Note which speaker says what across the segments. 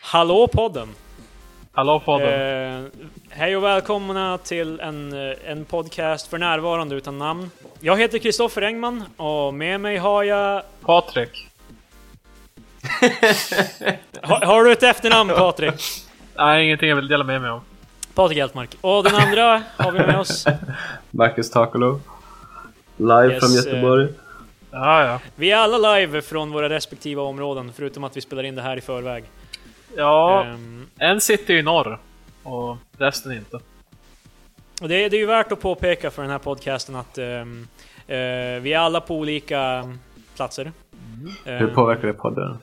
Speaker 1: Hallå podden!
Speaker 2: Hallå podden.
Speaker 1: Eh, hej och välkomna till en, eh, en podcast för närvarande utan namn. Jag heter Kristoffer Engman och med mig har jag...
Speaker 2: Patrik.
Speaker 1: Har, har du ett efternamn Patrik?
Speaker 2: Nej, ingenting jag vill dela med mig om.
Speaker 1: Patrik Eltmark. Och den andra har vi med oss.
Speaker 3: Marcus Takolo. Live
Speaker 1: Yes,
Speaker 3: från
Speaker 1: eh,
Speaker 3: Göteborg.
Speaker 2: Ja, ja.
Speaker 1: Vi är alla live från våra respektiva områden förutom att vi spelar in det här i förväg.
Speaker 2: Ja,
Speaker 1: Ehm,
Speaker 2: en sitter ju i norr och resten inte.
Speaker 1: Och det, det är ju värt att påpeka för den här podcasten att ehm, eh, vi är alla på olika platser.
Speaker 3: Hur
Speaker 1: Ehm,
Speaker 3: påverkar det podden?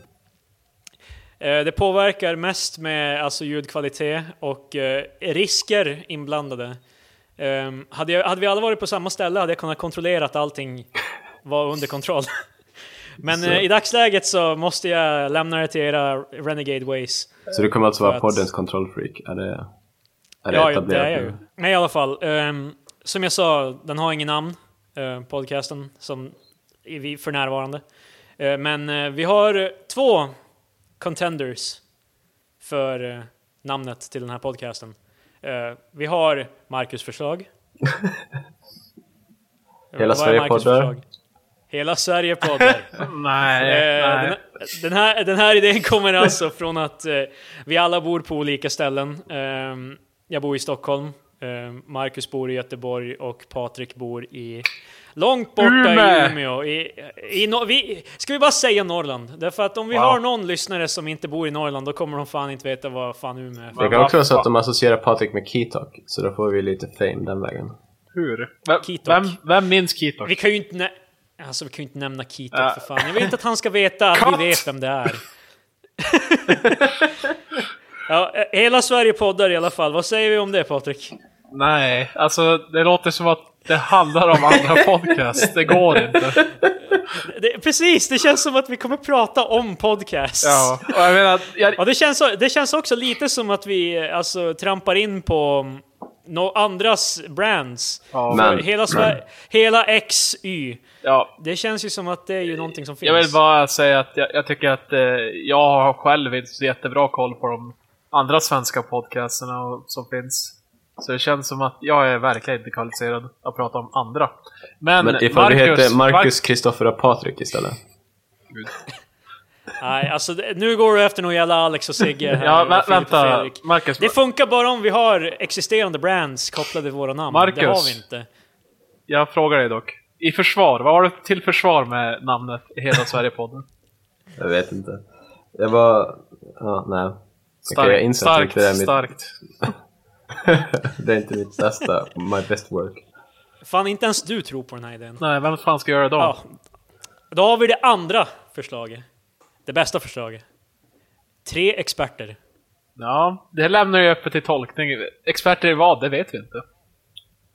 Speaker 1: Eh, Det påverkar mest med alltså, ljudkvalitet och eh, risker inblandade. Eh, hade, jag, hade vi alla varit på samma ställe hade jag kunnat kontrollera att allting var under kontroll. Men
Speaker 3: Så.
Speaker 1: eh, i dagsläget så måste jag lämna det till era renegade ways.
Speaker 3: Så du kommer alltså
Speaker 1: för
Speaker 3: vara
Speaker 1: att-
Speaker 3: poddens kontrollfreak? Är det, är det
Speaker 1: Ja, ja, det
Speaker 3: etablerat
Speaker 1: är jag ju.
Speaker 3: nu?
Speaker 1: Men i alla fall, ehm, som jag sa, den har ingen namn, eh, podcasten, som är vi för närvarande. Eh, men eh, vi har två contenders för eh, namnet till den här podcasten. Eh, vi har Marcus förslag. Eh,
Speaker 3: Hela
Speaker 1: Vad är
Speaker 3: Sverige
Speaker 1: Marcus
Speaker 3: poddar.
Speaker 1: förslag? Hela Sverige poddar.
Speaker 2: Nej,
Speaker 1: Eh,
Speaker 2: nej.
Speaker 1: Den, den, här, den här idén kommer alltså från att eh, vi alla bor på olika ställen. Ehm, jag bor i Stockholm, ehm, Marcus bor i Göteborg och Patrik bor i långt borta
Speaker 2: Umeå.
Speaker 1: i Umeå. I, i no, vi, ska vi bara säga Norrland? Därför att om vi
Speaker 2: Wow.
Speaker 1: har någon lyssnare som inte bor i Norrland då kommer de fan inte veta vad fan Umeå är.
Speaker 3: Det
Speaker 2: Men
Speaker 3: kan
Speaker 2: vad
Speaker 3: också vara så
Speaker 2: fan?
Speaker 3: att de associerar Patrik med Keytalk, så då får vi lite fame den vägen.
Speaker 2: Hur? Vem,
Speaker 1: Kitok.
Speaker 2: vem, vem minns Kitok?
Speaker 1: Vi kan ju inte... Nä- Alltså vi kan ju inte nämna Keaton
Speaker 2: Äh.
Speaker 1: för fan. Jag vill inte att han ska veta att
Speaker 2: Cut!
Speaker 1: vi vet vem det är. ja, eh, hela Sverige poddar i alla fall. Vad säger vi om det Patrik?
Speaker 2: Nej, alltså det låter som att det handlar om andra podcast. Det går inte.
Speaker 1: Det, precis, det känns som att vi kommer prata om podcasts.
Speaker 2: Ja, och jag menar, jag,
Speaker 1: Ja, det, känns, så- det känns också lite som att vi eh, alltså, trampar in på mm, no, andras brands.
Speaker 2: Ja.
Speaker 1: För
Speaker 3: Men-
Speaker 1: hela, Sver- hela XY.
Speaker 2: ja,
Speaker 1: Det känns ju som att det är ju någonting som finns.
Speaker 2: Jag vill bara säga att jag, jag tycker att eh, jag har själv inte så jättebra koll på de andra svenska podcasterna och, som finns. Så det känns som att jag är verkligen inte kvalificerad att prata om andra. Men,
Speaker 3: Men ifall vi heter Marcus,
Speaker 2: Marcus
Speaker 3: Kristoffer och Patrik istället?
Speaker 1: Nej, alltså det- nu går du efter någon jävla Alex och Sigge här.
Speaker 2: ja,
Speaker 1: och
Speaker 2: vä
Speaker 1: Filip och
Speaker 2: vänta.
Speaker 1: Fredrik.
Speaker 2: Marcus,
Speaker 1: Det funkar bara om vi har existerande brands kopplade till våra namn. Det
Speaker 2: Marcus.
Speaker 1: har vi inte.
Speaker 2: jag frågar dig dock. I försvar, vad har du till försvar med namnet Hela Sverige-podden?
Speaker 3: Jag vet inte. Jag var... Ja, nej. Okej, jag
Speaker 2: Starkt,
Speaker 3: inser att
Speaker 2: starkt,
Speaker 3: inte det är mitt...
Speaker 2: starkt.
Speaker 3: det är inte mitt bästa, my best work.
Speaker 1: Fan, inte ens du tror på den här idén.
Speaker 2: Nej, vem fan ska göra det då?
Speaker 1: Ja. Då har vi det andra förslaget. Det bästa förslaget. Tre experter.
Speaker 2: Ja, det lämnar ju öppet till tolkning. Experter i vad, det vet vi inte.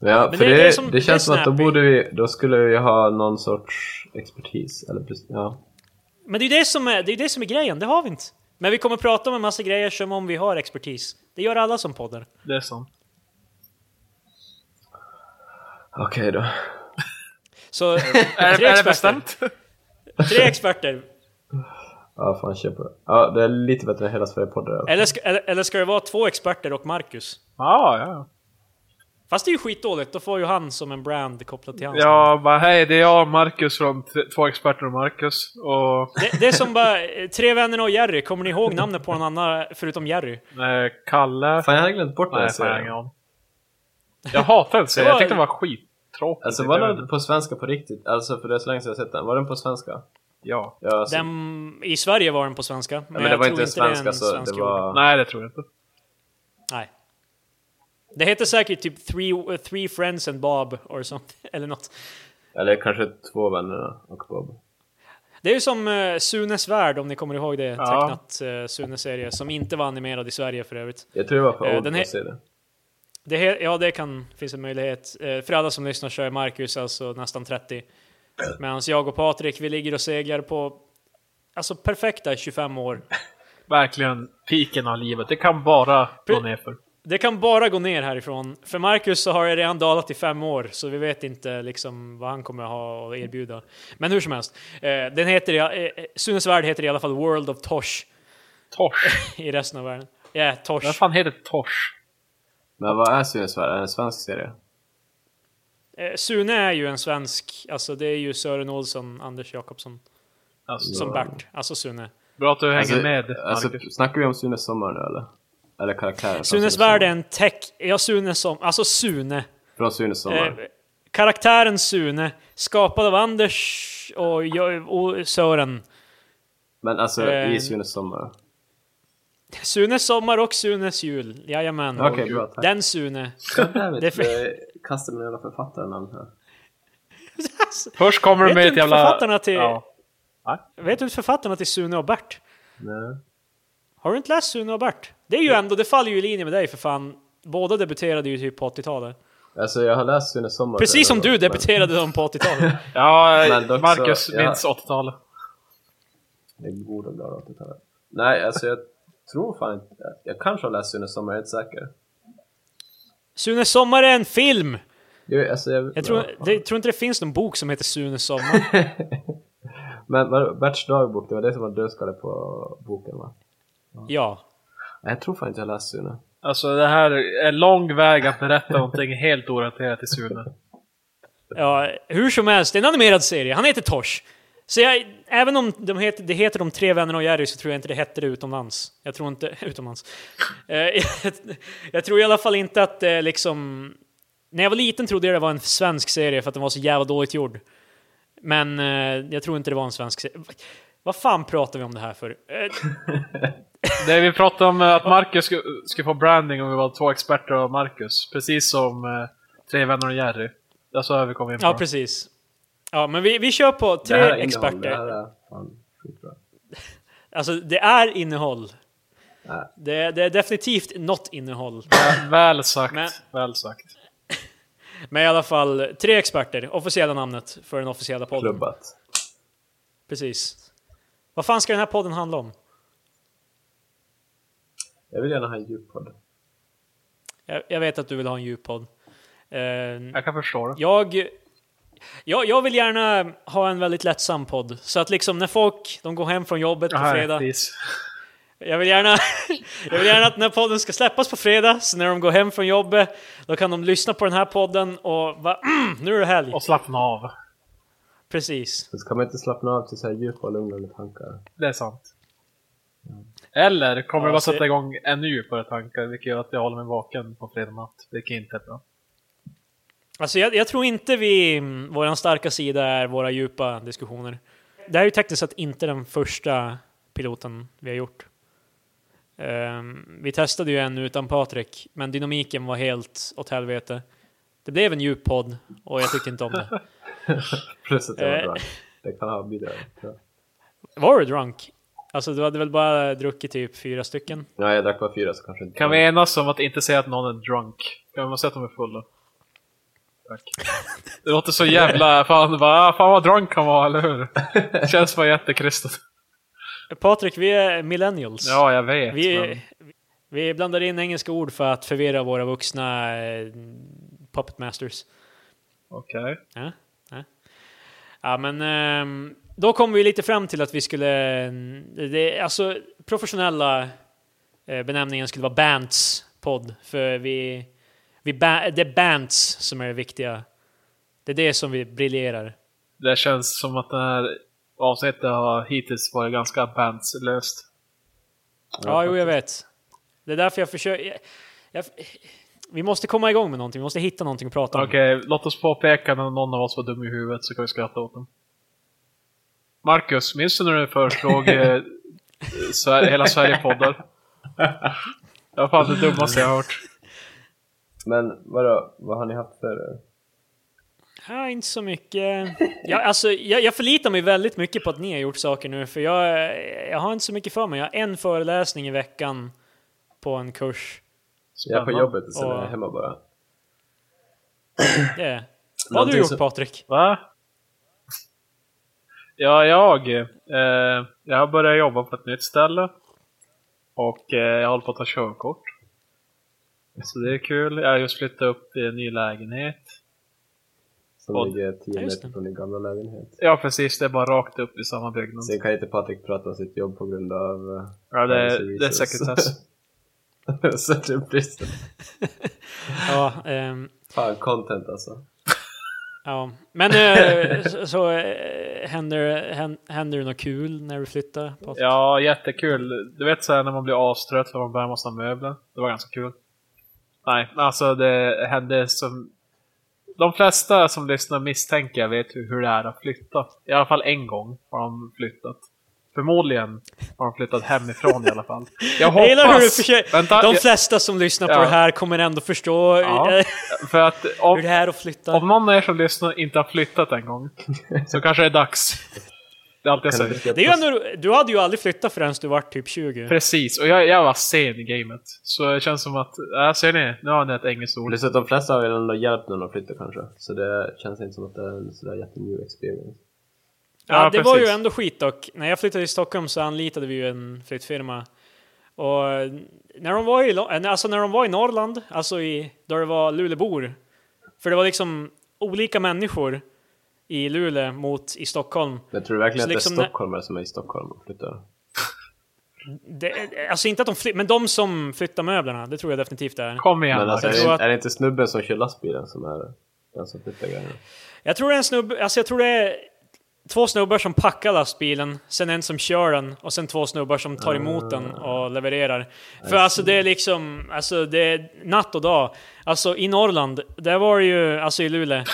Speaker 3: Ja,
Speaker 1: Men
Speaker 3: för
Speaker 1: det-
Speaker 3: det,
Speaker 1: det
Speaker 3: det,
Speaker 1: är som- det är
Speaker 3: känns som att då
Speaker 1: snappy.
Speaker 3: borde vi, då skulle vi ha någon sorts expertis, eller precis- ja.
Speaker 1: Men det är ju det som är, det är, ju det som är grejen, det har vi inte. Men vi kommer prata om en massa grejer som om vi har expertis. Det gör alla som poddar.
Speaker 2: Det är sant.
Speaker 3: Okej då.
Speaker 1: Så,
Speaker 2: Är,
Speaker 1: tre
Speaker 2: är det
Speaker 1: experter.
Speaker 2: bestämt?
Speaker 1: Tre experter.
Speaker 3: Ja, fan kör på det. Ja, det är lite bättre än hela Sverige-podden.
Speaker 1: Eller ska, eller, eller ska det vara två experter och Marcus?
Speaker 2: Ja, ja.
Speaker 1: Fast det är ju skitdåligt, då får ju han som en brand kopplat till hans namn.
Speaker 2: Ja, bara hej, det är jag Marcus från T- Två Experter och Marcus. Och
Speaker 1: Det, det är som bara, eh, Tre vännerna och Jerry, kommer ni ihåg namnet på någon annan förutom Jerry?
Speaker 2: eh, Kalle.
Speaker 3: Fan, jag hade glömt bort den
Speaker 2: Nej,
Speaker 3: här
Speaker 2: fan, jag har ingen aning.
Speaker 3: serien.
Speaker 2: Jag hatar den serien,
Speaker 1: Det
Speaker 2: jag
Speaker 1: var-
Speaker 2: tyckte den var skittråkig.
Speaker 3: Alltså
Speaker 2: typ.
Speaker 3: var
Speaker 2: Jag vet
Speaker 3: den
Speaker 2: inte.
Speaker 3: på svenska på riktigt? Alltså för det är så länge sedan jag sett den. Var den på svenska?
Speaker 2: Ja.
Speaker 3: Ja, alltså,
Speaker 1: Den, I Sverige var den på svenska, men,
Speaker 3: ja,
Speaker 1: jag
Speaker 3: men det var
Speaker 1: tror
Speaker 3: inte en
Speaker 1: det är
Speaker 3: svenska
Speaker 1: en
Speaker 3: så
Speaker 1: svensk
Speaker 3: det var...
Speaker 2: Nej, det tror jag inte.
Speaker 1: gjord. Nej. Det heter säkert typ three, eh, three Friends and Bob or sånt, eller något.
Speaker 3: Eller kanske två vänner och Bob.
Speaker 1: Det är ju som eh, Sunes värld, om ni kommer ihåg det,
Speaker 2: Ja.
Speaker 1: tecknat eh, Sunes-serie, som inte var animerad i Sverige för övrigt.
Speaker 3: Jag tror det var på
Speaker 1: Eh,
Speaker 3: uh,
Speaker 1: den
Speaker 3: den
Speaker 1: he-
Speaker 3: serien.
Speaker 1: Det he- ja, det kan, finns en möjlighet. Eh, för alla som lyssnar så är Marcus alltså nästan 30. Medan jag och Patrik, vi ligger och seglar på alltså perfekta 25 år.
Speaker 2: Verkligen piken av livet. Det kan bara gå
Speaker 1: Pre-
Speaker 2: nerför.
Speaker 1: Det kan bara gå ner härifrån. För Marcus så har jag redan dalat i fem år, så vi vet inte liksom vad han kommer ha att eh, erbjuda. Men hur som helst, eh, den heter, i- eh, Sunes värld heter i alla fall World of Tosh.
Speaker 2: Tors.
Speaker 1: i resten av världen. Jag är
Speaker 2: Vad
Speaker 1: torsk.
Speaker 2: fan heter Tors?
Speaker 3: Men vad är Sunesfären? Är det en svensk serie?
Speaker 1: Eh, Sune är ju en svensk, alltså det är ju Sören Olsson, Anders Jakobsson
Speaker 2: Alltså,
Speaker 1: som
Speaker 3: Ja.
Speaker 1: Bert, alltså Sune.
Speaker 2: bra att du hänger
Speaker 3: Alltså,
Speaker 2: med,
Speaker 3: alltså,
Speaker 2: Marcus.
Speaker 3: snackar vi om Sunes sommar nu eller? Eller karaktären? från
Speaker 1: Sunes
Speaker 3: Sommar?
Speaker 1: värld är en tech, ja Sune som, alltså Sune.
Speaker 3: Från Sunes
Speaker 1: Eh,
Speaker 3: sommar?
Speaker 1: karaktären Sune, skapad av Anders och, jag- och Sören.
Speaker 3: Men alltså
Speaker 1: eh,
Speaker 3: i Sunes sommar?
Speaker 1: Sunes sommar och Sunes jul, jajamän.
Speaker 3: Okej, bra tack.
Speaker 1: Den Sune. det är för-
Speaker 3: Kastar mig jävla författarnamn här.
Speaker 2: Först kommer du
Speaker 1: Vet
Speaker 2: med
Speaker 1: du
Speaker 2: ett jävla...
Speaker 1: författarna till-
Speaker 2: Ja.
Speaker 1: Vet du författarna till Sune och Bert?
Speaker 3: Nej.
Speaker 1: Har du inte läst Sune och Bert? Det är ju ändå, det faller ju i linje med dig för fan. Båda debuterade ju typ på 80-talet.
Speaker 3: Alltså jag har läst Sunes sommar.
Speaker 1: Precis som du
Speaker 3: men-
Speaker 1: debuterade dem på 80-talet.
Speaker 2: Ja, eh,
Speaker 3: Men dock så-
Speaker 2: Marcus
Speaker 3: ja.
Speaker 2: minns 80-talet.
Speaker 3: Det borde bli bra 80-talet. Nej, alltså jag tror fan inte... Jag kanske har läst Sunes sommar, jag är inte säker.
Speaker 1: Sunes sommar är en film!
Speaker 3: Jag, alltså, jag,
Speaker 1: Jag tror,
Speaker 3: ja, fan.
Speaker 1: det, jag tror inte det finns någon bok som heter Sunes sommar.
Speaker 3: Men var- Berts dagbok, det var det som var dödskalle på boken va?
Speaker 1: Ja.
Speaker 3: Nej, jag tror fan inte jag har läst Sune.
Speaker 2: Alltså det här är en lång väg att berätta någonting helt orelaterat till Sune.
Speaker 1: ja. Hur som helst, det är en animerad serie. Han heter Tors. Så jag, även om de heter, det heter De tre vännerna och Jerry så tror jag inte det hette det utomlands. Jag tror inte... Utomlands. Eh, jag, jag tror i alla fall inte att det liksom... När jag var liten trodde jag det var en svensk serie för att den var så jävla dåligt gjord. Men eh, jag tror inte det var en svensk serie. Vad fan pratar vi om det här för? Eh,
Speaker 2: Det vi pratade om eh, att Marcus sku- skulle få branding om vi var två experter av Marcus. Precis som eh, Tre vänner och Jerry. Det är så här vi kom in på.
Speaker 1: Ja, precis. Ja, men vi, vi kör på tre
Speaker 3: Det här är innehåll,
Speaker 1: experter.
Speaker 3: Det här är fan skitbra.
Speaker 1: Alltså, det är innehåll.
Speaker 3: Nej.
Speaker 1: Det, det är definitivt något innehåll.
Speaker 2: Ja, Väl sagt,
Speaker 1: Men-
Speaker 2: väl sagt.
Speaker 1: Men i alla fall, tre experter. Officiella namnet för den officiella podden.
Speaker 3: Klubbat.
Speaker 1: Precis. Vad fan ska den här podden handla om?
Speaker 3: Jag vill gärna ha en djup podd.
Speaker 1: Jag, jag vet att du vill ha en djup podd. Eh,
Speaker 2: Jag kan förstå det.
Speaker 1: Jag, jag, jag vill gärna ha en väldigt lättsam podd. Så att liksom när folk de går hem från jobbet på
Speaker 2: Här,
Speaker 1: fredag.
Speaker 2: please.
Speaker 1: Jag vill, gärna, jag vill gärna att den här podden ska släppas på fredag, så när de går hem från jobbet, då kan de lyssna på den här podden och va, mm, nu är det helg.
Speaker 2: Och slappna av.
Speaker 1: Precis.
Speaker 3: Så ska man inte slappna av till så här djupa och lugnande tankar.
Speaker 2: Det är sant. Eller kommer
Speaker 1: Ja,
Speaker 2: det bara
Speaker 1: se-
Speaker 2: sätta igång ännu djupare tankar, vilket gör att jag håller mig vaken på fredag natt. Vilket inte är bra.
Speaker 1: Alltså jag, jag tror inte vi, mm, våran starka sida är våra djupa diskussioner. Det här är ju tekniskt sett inte den första piloten vi har gjort. Ehm, vi testade ju en utan Patrik, men dynamiken var helt åt helvete. Det blev en djup podd och jag tyckte inte om det.
Speaker 3: Plus att jag var
Speaker 1: Eh.
Speaker 3: drunk. Det kan ha bidragit. Ja.
Speaker 1: Var du drunk? Alltså du hade väl bara druckit typ fyra stycken?
Speaker 3: Nej, jag drack bara fyra så kanske inte...
Speaker 2: Kan vi enas om att inte säga att någon är drunk? Kan vi säga att de är fulla? Tack. Det låter så jävla... Fan, bara, fan vad drunk han var, eller hur? Känns bara jättekristet.
Speaker 1: Patrik, vi är millennials.
Speaker 2: Ja, jag vet. men...
Speaker 1: vi, vi blandar in engelska ord för att förvirra våra vuxna eh, puppet masters.
Speaker 2: Okej.
Speaker 1: Ja, ja. ja men ehm, då kom vi lite fram till att vi skulle, det, alltså professionella eh, benämningen skulle vara bands podd, för vi, vi ba, det är bands som är det viktiga. Det är det som vi briljerar.
Speaker 2: Det känns som att det här avsnittet har hittills varit ganska bandslöst.
Speaker 1: Ja, jo, jag vet. Det är därför jag försöker... Jag, jag, vi måste komma igång med någonting, vi måste hitta någonting att prata om.
Speaker 2: Okej, låt oss påpeka när någon av oss var dum i huvudet så kan vi skratta åt dem. Marcus, minns du när du föreslog eh, Sver- Hela Sverige-poddar? Det var fan det dummaste jag har hört.
Speaker 3: Men vadå, vad har ni haft för...
Speaker 1: Ja, inte så mycket. Jag, alltså, jag, jag förlitar mig väldigt mycket på att ni har gjort saker nu, för jag, jag har inte så mycket för mig. Jag har en föreläsning i veckan på en kurs.
Speaker 3: Jag är på
Speaker 2: Spännande.
Speaker 3: jobbet och sen är
Speaker 1: Ja.
Speaker 3: jag hemma bara.
Speaker 1: Det är. Vad har
Speaker 3: Någonting
Speaker 1: du gjort
Speaker 3: som-
Speaker 1: Patrik?
Speaker 2: Va? Ja, jag. Eh, jag har börjat jobba på ett nytt ställe. Och eh, jag håller på att ta körkort. Så det är kul. Jag har just flyttat upp till en ny lägenhet.
Speaker 3: Så som
Speaker 1: Vad?
Speaker 3: ligger 10
Speaker 1: Ja, just
Speaker 3: meter
Speaker 1: det.
Speaker 3: från din gamla lägenhet.
Speaker 2: Ja, precis. Det är bara rakt upp i samma byggnad.
Speaker 3: Sen kan inte Patrik prata om sitt jobb på grund av... eh,
Speaker 2: Ja, det, är-
Speaker 3: privacy
Speaker 2: det är
Speaker 3: reasons.
Speaker 2: sekretess.
Speaker 3: Så det är brist.
Speaker 1: Ja, ehm,
Speaker 3: Fan, content alltså.
Speaker 1: ja. Men eh, så, så eh, händer, hän- händer det något kul när du flyttar? Patrik?
Speaker 2: Ja, jättekul. Du vet så här när man blir astrött för man bär massa möbler. Det var ganska kul. Nej, men alltså det hände som... De flesta som lyssnar misstänker jag vet hur, hur det är att flytta. I alla fall en gång har de flyttat. Förmodligen har de flyttat hemifrån i alla fall. Jag
Speaker 1: Jag gillar hur du
Speaker 2: hoppas...
Speaker 1: försöker.
Speaker 2: Vänta,
Speaker 1: De
Speaker 2: jag-
Speaker 1: flesta som lyssnar på
Speaker 2: Ja.
Speaker 1: det här kommer ändå förstå
Speaker 2: Ja,
Speaker 1: eh,
Speaker 2: för att
Speaker 1: hur det
Speaker 2: om,
Speaker 1: är att flytta.
Speaker 2: om någon av er som lyssnar inte har flyttat en gång så kanske det är dags. Det är allt jag säger.
Speaker 1: det är ju ändå, du hade ju aldrig flyttat förrän du var typ 20.
Speaker 2: Precis, och jag, jag var sen i gamet. Så det känns som att, ja ser ni? Nu har ni ett engelskt ord.
Speaker 3: Plus att de flesta har väl ändå hjälpt någon att flytta kanske. Så det känns inte som att det är en sådär jättenew experience.
Speaker 1: Ja,
Speaker 2: Ja,
Speaker 1: det var ju
Speaker 2: precis.
Speaker 1: ändå skit dock. När jag flyttade till Stockholm så anlitade vi ju en flyttfirma. Och eh, när de var i, Lo- eh, alltså när de var i Norrland, alltså i, då det var Lulebor, för det var liksom olika människor i Luleå mot i Stockholm.
Speaker 3: Men Jag tror verkligen
Speaker 1: Så
Speaker 3: att det är
Speaker 1: liksom när-
Speaker 3: stockholmare som är i Stockholm och flyttar.
Speaker 1: Det, alltså inte att de flyttar, men de som flyttar möblerna, det tror jag definitivt det är.
Speaker 2: Kom igen
Speaker 3: Men alltså, är,
Speaker 2: Marcus.
Speaker 1: tror
Speaker 3: det,
Speaker 1: att-
Speaker 3: är det inte snubben som kör lastbilen som är den som flyttar grejerna?
Speaker 1: Jag tror det är en snubbe, alltså jag tror det är två snubbar som packar lastbilen, sen en som kör den och sen två snubbar som tar emot den och levererar. För alltså det är liksom, alltså det är natt och dag. Alltså i Norrland, där var det ju, alltså i Luleå,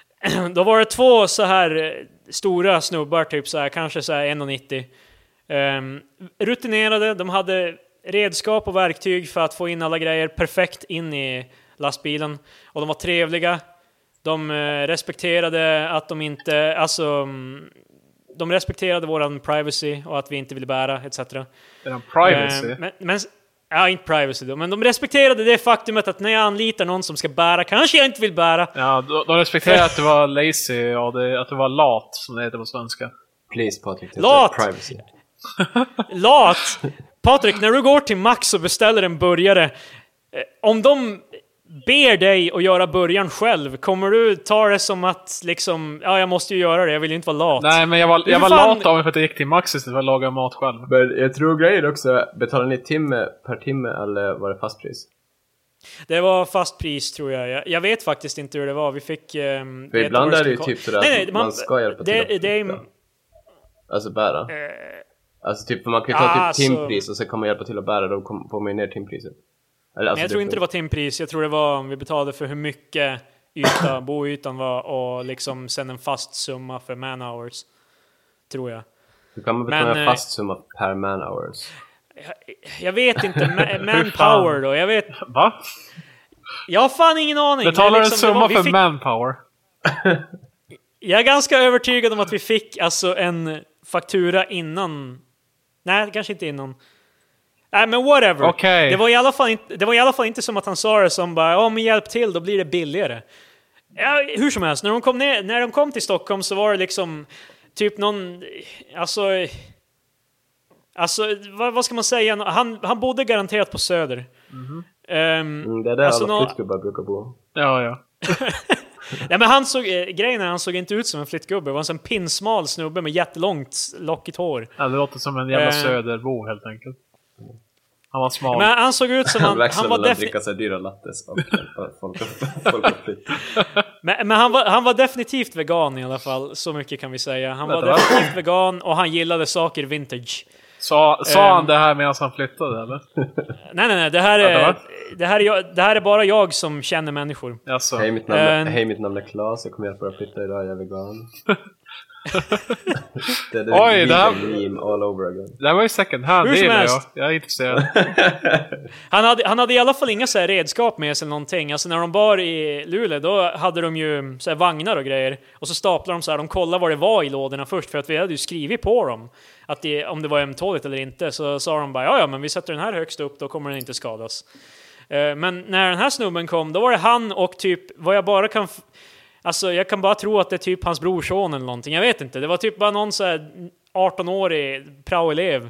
Speaker 1: då var det två så här eh, stora snubbar, typ så här, kanske så här 1,90. Ehm, rutinerade, de hade redskap och verktyg för att få in alla grejer perfekt in i lastbilen. Och de var trevliga. De eh, respekterade att de inte, alltså, mm, de respekterade våran privacy och att vi inte ville bära etc.
Speaker 2: Är det privacy?
Speaker 1: Eh, Men, men, ja, inte privacy då, men de respekterade det faktumet att när jag anlitar någon som ska bära, kanske jag inte vill bära.
Speaker 2: Ja, de, de respekterar att du var lazy och det, att du var lat, som det heter på svenska.
Speaker 3: Please Patrik, det är
Speaker 1: Lat!
Speaker 3: privacy.
Speaker 1: Lat! Patrik, när du går till Max och beställer en burgare, eh, om de ber dig att göra burgaren själv, kommer du ta det som att liksom, ja jag måste ju göra det, jag vill ju inte vara lat.
Speaker 2: Nej, men jag var, jag
Speaker 1: Hur
Speaker 2: var
Speaker 1: fan-
Speaker 2: lat av mig för att jag gick till Max istället för att laga mat själv.
Speaker 3: Men jag tror grejen också, betalar ni timme per timme eller var det fast pris?
Speaker 1: Det var fast pris tror jag. jag. Jag vet faktiskt inte hur det var. Vi fick... ehm,
Speaker 3: För
Speaker 1: veta
Speaker 3: ibland
Speaker 1: vad
Speaker 3: är det ju
Speaker 1: skulle
Speaker 3: typ
Speaker 1: ko-
Speaker 3: sådär
Speaker 1: Nej,
Speaker 3: att
Speaker 1: nej,
Speaker 3: man ska hjälpa till
Speaker 1: det,
Speaker 3: att
Speaker 1: Det är,
Speaker 3: flytta. Alltså bära.
Speaker 1: Eh.
Speaker 3: Alltså typ, för man kan ju ta
Speaker 1: ja,
Speaker 3: typ
Speaker 1: alltså-
Speaker 3: timpris och sen kan man hjälpa till att bära då kom- får man ju ner timpriset. Eller, alltså,
Speaker 1: men jag tror inte det var timpris. Jag tror det var om vi betalade för hur mycket yta, boytan var och liksom sen en fast summa för man hours. Tror jag.
Speaker 3: Då kan man betala
Speaker 1: Men,
Speaker 3: en
Speaker 1: eh,
Speaker 3: fast summa per man hours.
Speaker 1: Jag vet inte. ma-
Speaker 2: Hur fan?
Speaker 1: Manpower då? Jag vet...
Speaker 2: Va?
Speaker 1: Jag har fan ingen aning. Det är
Speaker 2: Betalar en
Speaker 1: liksom- det var-
Speaker 2: summa
Speaker 1: vi
Speaker 2: för
Speaker 1: fick-
Speaker 2: manpower?
Speaker 1: Jag är ganska övertygad om att vi fick alltså en faktura innan. Nej, kanske inte innan. Nej, men whatever.
Speaker 2: Okej.
Speaker 1: Det, var i alla fall inte, det var i alla fall inte som att han sa det som bara ja, men hjälp till, då blir det billigare. Ja, hur som helst, när de, kom ner, när de kom till Stockholm så var det liksom typ någon, alltså, alltså vad, vad ska man säga, han, han bodde garanterat på Söder. Ehm,
Speaker 3: Mm, det är där
Speaker 1: alltså
Speaker 3: alla
Speaker 1: nå-
Speaker 3: flyttgubbar brukar bo.
Speaker 2: Ja, ja.
Speaker 1: Nej, men han såg, eh, grejen är han såg inte ut som en flyttgubbe, det var en sån pinsmal snubbe med jättelångt lockigt hår.
Speaker 2: ja. Det låter som en jävla
Speaker 1: Eh.
Speaker 2: söderbo helt enkelt. Han var smal.
Speaker 1: Men han såg ut som
Speaker 3: Han
Speaker 1: han,
Speaker 3: växlar
Speaker 1: han var
Speaker 3: mellan att
Speaker 1: definitivt...
Speaker 3: dricka så här dyra lattes och folk- folk folk har flytt.
Speaker 1: Men, men han, var, han var definitivt vegan i alla fall, så mycket kan vi säga. Han var
Speaker 3: Vänta, va?
Speaker 1: definitivt vegan och han gillade saker vintage.
Speaker 2: Sa, sa han
Speaker 1: Ehm.
Speaker 2: det här medan han flyttade eller?
Speaker 1: Nej, nej, nej, det här
Speaker 2: Vänta,
Speaker 1: är,
Speaker 2: va?
Speaker 1: det här är, jag, det här är bara jag som känner människor.
Speaker 2: Jaså?
Speaker 3: Hej mitt, namn är,
Speaker 1: Eh,
Speaker 3: hej mitt namn är Klas, jag kommer hjälpa dig att flytta idag, jag är vegan. det är det
Speaker 2: Oj, det här-
Speaker 3: meme all over again.
Speaker 2: Det här var ju second hand,
Speaker 1: Hur
Speaker 2: det
Speaker 1: som
Speaker 2: gillar jag.
Speaker 1: helst.
Speaker 2: Jag är intresserad.
Speaker 1: Han hade, han hade i alla fall inga så här redskap med sig eller någonting. Alltså när de bar i Luleå, då hade de ju så här vagnar och grejer. Och så staplade de så här, de kollade vad det var i lådorna först, för att vi hade ju skrivit på dem. Att det, om det var ömtåligt eller inte. Så sa de bara, ja ja, men vi sätter den här högst upp, då kommer den inte skadas. Eh, Men när den här snubben kom, då var det han och typ, vad jag bara kan... f- Alltså jag kan bara tro att det är typ hans brorson eller någonting, jag vet inte. Det var typ bara någon så här 18-årig praoelev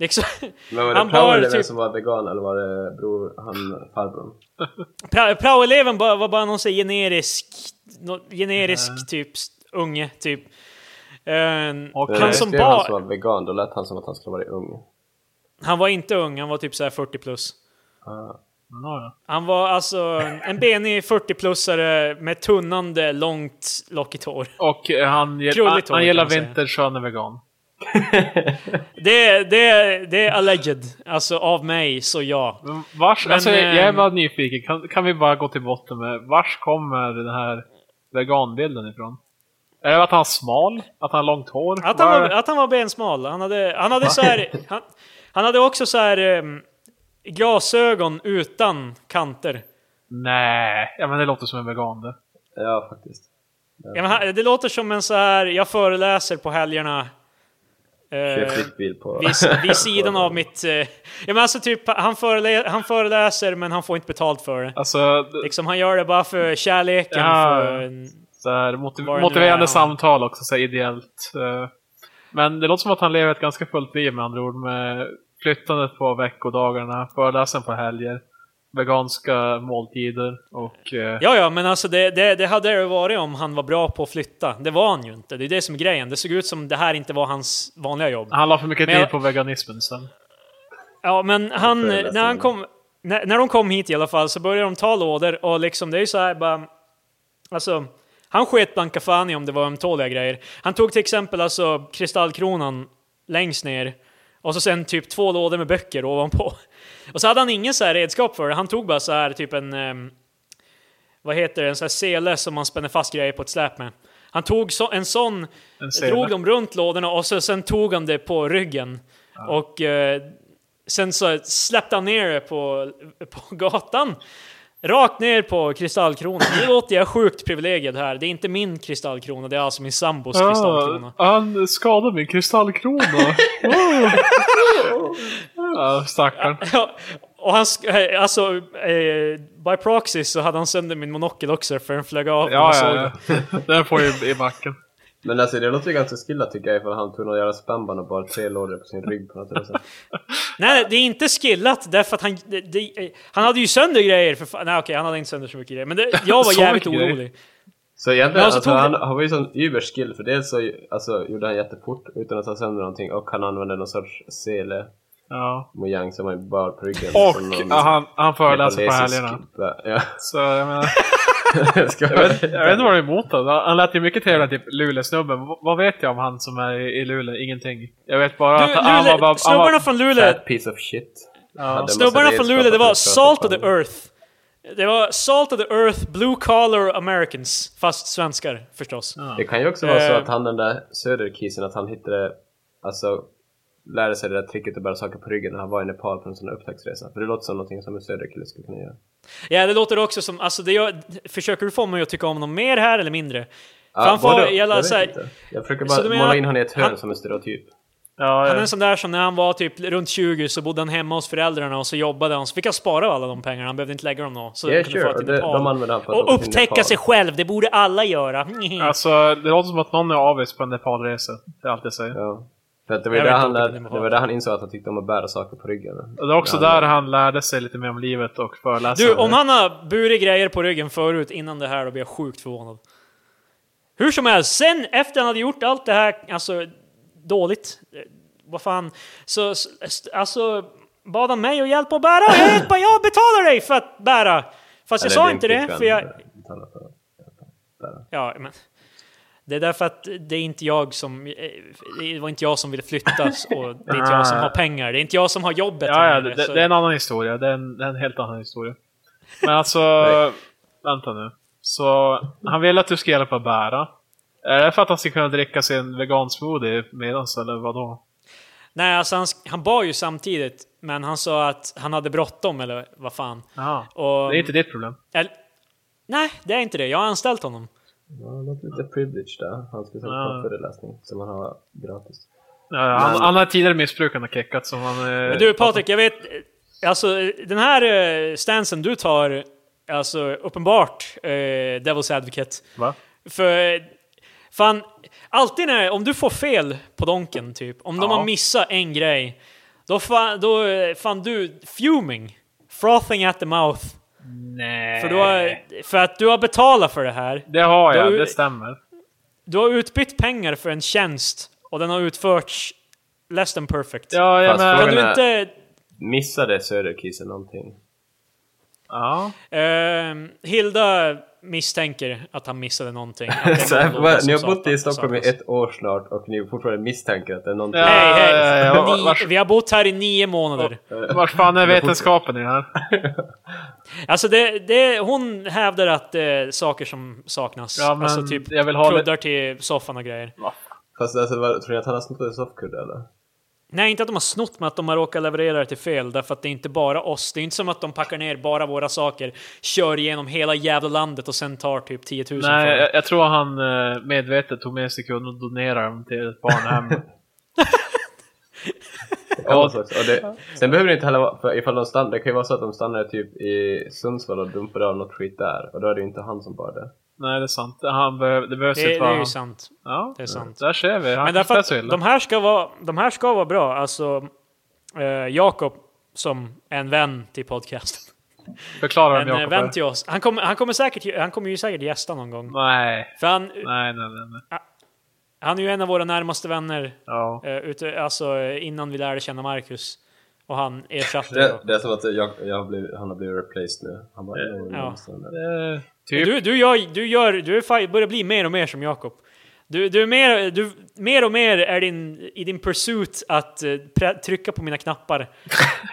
Speaker 1: Liksom,
Speaker 3: Men var det
Speaker 1: Han bara
Speaker 3: Powell
Speaker 1: typ-
Speaker 3: typ... som var vegan eller var det bror, han farbrorn?
Speaker 1: pra- Praoeleven bara- var bara någon sån här generisk, nå- generisk typ s- unge typ. Ehm,
Speaker 2: Och
Speaker 1: han
Speaker 3: det
Speaker 1: som
Speaker 3: skrev han
Speaker 1: bar,
Speaker 3: som var vegan, då lät han som att han skulle vara ung.
Speaker 1: han var inte ung, han var typ så här 40 plus.
Speaker 3: Ah.
Speaker 2: Ja,
Speaker 1: Han var alltså en- en benig 40-plussare med tunnande, långt, lockigt hår.
Speaker 2: ja. Och eh, han, ge-
Speaker 1: Krulligt
Speaker 2: han,
Speaker 1: hår,
Speaker 2: han
Speaker 1: kan
Speaker 2: gillar
Speaker 1: man säga.
Speaker 2: vintage så han är vegan.
Speaker 1: Det, det, det är alleged, alltså av mig, så ja.
Speaker 2: Men Vars,
Speaker 1: Men,
Speaker 2: alltså, jag är
Speaker 1: ehm,
Speaker 2: bara nyfiken, kan, kan vi bara gå till botten med vars kommer den här veganbilden ifrån? Är det att han är smal? Att han har långt hår?
Speaker 1: Att han
Speaker 2: Vad är
Speaker 1: var,
Speaker 2: det?
Speaker 1: att han var bensmal. Han hade, han hade så här, han, han hade också så här ehm, glasögon utan kanter.
Speaker 2: Nej, ja, men det låter som en vegan det.
Speaker 3: Ja, faktiskt.
Speaker 1: Ja, men han- det låter som en så här, jag föreläser på helgerna.
Speaker 3: Köp
Speaker 1: Eh,
Speaker 3: ditt bil på...
Speaker 1: vid, vid sidan av mitt... Eh, ja, men alltså typ, han, förelä, han föreläser men han får inte betalt för det.
Speaker 2: Alltså, d-
Speaker 1: Liksom, han gör det bara för kärleken.
Speaker 2: Ja.
Speaker 1: För,
Speaker 2: så här, motiv-
Speaker 1: Vad det nu är
Speaker 2: motiverande
Speaker 1: han-
Speaker 2: samtal också, så här, ideellt. eh. Men det låter som att han lever ett ganska fullt liv med andra ord. Med flyttandet på veckodagarna, föreläsen på helger, veganska måltider och... eh,
Speaker 1: Ja, ja, men alltså det, det, det hade det varit om han var bra på att flytta. Det var han ju inte. Det är det som är grejen. Det såg ut som det här inte var hans vanliga jobb.
Speaker 2: Han la för mycket
Speaker 1: Men
Speaker 2: tid
Speaker 1: jag-
Speaker 2: på veganismen sen.
Speaker 1: Ja, men han,
Speaker 3: föreläsning.
Speaker 1: när han kom, när, när de kom hit i alla fall så började de ta lådor och liksom det är ju så här bara, alltså han sket blanka fan i om det var ömtåliga grejer. Han tog till exempel alltså kristallkronan längst ner och så sen typ två lådor med böcker ovanpå. Och så hade han ingen så här redskap för det. Han tog bara så här typ en, ehm, vad heter det, en så här sele som man spänner fast grejer på ett släp med. Han tog så, en sån,
Speaker 2: En sele.
Speaker 1: drog dem runt lådorna och så, sen tog han det på ryggen. Och eh, sen så släppte han ner det på, på gatan. Rakt ner på kristallkronan. Nu låter jag sjukt privilegierad här. Det är inte min kristallkrona, det är alltså min sambos kristallkrona.
Speaker 2: Ah, han skadade min kristallkrona. ah, stackarn.
Speaker 1: Ja, och han, sk- eh, alltså, eh, by proxy så hade han sönder min monokel också för den flög av. Alltså, när
Speaker 2: Ja,
Speaker 1: jag såg
Speaker 2: ja,
Speaker 1: det.
Speaker 2: ja. Den får ju i backen.
Speaker 3: Men alltså det låter ju ganska skillat tycker jag ifall han tog några jävla spännband och bara tre lådor på sin rygg på något sätt.
Speaker 1: Nej, det är inte skillat därför att han, det, det, eh, han hade ju sönder grejer för fan. Nej okej, han hade inte sönder så mycket grejer. Men det, jag var
Speaker 2: Så
Speaker 1: jävligt
Speaker 2: mycket grejer.
Speaker 1: orolig.
Speaker 3: Så egentligen,
Speaker 1: Ja, så
Speaker 3: alltså,
Speaker 1: tog det-
Speaker 3: han, han var ju sån überskill för dels så alltså, gjorde han jättefort utan att ta sönder någonting och han använde någon sorts sele
Speaker 2: Ja.
Speaker 3: mojang som var ju bar på ryggen. som
Speaker 2: Och
Speaker 3: någon- liksom
Speaker 2: ah, han, han föreläser på
Speaker 3: nepalesisk-
Speaker 2: helgerna.
Speaker 3: Ja,
Speaker 2: Så jag menar,
Speaker 3: ska
Speaker 2: jag vet, jag vet inte vad det är emot då. Han lät ju mycket trevligare, typ Luleå-snubben. V- vad vet jag om han som är i i Luleå? Ingenting. Jag vet bara
Speaker 1: Du,
Speaker 2: att Alltså, han var...
Speaker 1: Luleå,
Speaker 2: bara- han var
Speaker 1: snubbarna från Luleå,
Speaker 3: Fat piece of shit. Hade
Speaker 2: ja.
Speaker 3: en massa
Speaker 1: Snubbarna
Speaker 3: redskap
Speaker 1: från Luleå, det
Speaker 3: att
Speaker 1: var
Speaker 3: utföra
Speaker 1: Salt of the
Speaker 3: fortfarande.
Speaker 1: Earth. Det var Salt of the Earth, Blue Collar Americans. Fast svenskar förstås.
Speaker 3: Det kan ju också vara så
Speaker 1: Eh.
Speaker 3: att han den där söderkisen, att han hittade, alltså lärde sig det där tricket att bära saker på ryggen när han var i Nepal på en sån där upptäcktsresa. För det låter som någonting som en söderkille skulle kunna göra.
Speaker 1: Ja, det låter också som... Alltså, det gör, försöker du få mig att tycka om honom mer här eller mindre? För
Speaker 3: Ja,
Speaker 1: han får
Speaker 3: både-
Speaker 1: jävla
Speaker 3: Ah, jag vet
Speaker 1: såhär-
Speaker 3: inte. Jag försöker
Speaker 1: Så
Speaker 3: bara
Speaker 1: du menar
Speaker 3: måla
Speaker 1: att
Speaker 3: in honom i ett hörn
Speaker 1: han-
Speaker 3: som en stereotyp.
Speaker 2: Ja,
Speaker 1: Han är
Speaker 2: ja.
Speaker 1: en sån där som när han var typ runt 20 så bodde han hemma hos föräldrarna och så jobbade han. Så fick han spara alla de pengarna, han behövde inte lägga dem nå. Så
Speaker 3: Yeah,
Speaker 1: kunde
Speaker 3: sure.
Speaker 1: fara till
Speaker 3: Och det,
Speaker 1: Nepal.
Speaker 3: de använder han för att
Speaker 1: och
Speaker 3: åka till
Speaker 1: upptäcka
Speaker 3: Nepal.
Speaker 1: sig själv, det borde alla göra.
Speaker 2: Alltså, det låter som att någon är avis på en Nepalresa. Det är allt jag säger.
Speaker 3: Ja. För att det var ju
Speaker 1: Jag
Speaker 3: där
Speaker 1: vet
Speaker 3: han,
Speaker 1: inte
Speaker 3: lär,
Speaker 1: om det är
Speaker 3: det var där han insåg att han tyckte om att bära saker på ryggen.
Speaker 2: Och det är också där han lärde sig lite mer om livet och föreläsa.
Speaker 1: Du, om han har burit grejer på ryggen förut innan det här, då blir jag sjukt förvånad. Hur som helst, sen efter han hade gjort allt det här, alltså dåligt, eh, vad fan, så, så st- alltså bad han mig att hjälpa att bära. Jag, hjälper, jag betalar dig för att bära! Fast jag
Speaker 3: Eller
Speaker 1: sa
Speaker 3: din
Speaker 1: inte det,
Speaker 3: flickvän
Speaker 1: för jag...
Speaker 3: betalar för det.
Speaker 1: Ja, men, det är därför att det är inte jag som... eh, Det var inte jag som ville flyttas och det är inte jag som har pengar. Det är inte jag som har jobbet.
Speaker 2: Ah. Ja, ja
Speaker 1: här,
Speaker 2: det,
Speaker 1: så-
Speaker 2: det, det är en annan historia. Det är en, det är en helt annan historia. Men alltså, vänta nu. Så han vill att du ska hjälpa bära. Är det för att han ska kunna dricka sin vegansmoothie medans, eller vadå?
Speaker 1: Nej, alltså han, sk- han bar ju samtidigt, men han sa att han hade bråttom eller vad fan.
Speaker 2: Jaha.
Speaker 1: Och,
Speaker 2: Det är inte ditt problem.
Speaker 1: eller, nej, det är inte det. Jag har anställt honom.
Speaker 3: Ja, det låter lite privilege där. Han skulle säkert
Speaker 2: Ja.
Speaker 3: ha en föreläsning som han har gratis.
Speaker 2: Ja, han,
Speaker 3: Men-
Speaker 2: han har tidigare missbrukat och kickat som han... eh,
Speaker 1: Men du Patrik, jag vet, eh, alltså eh, den här eh, stansen du tar, eh, alltså uppenbart eh, Devil's Advocate.
Speaker 2: Va?
Speaker 1: För eh, fan, alltid när, om du får fel på donken typ, om de
Speaker 2: Ja.
Speaker 1: har missat en grej, Då, fa, då eh, fann du fuming. Frothing at the mouth.
Speaker 2: Nej.
Speaker 1: För, du har, för att du har betalat för det här.
Speaker 2: Det har jag,
Speaker 1: Då-
Speaker 2: det stämmer.
Speaker 1: Du har utbytt pengar för en tjänst och den har utförts less than perfect.
Speaker 2: Ja, jag
Speaker 3: Fast
Speaker 2: men...
Speaker 1: Kan
Speaker 3: frågan-
Speaker 1: du
Speaker 3: är-
Speaker 1: inte
Speaker 3: Missade Söderkisen någonting?
Speaker 2: Ja.
Speaker 1: Ehm, Hilda misstänker att han missade någonting. Att det är
Speaker 3: Så här,
Speaker 1: någon
Speaker 3: vad-
Speaker 1: som
Speaker 3: ni har
Speaker 1: sa
Speaker 3: bott
Speaker 1: att-
Speaker 3: i Stockholm i
Speaker 1: sa-
Speaker 3: ett år snart och ni fortfarande misstänker att det är någonting.
Speaker 2: Ja.
Speaker 1: Hej, hej!
Speaker 2: ja, ja.
Speaker 1: Ni-
Speaker 2: Vars-
Speaker 1: Vi har bott här i nio månader.
Speaker 2: Vart fan är vetenskapen i det här?
Speaker 1: Alltså det, det, hon hävdar att det är saker som saknas.
Speaker 2: Ja, men
Speaker 1: alltså typ
Speaker 2: jag vill ha
Speaker 1: kuddar till soffan och grejer.
Speaker 3: Fast alltså, vad, tror ni att han har snott en soffkudde eller?
Speaker 1: Nej, inte att de har snott men att de har råkat leverera det till fel. Därför att det är inte bara oss. Det är inte som att de packar ner bara våra saker, kör igenom hela jävla landet och sen tar typ 10 000 för
Speaker 2: Nej,
Speaker 1: det.
Speaker 2: jag, jag tror han eh, medvetet tog med sig kunden och donerade dem till ett barnhem.
Speaker 3: Det kan vara så också. Och det, sen behöver det inte heller vara, för ifall de stannar, det kan ju vara så att de stannar typ i Sundsvall och dumpar av något skit där. Och då är det ju inte han som bar det.
Speaker 2: Nej, det är sant. Han behöv, det behövs
Speaker 1: Det,
Speaker 2: inte
Speaker 1: det
Speaker 2: vara...
Speaker 1: är ju sant.
Speaker 2: Ja,
Speaker 1: Det är sant.
Speaker 2: Där ser vi. Han
Speaker 1: Men därför att
Speaker 2: så illa.
Speaker 1: de här ska vara, de här ska vara bra. Alltså, eh, Jakob som är en vän till podcasten.
Speaker 2: Förklarar
Speaker 1: En
Speaker 2: dem
Speaker 1: eh,
Speaker 2: Jakob.
Speaker 1: vän
Speaker 2: här.
Speaker 1: till oss. Han kommer, han, kommer säkert, han kommer ju säkert gästa någon gång.
Speaker 2: Nej,
Speaker 1: För han,
Speaker 2: nej, nej, nej. nej.
Speaker 1: han är ju en av våra närmaste vänner,
Speaker 2: Ja.
Speaker 1: eh, ute, alltså eh, innan vi lärde känna Marcus. Och han ersatte
Speaker 3: Det,
Speaker 1: då.
Speaker 3: det är som att jag, jag har blivit, han har blivit replaced nu. Han bara,
Speaker 1: Ja.
Speaker 3: ja.
Speaker 2: Eh, typ.
Speaker 1: du, du, gör, du, gör, du är fa- börjar bli mer och mer som Jakob. Du, du är mer, du, mer och mer är din, i din pursuit att eh, pre- trycka på mina knappar.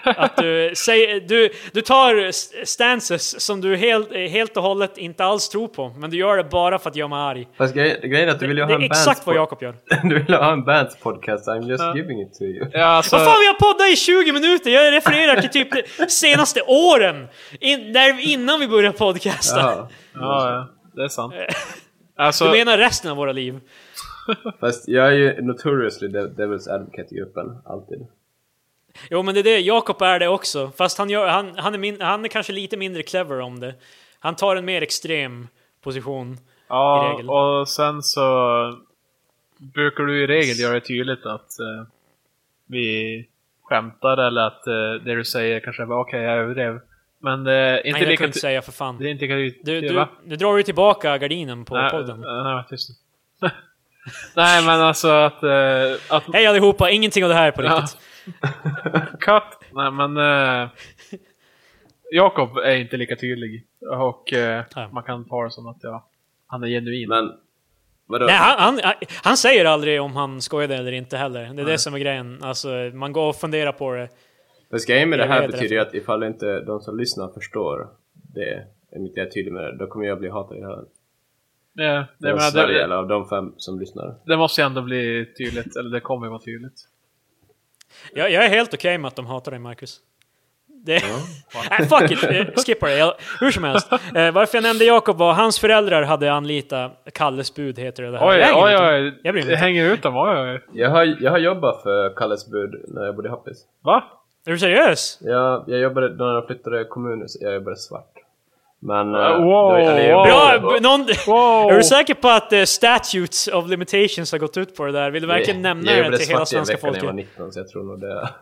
Speaker 1: att du, säger, du, du tar s- stances som du helt, eh, helt och hållet inte alls tror på, men du gör det bara för att göra mig arg.
Speaker 3: Fast grej, grejen är att du vill ju
Speaker 1: Det
Speaker 3: ha
Speaker 1: är
Speaker 3: en
Speaker 1: exakt
Speaker 3: bands
Speaker 1: vad
Speaker 3: pod-
Speaker 1: Jakob gör.
Speaker 3: Du vill ha en bands podcast, I'm
Speaker 2: Ja.
Speaker 3: just giving it to you.
Speaker 2: Ja, alltså,
Speaker 1: Vad fan, vi har poddat i 20 minuter! Jag refererar till typ de senaste åren! In, när, innan vi började podcasta.
Speaker 3: Ja.
Speaker 2: ja, ja, det är sant.
Speaker 1: Du
Speaker 2: Alltså,
Speaker 1: menar resten av våra liv?
Speaker 3: Fast jag är ju notoriously de- devil's advocate i gruppen, alltid.
Speaker 1: Jo men det är det, Jakob är det också. Fast han, gör, han, han, är min, han är kanske lite mindre clever om det. Han tar en mer extrem position. i
Speaker 2: ja,
Speaker 1: regel.
Speaker 2: och sen så brukar du i regel göra det tydligt att eh, vi skämtar eller att eh, det du säger kanske är bara, okej, jag överdrev. Men det är inte
Speaker 1: Nej, det
Speaker 2: lika...
Speaker 1: kan du inte säga för fan.
Speaker 2: det är inte lika...
Speaker 1: Du,
Speaker 2: det,
Speaker 1: du,
Speaker 2: va?
Speaker 1: nu drar du tillbaka gardinen på
Speaker 2: nej,
Speaker 1: podden.
Speaker 2: Nej, nej, tyst nu. Nej, men alltså att... eh, att
Speaker 1: Hej allihopa, ingenting av det här på
Speaker 2: Ja.
Speaker 1: riktigt.
Speaker 2: Cut! Nej men... Eh, Jakob är inte lika tydlig. Och eh,
Speaker 1: Nej.
Speaker 2: man kan ta det som att ja, han är genuin.
Speaker 3: Men, vadå?
Speaker 1: Nej, han, han, han- han säger aldrig om han skojade eller inte heller. Det är det som är grejen. Alltså, man går och funderar på det.
Speaker 3: Fast grejen med det
Speaker 1: Jag
Speaker 3: här
Speaker 1: vet
Speaker 3: betyder ju att ifall inte de som lyssnar förstår det, om inte jag är tydlig med det, då kommer jag bli hatad i hela
Speaker 2: det, det,
Speaker 3: hela
Speaker 2: eh, men,
Speaker 3: Sverige,
Speaker 2: det,
Speaker 3: eller av de fem som lyssnar.
Speaker 2: det måste ju ändå bli tydligt, eller det kommer ju vara tydligt.
Speaker 1: Jag, jag är helt okej med att de hatar dig, Marcus. Det, nej, fuck it, eh, skippa det. Jag, hur som helst. Eh, varför jag nämnde Jakob var hans föräldrar hade anlitat Kalles bud, heter det. det här.
Speaker 2: Oj,
Speaker 1: Jag hänger inte med. Jag bryr mig
Speaker 2: oj, oj. Det
Speaker 1: inte.
Speaker 2: hänger ut dem. Oj, oj.
Speaker 3: Jag har, jag har jobbat för Kalles bud när jag bodde i Happis.
Speaker 2: Va?
Speaker 1: Är du seriös?
Speaker 3: Jag, jag jobbade, när jag flyttade kommun, så jag jobbade svart. Men... eh,
Speaker 2: Wow,
Speaker 3: då- eller jag
Speaker 2: wow.
Speaker 1: Bra!
Speaker 3: jobbade-
Speaker 1: b- Någon,
Speaker 2: Wow!
Speaker 1: Är du säker på att eh, Statutes of Limitations har gått ut på det där? Vill du verkligen nämna
Speaker 3: jag jobbade
Speaker 1: det till hela
Speaker 3: svart i en
Speaker 1: svenska
Speaker 3: vecka när jag var
Speaker 1: folket?
Speaker 3: 19, så jag tror nog det är
Speaker 2: Ja, fan.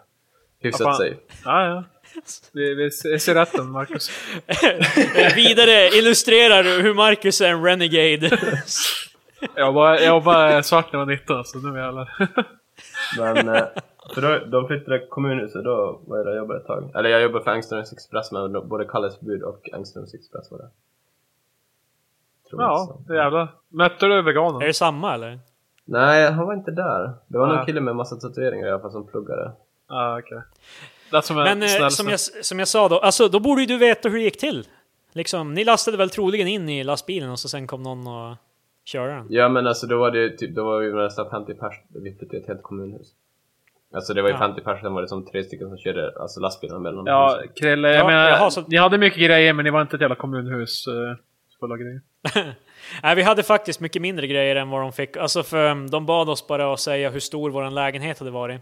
Speaker 3: hyfsat safe.
Speaker 2: Ja, ja. Vi, vi ser ser rätten, Marcus.
Speaker 1: Eh, Vidare illustrerar du hur Marcus är en renegade.
Speaker 2: Jag var, jag var bara svart när jag var 19, så nu jävlar.
Speaker 3: Men, eh, för då, de flyttade kommunhuset, då var jag där och jobbade ett tag. Eller jag jobbade för Engströms Express, men då- både Kalles bud och Engströms Express var det. Tror jag
Speaker 2: Ja,
Speaker 3: så.
Speaker 2: det jävlar. Mötte du
Speaker 1: är
Speaker 2: veganen?
Speaker 1: det samma eller?
Speaker 3: Nej, han var inte där. Det var
Speaker 2: Nej.
Speaker 3: någon kille med massa tatueringar i alla fall som pluggade.
Speaker 2: Ja, okej. Det är som en
Speaker 1: Men eh,
Speaker 2: snäll
Speaker 1: som,
Speaker 2: snubbe.
Speaker 1: jag, som jag sa då, alltså, då borde ju du veta hur det gick till. Liksom, ni lastade väl troligen in i lastbilen och så sen kom någon och körde den?
Speaker 3: Ja men alltså då var det ju typ, då var vi nästan 50 pers vippet till ett helt kommunhus. Alltså det var ju
Speaker 1: Ja.
Speaker 3: 50 pers, sen var det som tre stycken som körde alltså lastbilarna mellan
Speaker 2: Ja,
Speaker 3: husen.
Speaker 2: Krille, jag
Speaker 1: Ja,
Speaker 2: menar,
Speaker 1: jaha, så-
Speaker 2: ni hade mycket grejer men ni var inte ett jävla kommunhus eh, fulla av grejer.
Speaker 1: Nej, vi hade faktiskt mycket mindre grejer än vad de fick. Alltså för um, de bad oss bara att säga hur stor vår lägenhet hade varit.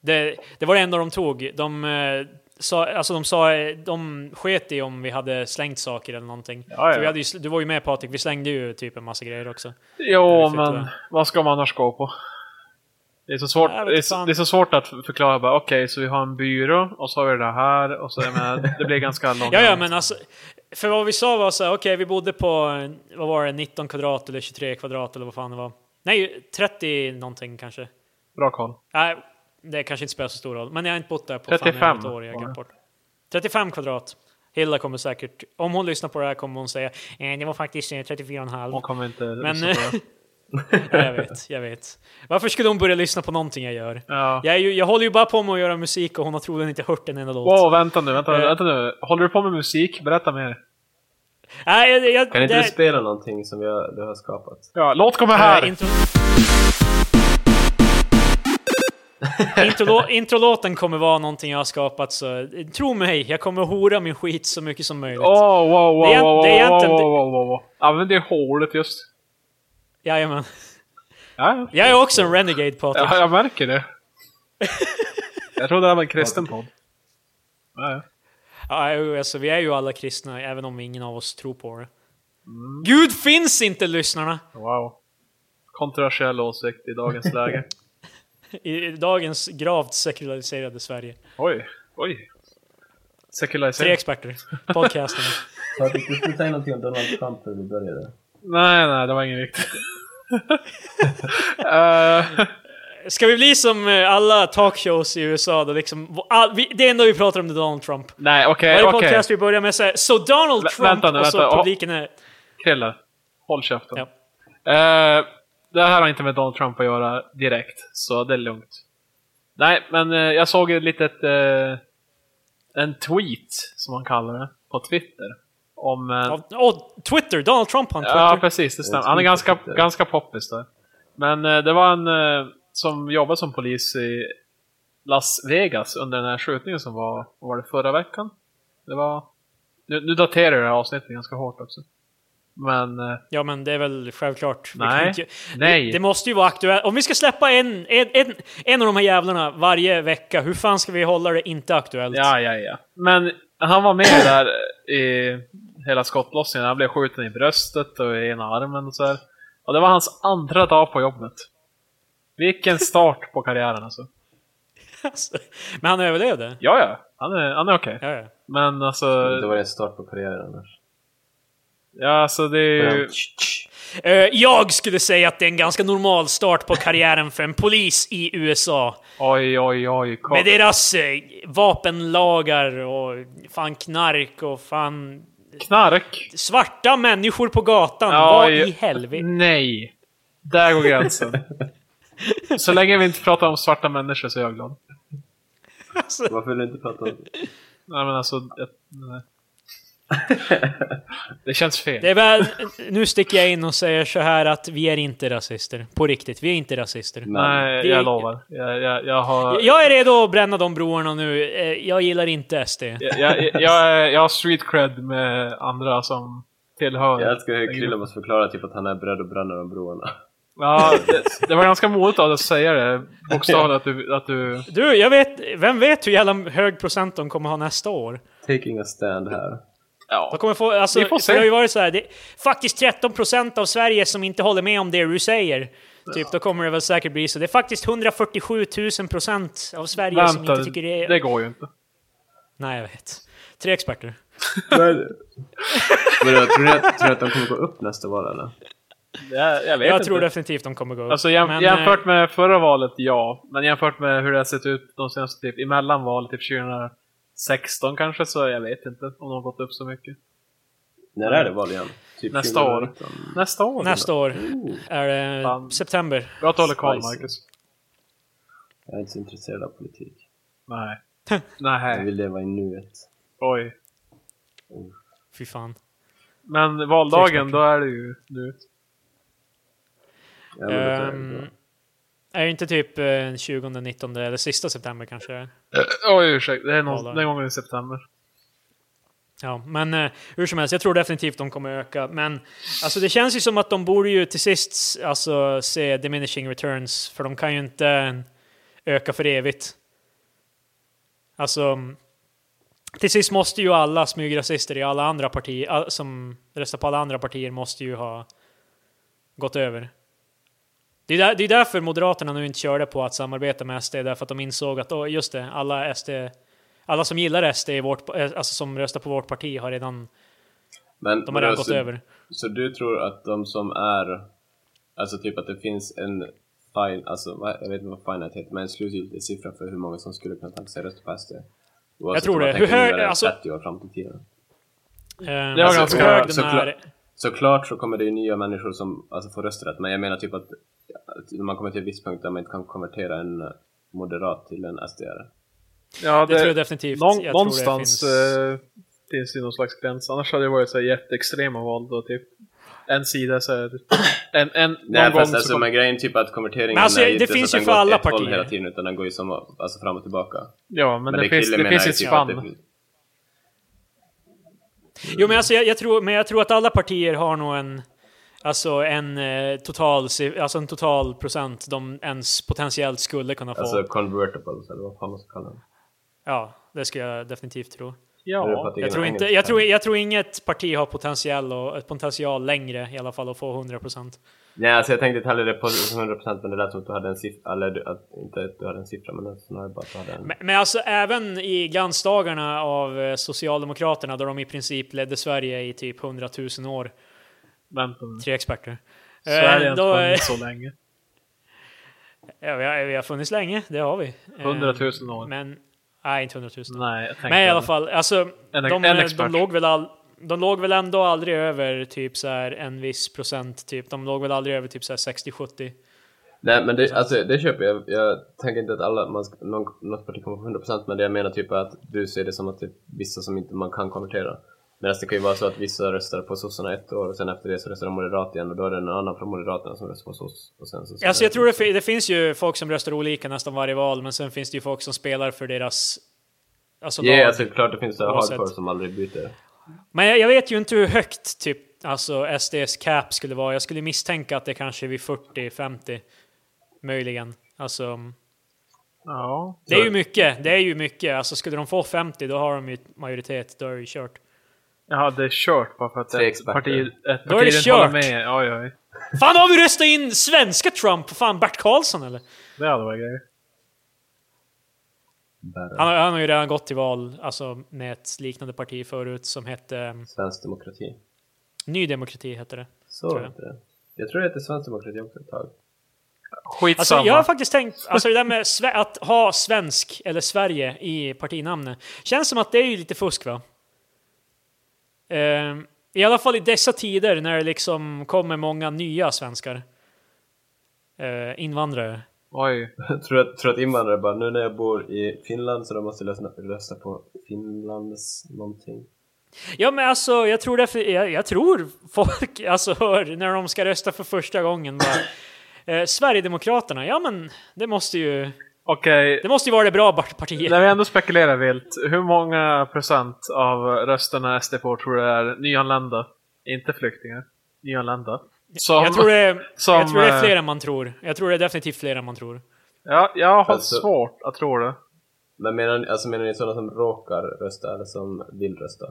Speaker 1: Det, det var det enda de tog. De, eh, sa, alltså de, sa, eh, de sket i om vi hade slängt saker eller någonting.
Speaker 2: Ja, ja.
Speaker 1: För vi hade ju, sl- du var ju med Patrik, vi slängde ju typ en massa grejer också.
Speaker 2: Jo,
Speaker 1: fick
Speaker 2: men
Speaker 1: det.
Speaker 2: vad ska man annars gå på? Det är så svårt,
Speaker 1: Jag vet
Speaker 2: det är,
Speaker 1: fan.
Speaker 2: så- det är så svårt att förklara bara, okej, så vi har en byrå och så har vi det här och så, jag menar, det blir ganska långt.
Speaker 1: Ja, ja, men alltså. För vad vi sa var så här, okej, vi bodde på, eh, vad var det, 19 kvadrat eller 23 kvadrat eller vad fan det var. Nej, 30 någonting kanske.
Speaker 2: Bra koll.
Speaker 1: Nej, det kanske inte spelar så stor roll, men jag har inte bott där på
Speaker 2: 35
Speaker 1: fan ett år. Jag har glömt
Speaker 2: var
Speaker 1: bort. 35 kvadrat. Hilda kommer säkert, om hon lyssnar på det här kommer hon säga, eh, det var faktiskt eh, 34,5.
Speaker 2: Hon kommer inte...
Speaker 1: Men- eh,
Speaker 2: så bra.
Speaker 1: Ja, jag vet, jag vet. Varför skulle hon börja lyssna på någonting jag gör?
Speaker 2: ja.
Speaker 1: Jag, är ju, jag håller ju bara på med att göra musik och hon har troligen inte hört en enda låt.
Speaker 2: Wow, vänta nu, vänta,
Speaker 1: Eh.
Speaker 2: vänta nu. Håller du på med musik? Berätta mer.
Speaker 1: Nej, jag, jag,
Speaker 3: Kan inte
Speaker 1: det-
Speaker 3: du spela någonting som vi har, du har skapat?
Speaker 2: Ja, låt kommer
Speaker 1: eh,
Speaker 2: här!
Speaker 1: intro... Introlå- Introlåten kommer vara någonting jag har skapat, så eh, tro mig, jag kommer hora min skit så mycket som möjligt.
Speaker 2: Åh, wow, wow,
Speaker 1: Det är-
Speaker 2: wow,
Speaker 1: det är
Speaker 2: wow, wow,
Speaker 1: egentligen-
Speaker 2: wow, wow, wow, wow. Använd det hålet just.
Speaker 1: Jajamän.
Speaker 2: Ja,
Speaker 1: Jag är också en renegade, Patrik.
Speaker 2: ja, jag märker det. jag trodde det var en kristen podd. Ja, ja.
Speaker 1: Ja, jo, alltså, vi är ju alla kristna, även om ingen av oss tror på det.
Speaker 2: Mm.
Speaker 1: Gud finns inte, lyssnarna!
Speaker 2: Wow. Kontroversiell åsikt i dagens läge.
Speaker 1: I i dagens gravt sekulariserade Sverige.
Speaker 2: Oj, oj.
Speaker 1: Tre
Speaker 2: Sekularisering.
Speaker 1: experter. Podcasten.
Speaker 3: Patrik, du skulle säga någonting om Donald Trump när vi började.
Speaker 2: Nej, nej, det var inget viktigt. Eh,
Speaker 1: Ska vi bli som eh, alla talkshows i USA? Då liksom, all, vi, det enda vi pratar om är Donald Trump.
Speaker 2: nej, okej,
Speaker 1: Varje
Speaker 2: Eh, okej.
Speaker 1: podcast vi börjar med säger så Donald
Speaker 2: Vä-
Speaker 1: Trump
Speaker 2: vänta nu,
Speaker 1: och så
Speaker 2: vänta.
Speaker 1: publiken är...
Speaker 2: Krille, håll käften.
Speaker 1: Ja.
Speaker 2: Eh, det här har inte med Donald Trump att göra direkt, så det är lugnt. Nej, men eh, jag såg ett litet... eh, en tweet, som man kallar det, på Twitter. Om... eh,
Speaker 1: Ja, Åh, Twitter! Donald Trump har en Twitter.
Speaker 2: Ja, precis. Det stämmer. Han är
Speaker 3: Twitter,
Speaker 2: ganska,
Speaker 3: Twitter.
Speaker 2: ganska poppis där. Men eh, det var en eh, som jobbade som polis i Las Vegas under den här skjutningen som var, vad var det förra veckan? Det var... Nu, nu daterar jag det här avsnittet ganska hårt också. Men... Eh,
Speaker 1: Ja, men det är väl självklart. Vi
Speaker 2: Nej.
Speaker 1: kan inte-
Speaker 2: Nej.
Speaker 1: Det måste ju vara aktuellt. Om vi ska släppa en, en, en, en av de här jävlarna varje vecka, hur fan ska vi hålla det inte aktuellt?
Speaker 2: Ja, ja, ja. Men han var med där i hela skottlossningen. Han blev skjuten i bröstet och i ena armen och så här. Och det var hans andra dag på jobbet. Vilken start på karriären alltså.
Speaker 1: Alltså, Men han överlevde.
Speaker 2: Ja, ja. Han är, han är okej.
Speaker 1: Ja, ja.
Speaker 2: Men alltså,
Speaker 3: Då var det en start på karriären annars.
Speaker 2: ja, alltså det är ju...
Speaker 1: Eh, Jag skulle säga att det är en ganska normal start på karriären för en polis i USA.
Speaker 2: Oj, oj, oj. Kom.
Speaker 1: Med deras eh, vapenlagar och fan knark och fan
Speaker 2: Knark?
Speaker 1: svarta människor på gatan.
Speaker 2: Ja,
Speaker 1: Vad
Speaker 2: ja.
Speaker 1: i helvete?
Speaker 2: Nej. Där går gränsen. så länge vi inte pratar om svarta människor så är jag glad.
Speaker 3: Varför vill du inte prata om...
Speaker 2: Nej, men alltså... Jag, nej. det känns fel.
Speaker 1: Det är väl, nu sticker jag in och säger så här att vi är inte rasister. På riktigt, vi är inte rasister.
Speaker 3: Nej.
Speaker 2: Nej,
Speaker 1: Det-
Speaker 2: jag lovar. Jag, jag, jag har...
Speaker 1: Jag är redo att bränna de broarna nu. Eh, Jag gillar inte SD.
Speaker 2: Jag, jag, jag, är- jag har street cred med andra som tillhör...
Speaker 3: Jag älskar hur Krille måste förklara typ att han är beredd att bränna de broarna.
Speaker 2: Ja, det, det var ganska modigt av dig att säga det. Bokstavligt att du... Att du
Speaker 1: Du, jag vet, vem vet hur jävla hög procent de kommer ha nästa år?
Speaker 3: Taking a stand här.
Speaker 1: De
Speaker 2: ja.
Speaker 1: kommer få, alltså,
Speaker 2: Vi får se.
Speaker 1: för Det har ju varit så här, det är faktiskt 13% av Sverige som inte håller med om det du säger. Typ, då kommer det väl säkert bli så. Det är faktiskt 147 000% av Sverige som
Speaker 2: Vänta,
Speaker 1: inte tycker det
Speaker 2: det...
Speaker 1: är...
Speaker 2: går ju inte.
Speaker 1: Nej, jag vet. Tre experter.
Speaker 3: Men, Vadå, tror, ni att, tror ni att de kommer gå upp nästa val eller?
Speaker 2: Jag, vet
Speaker 1: Jag tror definitivt de kommer gå upp.
Speaker 2: Alltså jäm,
Speaker 1: Men, eh,
Speaker 2: jämfört med förra valet, ja. Men jämfört med hur det har sett ut de senaste typ emellan valet, typ 2016 kanske, så jag vet inte om de har gått upp så mycket.
Speaker 3: När är det val igen? Typ
Speaker 2: Nästa år.
Speaker 3: 2019.
Speaker 2: Nästa år?
Speaker 1: Nästa år är det
Speaker 2: Fan.
Speaker 1: september.
Speaker 2: Bra att du håller koll,
Speaker 3: Spicy.
Speaker 2: Marcus.
Speaker 3: Jag är inte så intresserad av politik.
Speaker 2: Nej.
Speaker 3: Jag
Speaker 2: Nej.
Speaker 3: vill leva i nuet.
Speaker 2: Oj.
Speaker 1: Fy fan.
Speaker 2: Men valdagen, då är det ju nu.
Speaker 3: Jag vill att det är
Speaker 1: Ehm,
Speaker 3: bra.
Speaker 1: är det inte typ eh, 20-19 eller sista september kanske?
Speaker 2: Oj, ursäkta. Det är någon,
Speaker 1: Valdagen.
Speaker 2: den gången i september.
Speaker 1: Ja, men eh, hur som helst, jag tror definitivt de kommer öka. Men alltså, det känns ju som att de borde ju till sist alltså, se diminishing returns, för de kan ju inte öka för evigt. Alltså, till sist måste ju alla smygrasister i alla andra partier, all- som röstar på alla andra partier, måste ju ha gått över. Det är, där, det är därför Moderaterna nu inte körde på att samarbeta med SD, därför att de insåg att oh, just det, alla, SD, alla som gillar SD, i vårt, eh, alltså som röstar på vårt parti, har redan,
Speaker 3: Men, alltså,
Speaker 1: de har redan
Speaker 3: men
Speaker 1: gått
Speaker 3: så,
Speaker 1: över. Eh,
Speaker 3: Så du tror att de som är, alltså typ att det finns en fin, alltså vad- jag vet inte vad finite heter, men en slutgiltig siffra för hur många som skulle kunna tänka sig rösta på SD? Oavsett
Speaker 1: tror
Speaker 3: om man
Speaker 1: det.
Speaker 3: tänker
Speaker 1: Hur hög-
Speaker 3: vidare
Speaker 1: alltså-
Speaker 3: 30 år fram till tiden.
Speaker 1: Eh,
Speaker 2: var
Speaker 1: alltså,
Speaker 2: ganska-
Speaker 1: hur hög den
Speaker 3: såklart.
Speaker 1: är,
Speaker 3: Såklart så kommer det ju nya människor som alltså, får rösträtt, men jag menar typ att att man kommer till en viss punkt där man inte kan konvertera en moderat till en sd
Speaker 2: Ja,
Speaker 1: det tror jag definitivt.
Speaker 2: någon,
Speaker 1: jag tror det
Speaker 2: någonstans
Speaker 1: finns-
Speaker 2: eh, finns det någon slags gräns. Annars hade det varit så här jätteextrema val då, typ. En sida så här, en, en,
Speaker 3: Nej
Speaker 2: någon gång
Speaker 3: fast
Speaker 2: så
Speaker 3: alltså
Speaker 2: kom,
Speaker 3: men grejen är typ att konverteringen
Speaker 1: Men alltså,
Speaker 3: är
Speaker 1: det
Speaker 3: inte så
Speaker 1: finns
Speaker 3: att
Speaker 1: ju
Speaker 3: den
Speaker 1: för
Speaker 3: går åt
Speaker 1: alla
Speaker 3: ett håll
Speaker 1: partier.
Speaker 3: hela tiden utan den går ju som, alltså, fram och tillbaka.
Speaker 2: Ja, men, det,
Speaker 3: Krille
Speaker 2: finns, det
Speaker 3: menar
Speaker 2: finns
Speaker 3: är
Speaker 2: ett
Speaker 3: typ att det
Speaker 2: spann.
Speaker 3: finns-
Speaker 1: Jo, men, alltså, jag, jag tror, men jag tror att alla partier har nog en, alltså en, eh, total, si- alltså en total procent de ens potentiellt skulle kunna få.
Speaker 3: Alltså convertibles eller vad fan man ska kalla dem.
Speaker 1: ja, det skulle jag definitivt tro.
Speaker 3: Är det för att
Speaker 2: Ja, eh,
Speaker 3: det är
Speaker 1: Jag tror,
Speaker 3: en
Speaker 1: inte,
Speaker 3: engelsk
Speaker 1: jag, tror,
Speaker 3: term?
Speaker 1: jag tror inget parti har potential, och, ett potential längre i alla fall att få 100%.
Speaker 3: Nej, alltså jag tänkte inte heller det på 100% men det lät som att du hade en siffra, eller du, att, inte att du hade en siffra men alltså, snarare bara att du hade en...
Speaker 1: Men, men alltså även i glansdagarna av eh, Socialdemokraterna, då de i princip ledde Sverige i typ 100 000 år,
Speaker 2: vänta nu.
Speaker 1: tre experter.
Speaker 2: Sverige har
Speaker 1: Eh,
Speaker 2: inte
Speaker 1: då, eh,
Speaker 2: funnits så länge.
Speaker 1: ja, vi, har, vi har funnits länge, det har vi. Eh,
Speaker 2: 100 000 år.
Speaker 1: Men, nej inte 100 000.
Speaker 2: Nej, jag tänkte
Speaker 1: Men i alla fall, alltså,
Speaker 2: En-
Speaker 1: de,
Speaker 2: en
Speaker 1: eh,
Speaker 2: expert.
Speaker 1: de, låg väl all, de låg väl ändå aldrig över typ så här en viss procent, typ. de låg väl aldrig över typ så här 60-70.
Speaker 3: Nej men det, alltså, det köper jag. Jag tänker inte att alla, man ska, någon, något parti kommer på 100% men det jag menar typ är att du ser det som att det är vissa som inte man kan konvertera. Medan det kan ju vara så att vissa röstar på sossarna ett år och sen efter det så röstar de moderat igen och då är det någon annan från moderaterna som röstar på soss. Och sen så
Speaker 1: Alltså jag tror det, fi- det finns ju folk som röstar olika nästan varje val, men sen finns det ju folk som spelar för deras... Alltså
Speaker 3: Ja,
Speaker 1: lag.
Speaker 3: alltså
Speaker 2: typ.
Speaker 3: klart det finns det
Speaker 1: Oavsett.
Speaker 3: hardcore som aldrig byter.
Speaker 1: Men jag, jag vet ju inte hur högt typ alltså SDs cap skulle vara. Jag skulle misstänka att det kanske är vid 40-50. Möjligen. Alltså,
Speaker 2: Ja.
Speaker 1: det är ju mycket. Det är ju mycket. Alltså skulle de få 50 då har de ju majoritet. Då är det ju kört.
Speaker 2: Jag hade kört bara för att
Speaker 3: Tre
Speaker 2: ett
Speaker 3: experter.
Speaker 2: parti, ett
Speaker 1: Då är det
Speaker 2: parti inte håller
Speaker 1: kört.
Speaker 2: med. Oj, oj.
Speaker 1: Fan har vi röstat in svenska Trump? Fan Bert Karlsson eller?
Speaker 2: Det hade varit grejer.
Speaker 3: Bära.
Speaker 1: Han, har- han har ju redan gått till val alltså, med ett liknande parti förut som hette eh,
Speaker 3: Svensk demokrati.
Speaker 1: Ny Demokrati hette det.
Speaker 3: Så
Speaker 1: Tror
Speaker 3: tror
Speaker 1: jag.
Speaker 3: jag. det. Jag tror det heter svensk demokrati också ett tag.
Speaker 2: Skitsamma.
Speaker 1: Alltså, jag har faktiskt tänkt, alltså det där med sve- att ha svensk eller Sverige i partinamnet. Känns som att det är ju lite fusk va? Ehm, I alla fall i dessa tider när det liksom kommer många nya svenskar. Eh, invandrare.
Speaker 2: Oj.
Speaker 3: tror, att, tror att invandrare bara, nu när jag bor i Finland så då måste jag rösta, rösta på Finlands någonting.
Speaker 1: Ja men alltså jag tror därför, jag, jag tror folk, alltså hör, när de ska rösta för första gången bara. Eh, Sverigedemokraterna, ja men det måste ju,
Speaker 2: Okej,
Speaker 1: det måste ju vara det bra part- partiet.
Speaker 2: när vi ändå spekulerar vilt. Hur många procent av rösterna SD får tror du är nyanlända? Inte flyktingar. Nyanlända. Som,
Speaker 1: jag, tror det,
Speaker 2: som,
Speaker 1: jag tror det är
Speaker 2: eh,
Speaker 1: fler än man tror. Jag tror det är definitivt fler än man tror.
Speaker 2: Ja, jag har
Speaker 3: Alltså-
Speaker 2: svårt att tro det.
Speaker 3: Men menar, ni- alltså menar ni sådana som råkar rösta eller som vill rösta?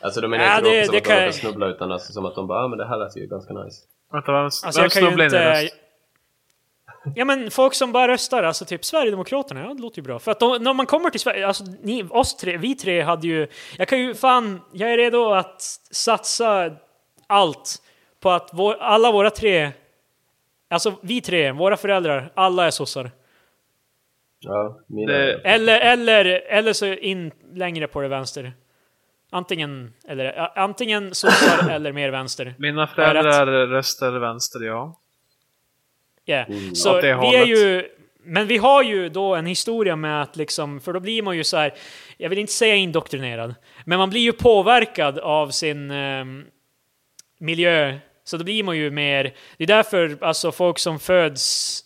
Speaker 3: Alltså de menar
Speaker 1: Ja,
Speaker 3: inte
Speaker 1: det-
Speaker 3: råkar som
Speaker 1: det
Speaker 3: att
Speaker 1: kan
Speaker 3: de råkar
Speaker 1: jag-
Speaker 3: snubbla utan alltså som att de bara, ah, men det här lät ju ganska nice.
Speaker 2: Vänta, vem,
Speaker 1: Alltså
Speaker 2: vem
Speaker 1: jag kan ju
Speaker 2: snubblade in i
Speaker 1: inte...
Speaker 2: röst?
Speaker 1: Ja men folk som bara röstar, alltså typ Sverigedemokraterna, ja det låter ju bra. För att de, när man kommer till Sverige, alltså ni, oss tre, vi tre hade ju, jag kan ju fan, jag är redo att satsa allt på att vår, alla våra tre, alltså vi tre, våra föräldrar, alla är sossar.
Speaker 3: Ja, mina
Speaker 2: Det-
Speaker 3: det...
Speaker 1: Eller, eller, eller så in längre på det vänster. Antingen, eller, a- antingen sossar eller mer vänster.
Speaker 2: Mina
Speaker 1: jag rätt?
Speaker 2: föräldrar röstar vänster, ja.
Speaker 1: Yeah.
Speaker 3: Mm.
Speaker 1: Så
Speaker 2: Åt
Speaker 1: vi
Speaker 2: det
Speaker 1: är
Speaker 2: hållet.
Speaker 1: ju, men vi har ju då en historia med att liksom, för då blir man ju så här, jag vill inte säga indoktrinerad, men man blir ju påverkad av sin ehm, miljö. Så då blir man ju mer, det är därför alltså folk som föds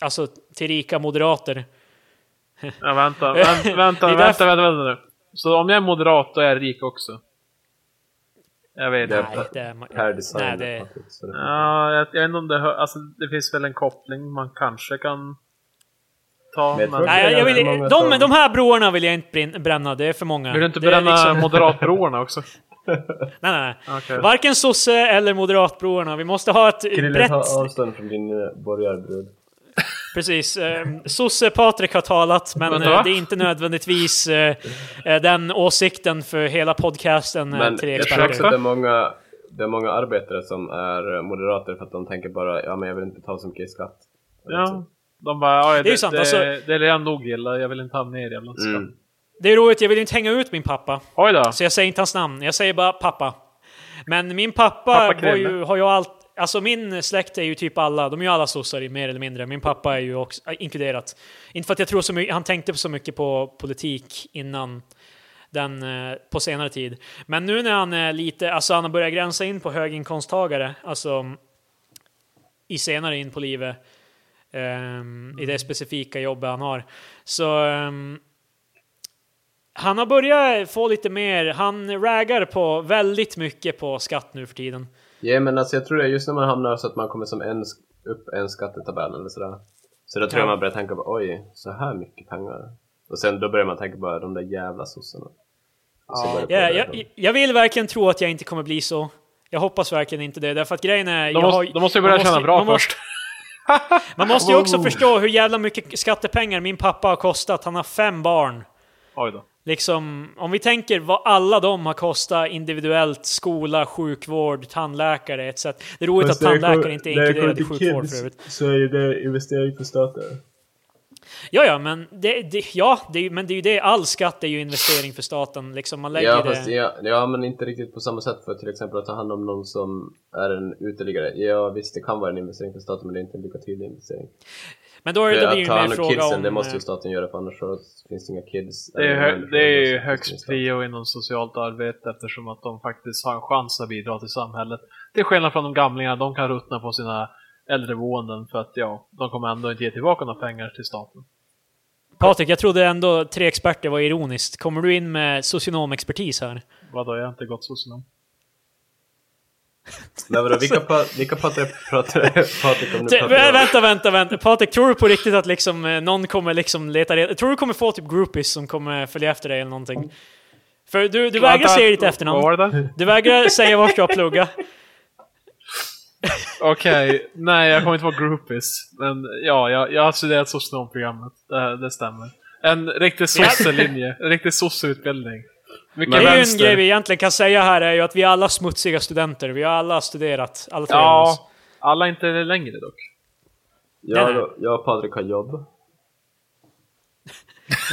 Speaker 1: alltså, till rika moderater,
Speaker 2: Ja, vänta, vänta,
Speaker 1: Det
Speaker 2: vänta,
Speaker 1: är
Speaker 2: vänta,
Speaker 1: därför-
Speaker 2: vänta, vänta nu. Så om jag är moderat, då är jag rik också? Jag vet
Speaker 3: Det-
Speaker 2: inte.
Speaker 1: nej, det är man,
Speaker 3: per
Speaker 1: nej,
Speaker 3: design.
Speaker 1: det,
Speaker 3: faktiskt, så det-
Speaker 2: Ja, jag, jag vet inte om det hör, alltså det finns väl en koppling man kanske kan ta.
Speaker 3: Men jag
Speaker 2: Men
Speaker 3: tror-
Speaker 1: nej, jag vill,
Speaker 3: Många
Speaker 1: de,
Speaker 3: som-
Speaker 1: de här broarna vill jag inte brin- bränna, det är för många.
Speaker 2: vill du inte
Speaker 1: Det är
Speaker 2: bränna
Speaker 1: liksom-
Speaker 2: moderatbroarna också?
Speaker 1: Nej, nej, nej.
Speaker 2: Okej.
Speaker 1: Varken sosse eller moderatbrorna. Vi måste ha ett
Speaker 3: Krille,
Speaker 1: brett...
Speaker 3: ta avstånd från din eh, borgarbrud.
Speaker 1: Precis. Eh, sosse Patrik har talat, men
Speaker 2: Vänta,
Speaker 1: eh,
Speaker 2: va?
Speaker 1: det är inte nödvändigtvis eh, eh, den åsikten för hela podcasten eh,
Speaker 3: Men
Speaker 1: Tre
Speaker 3: jag tror också
Speaker 1: Experter.
Speaker 3: att det är många, det är många arbetare som är eh, moderater för att de tänker bara ja men jag vill inte betala så mycket i skatt.
Speaker 2: Ja. De bara, "Oj, det,
Speaker 1: ju sant,
Speaker 2: det,
Speaker 1: alltså-
Speaker 2: det är redan nog illa, jag vill inte hamna i er jävla skatt."
Speaker 3: Mm.
Speaker 1: Det är roligt, jag vill inte hänga ut min pappa.
Speaker 2: Oj då!
Speaker 1: Så jag säger inte hans namn, jag säger bara pappa. Men min pappa,
Speaker 2: Pappa
Speaker 1: var
Speaker 2: Krille.
Speaker 1: ju, har ju allt... Alltså min släkt är ju typ alla, de är ju alla sossar i- mer eller mindre. Min pappa är ju också äh, inkluderat. Inte för att jag tror så mycket, han tänkte så mycket på politik innan den, eh, på senare tid. Men nu när han är lite, alltså han har börjat gränsa in på höginkomsttagare, alltså i senare in på livet, ehm, i det specifika jobbet han har. Så ehm, han har börjat få lite mer, han raggar på väldigt mycket på skatt nu för tiden.
Speaker 3: Ja men alltså jag tror det är just när man hamnar så att man kommer som en, sk- upp en skattetabell eller sådär. Så då tror
Speaker 1: Ja.
Speaker 3: jag man börjar tänka på oj, så här mycket pengar. Och sen då börjar man tänka bara de där jävla sossarna. Och så börjar det
Speaker 1: Ja,
Speaker 3: påverka dem.
Speaker 1: jag, jag vill verkligen tro att jag inte kommer bli så. Jag hoppas verkligen inte det, därför att grejen är...
Speaker 2: De
Speaker 1: jag
Speaker 2: måste, de måste ju börja
Speaker 1: man
Speaker 2: tjäna bra
Speaker 1: man måste-
Speaker 2: först. Oh.
Speaker 1: Man måste ju också förstå hur jävla mycket skattepengar min pappa har kostat. Han har fem barn.
Speaker 2: Oj då.
Speaker 1: Liksom, om vi tänker vad alla de har kostat individuellt, skola, sjukvård, tandläkare etc. Det är roligt
Speaker 3: Fast
Speaker 1: att
Speaker 3: när det
Speaker 1: tandläkare
Speaker 3: kommer-
Speaker 1: inte är
Speaker 3: när det kommer
Speaker 1: inkluderad i
Speaker 3: till
Speaker 1: sjukvård
Speaker 3: kids
Speaker 1: för övrigt.
Speaker 3: Så är ju det investering för staten.
Speaker 1: Ja, ja, men det, det, ja, det, är ju- men det är ju det. All skatt är ju investering för staten. Liksom, man lägger
Speaker 3: Ja,
Speaker 1: det...
Speaker 3: fast ja, ja, men inte riktigt på samma sätt för till exempel att ta hand om någon som är en uteliggare. Ja, visst det kan vara en investering för staten men det är inte en lika tydlig investering.
Speaker 1: Men då, är det-
Speaker 3: För
Speaker 1: då blir det
Speaker 3: att
Speaker 1: ju
Speaker 3: ta
Speaker 1: mer
Speaker 3: hand om
Speaker 1: fråga
Speaker 3: kidsen,
Speaker 1: om...
Speaker 3: det måste ju
Speaker 1: eh,
Speaker 3: staten göra för annars så finns det inga kids.
Speaker 2: Det är, ju
Speaker 3: eller
Speaker 2: hö-
Speaker 3: människor
Speaker 2: det är ju
Speaker 3: som-
Speaker 2: högst prio inom socialt arbete eftersom att de faktiskt har en chans att bidra till samhället. Till skillnad från de gamlingarna, de kan ruttna på sina äldreboenden för att ja, de kommer ändå inte ge tillbaka några pengar till staten.
Speaker 1: Patrik, jag trodde ändå tre experter var ironiskt. Kommer du in med socionomexpertis här?
Speaker 2: Vadå, jag har inte gått socionom.
Speaker 3: Men vadå, vilka, pa, vilka pratar pratar Patrik om nu?
Speaker 1: T-
Speaker 3: pratar
Speaker 1: vä-
Speaker 3: jag om?
Speaker 1: vänta, vänta, vänta. Patrik, tror du på riktigt att liksom, eh, någon kommer liksom leta reda... Tror du kommer få typ groupies som kommer följa efter dig eller någonting? För du, du vägrar
Speaker 2: Vänta,
Speaker 1: säga ditt
Speaker 2: Vad
Speaker 1: efternamn.
Speaker 2: var det där?
Speaker 1: Du vägrar säga vart du har pluggat.
Speaker 2: Okej, nej jag kommer inte vara groupies. Men ja, jag, jag har studerat socionomprogrammet. Det, det stämmer. En riktig sosselinje, en riktig sosseutbildning. Mycket
Speaker 1: Det är ju en
Speaker 2: vänster.
Speaker 1: grej vi egentligen kan säga här är ju att vi är alla smutsiga studenter. Vi har alla studerat, alla tre av oss.
Speaker 2: Ja, alla inte längre dock.
Speaker 1: Nej,
Speaker 3: Jag,
Speaker 1: nej.
Speaker 3: då- jag och Patrik har jobb.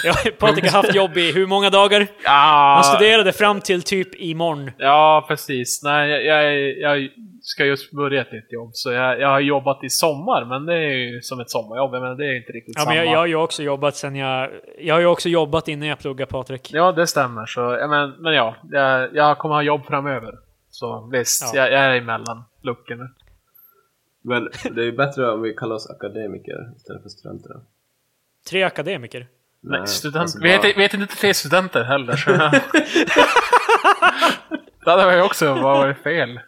Speaker 1: Ja, Patrik har haft jobb i hur många dagar? Han
Speaker 2: Ja,
Speaker 1: studerade fram till typ imorgon.
Speaker 2: ja precis. Nej, jag, jag, jag ska just börja ett nytt jobb, så jag, jag har jobbat i sommar, men det är ju som ett sommarjobb. Jag menar, det är inte riktigt
Speaker 1: Ja,
Speaker 2: samma.
Speaker 1: men jag, jag har ju också jobbat sen jag... Jag har ju också jobbat innan jag pluggade Patrik.
Speaker 2: Ja, det stämmer. Så, jag men, men ja, jag, jag kommer ha jobb framöver. Så visst,
Speaker 1: Ja.
Speaker 2: jag, jag är emellan luckorna.
Speaker 3: Men det är ju bättre om vi kallar oss akademiker istället för studenter. då.
Speaker 1: Tre akademiker.
Speaker 3: Nej,
Speaker 2: Nej, student.
Speaker 3: alltså
Speaker 2: vi,
Speaker 3: bara-
Speaker 2: heter, vi heter inte tre studenter heller. Så. det hade jag också varit fel.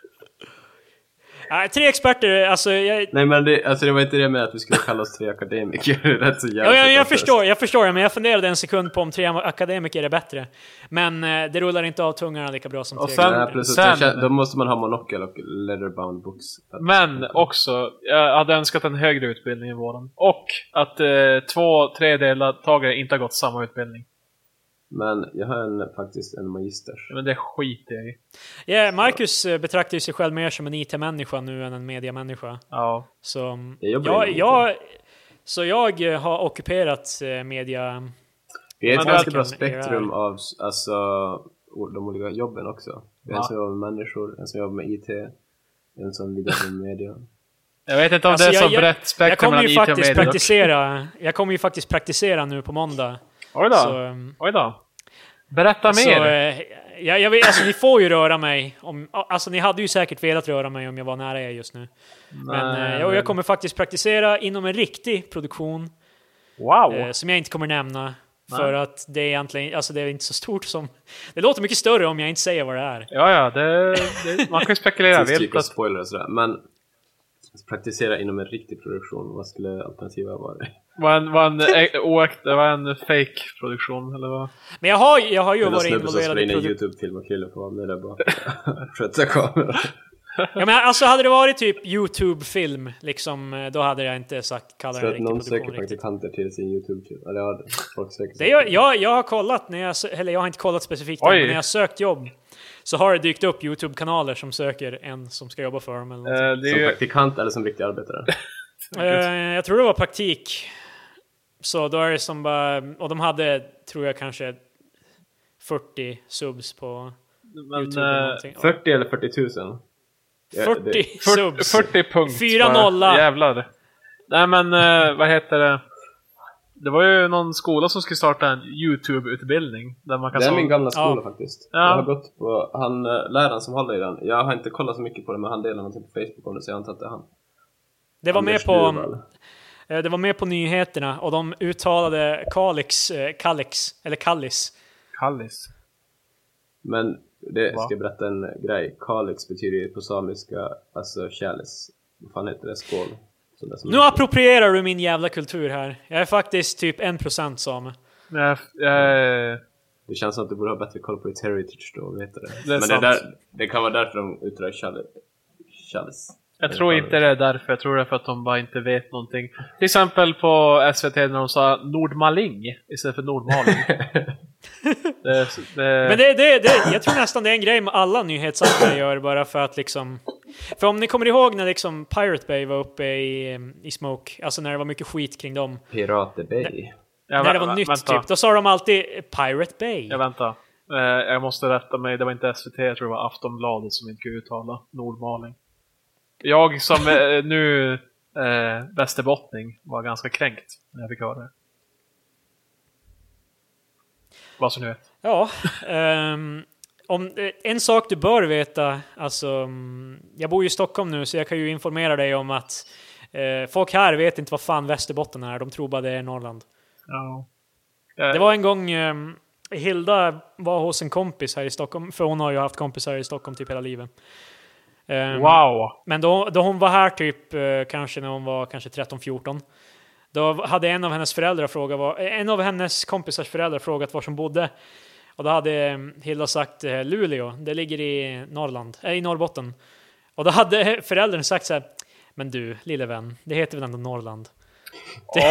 Speaker 1: Nej, tre experter, alltså jag...
Speaker 3: Nej men det, alltså det var inte det med att vi skulle kalla oss tre akademiker. Det lät så jävla
Speaker 1: Ja, jag, jag
Speaker 3: pretentiöst.
Speaker 1: förstår, jag förstår det, men jag funderade en sekund på om tre akademiker är bättre. Men eh, det rullar inte av tungarna lika bra som
Speaker 2: Och
Speaker 1: tre
Speaker 2: sen-
Speaker 1: akademiker.
Speaker 3: Nej, plus
Speaker 2: Sen-
Speaker 3: att sen... Då måste man ha monokel och leatherbound books.
Speaker 2: Men också, jag hade önskat en högre utbildning i våren. Och att eh, två tredjedeltagare inte har gått samma utbildning.
Speaker 3: Men jag har en, faktiskt en magisters.
Speaker 2: Men det skiter jag i.
Speaker 1: Ja, Marcus eh, betraktar ju sig själv mer som en IT-människa nu än en mediamänniska.
Speaker 2: Ja.
Speaker 1: Så mm,
Speaker 3: Jag jobbar
Speaker 1: jag,
Speaker 3: inom IT.
Speaker 1: jag, så jag eh, har ockuperat eh, media...
Speaker 3: Vi är
Speaker 2: Men
Speaker 3: ett
Speaker 2: det
Speaker 3: ganska
Speaker 1: verkar-
Speaker 3: bra spektrum av alltså, o- de olika jobben också. Vi har
Speaker 2: Ja.
Speaker 3: en som jobbar med människor, en som jobbar med IT, en som jobbar med media.
Speaker 2: Jag vet inte om
Speaker 1: Alltså,
Speaker 2: det är så
Speaker 1: jag- jag-
Speaker 2: brett
Speaker 1: Jag
Speaker 2: spektrum
Speaker 1: kommer,
Speaker 2: mellan
Speaker 1: ju
Speaker 2: IT och
Speaker 1: faktiskt
Speaker 2: media. dock.
Speaker 1: praktisera, jag kommer ju faktiskt praktisera nu på måndag.
Speaker 2: Oj
Speaker 1: Så,
Speaker 2: då.
Speaker 1: mm,
Speaker 2: Oj då. Berätta
Speaker 1: så,
Speaker 2: mer.
Speaker 1: eh, jag, jag vet, alltså, ni får ju röra mig. Om, alltså, ni hade ju säkert velat röra mig om jag var nära er just nu. Men
Speaker 2: Nej,
Speaker 1: eh, jag, jag kommer faktiskt praktisera inom en riktig produktion
Speaker 2: Wow.
Speaker 1: eh, som jag inte kommer nämna.
Speaker 2: Nej.
Speaker 1: För att det är egentligen, alltså det är inte så stort som... Det låter mycket större om jag inte säger vad det är.
Speaker 2: Ja, ja, det, det, man kan ju spekulera
Speaker 3: Sist gick
Speaker 2: vilt.
Speaker 3: och
Speaker 2: Att,
Speaker 3: spoiler och sådär. Men praktisera inom en riktig produktion, vad skulle alternativet vara?
Speaker 2: Var en, var en, eh, oakt, var en fake produktion eller vad?
Speaker 1: Men jag har, jag har ju
Speaker 3: Eller
Speaker 1: varit
Speaker 3: snubbe som
Speaker 1: involverad
Speaker 3: spelar
Speaker 1: i
Speaker 3: in en
Speaker 1: produktion.
Speaker 3: YouTube-film och killen får vara med där bak. Sköta kameran.
Speaker 1: Ja, men alltså hade det varit typ YouTube-film, liksom, eh, då hade jag inte sagt kalla
Speaker 3: Så
Speaker 1: det en
Speaker 3: att
Speaker 1: riktig
Speaker 3: någon
Speaker 1: produktion.
Speaker 3: söker
Speaker 1: riktigt.
Speaker 3: praktikanter till sin YouTube-film. Eller ja, folk söker
Speaker 1: Det jag, jag, jag har kollat, när jag, sö- eller jag har inte kollat specifikt,
Speaker 2: Oj.
Speaker 1: men när jag har sökt jobb så har det dykt upp YouTube-kanaler som söker en som ska jobba för dem. Eller något.
Speaker 2: Eh, det är
Speaker 3: Som
Speaker 2: ju,
Speaker 3: praktikant eller som riktig arbetare?
Speaker 1: Eh, jag tror det var praktik. Så då är det som bara, och de hade, tror jag kanske 40 subs på
Speaker 2: men,
Speaker 1: YouTube eller
Speaker 2: eh,
Speaker 1: någonting.
Speaker 3: 40 eller 40 000? Ja,
Speaker 1: 40
Speaker 3: det-
Speaker 2: Fyrt-
Speaker 1: subs!
Speaker 2: 40 punkt.
Speaker 1: Fyra
Speaker 2: bara.
Speaker 1: nolla.
Speaker 2: Jävlar. Nej men eh, vad heter det? Det var ju någon skola som skulle starta en YouTube-utbildning. Där man kan
Speaker 3: Det är
Speaker 2: så-
Speaker 3: min gamla skola
Speaker 1: Ja.
Speaker 3: faktiskt.
Speaker 2: Ja.
Speaker 3: Jag har gått på, han, eh, läraren som håller i den, jag har inte kollat så mycket på det men han delar någonting på Facebook om det så jag antar att det är han.
Speaker 1: Det var med
Speaker 3: Anders
Speaker 1: på...
Speaker 3: Duval.
Speaker 1: Eh, Det var med på nyheterna och de uttalade Kalix, eh, Kalix, eller Kallis.
Speaker 2: Kallis.
Speaker 3: Men det
Speaker 2: Va?
Speaker 3: ska jag berätta en grej. Kalix betyder ju på samiska, alltså kärlis. Vad fan heter det? Skål. Så där som
Speaker 1: Nu approprierar du min jävla kultur här. Jag är faktiskt typ 1% same.
Speaker 2: Jag, jag,
Speaker 3: Det känns som att du borde ha bättre koll på ditt heritage då, vad heter det?
Speaker 2: Det är
Speaker 3: Men
Speaker 2: sant.
Speaker 3: det, där, det kan vara därför de uttalar kärlis. kärlis.
Speaker 2: jag tror inte det är därför. Jag tror det är för att de bara inte vet någonting. Till exempel på SVT när de sa Nordmaling istället för Nordmaling. det, det,
Speaker 1: Men det, det, det, jag tror nästan det är en grej med alla nyhetsappar gör bara för att liksom... För om ni kommer ihåg när liksom Pirate Bay var uppe i, eh, i Smoke, alltså när det var mycket skit kring dem.
Speaker 3: Pirater Bay.
Speaker 2: jag,
Speaker 1: när det var
Speaker 2: vä-
Speaker 1: nytt
Speaker 2: vänta,
Speaker 1: typ, då sa de alltid eh, Pirate Bay.
Speaker 2: Jag väntar. Eh, jag måste rätta mig. Det var inte SVT, jag tror det var Aftonbladet som inte kunde uttala Nordmaling. Jag som eh, nu eh, västerbottning var ganska kränkt när jag fick höra det. Vad som nu vet.
Speaker 1: Ja. ehm, om, eh, en sak du bör veta, alltså, mm, jag bor ju i Stockholm nu så jag kan ju informera dig om att eh, folk här vet inte vad fan Västerbotten är, de tror bara det är Norrland.
Speaker 2: Ja. Eh.
Speaker 1: Det var en gång ehm, Hilda var hos en kompis här i Stockholm, för hon har ju haft kompisar i Stockholm typ hela livet. Ehm,
Speaker 2: Wow!
Speaker 1: men då, då hon var här typ eh, kanske när hon var kanske 13-14. Då hade en av hennes föräldrar frågat, var, eh, en av hennes kompisars föräldrar frågat var som bodde. Och då hade eh, Hilda sagt eh, Luleå, det ligger i Norrland, eh, i Norrbotten. Och då hade föräldern sagt så här, men du lille vän, det heter väl ändå Norrland?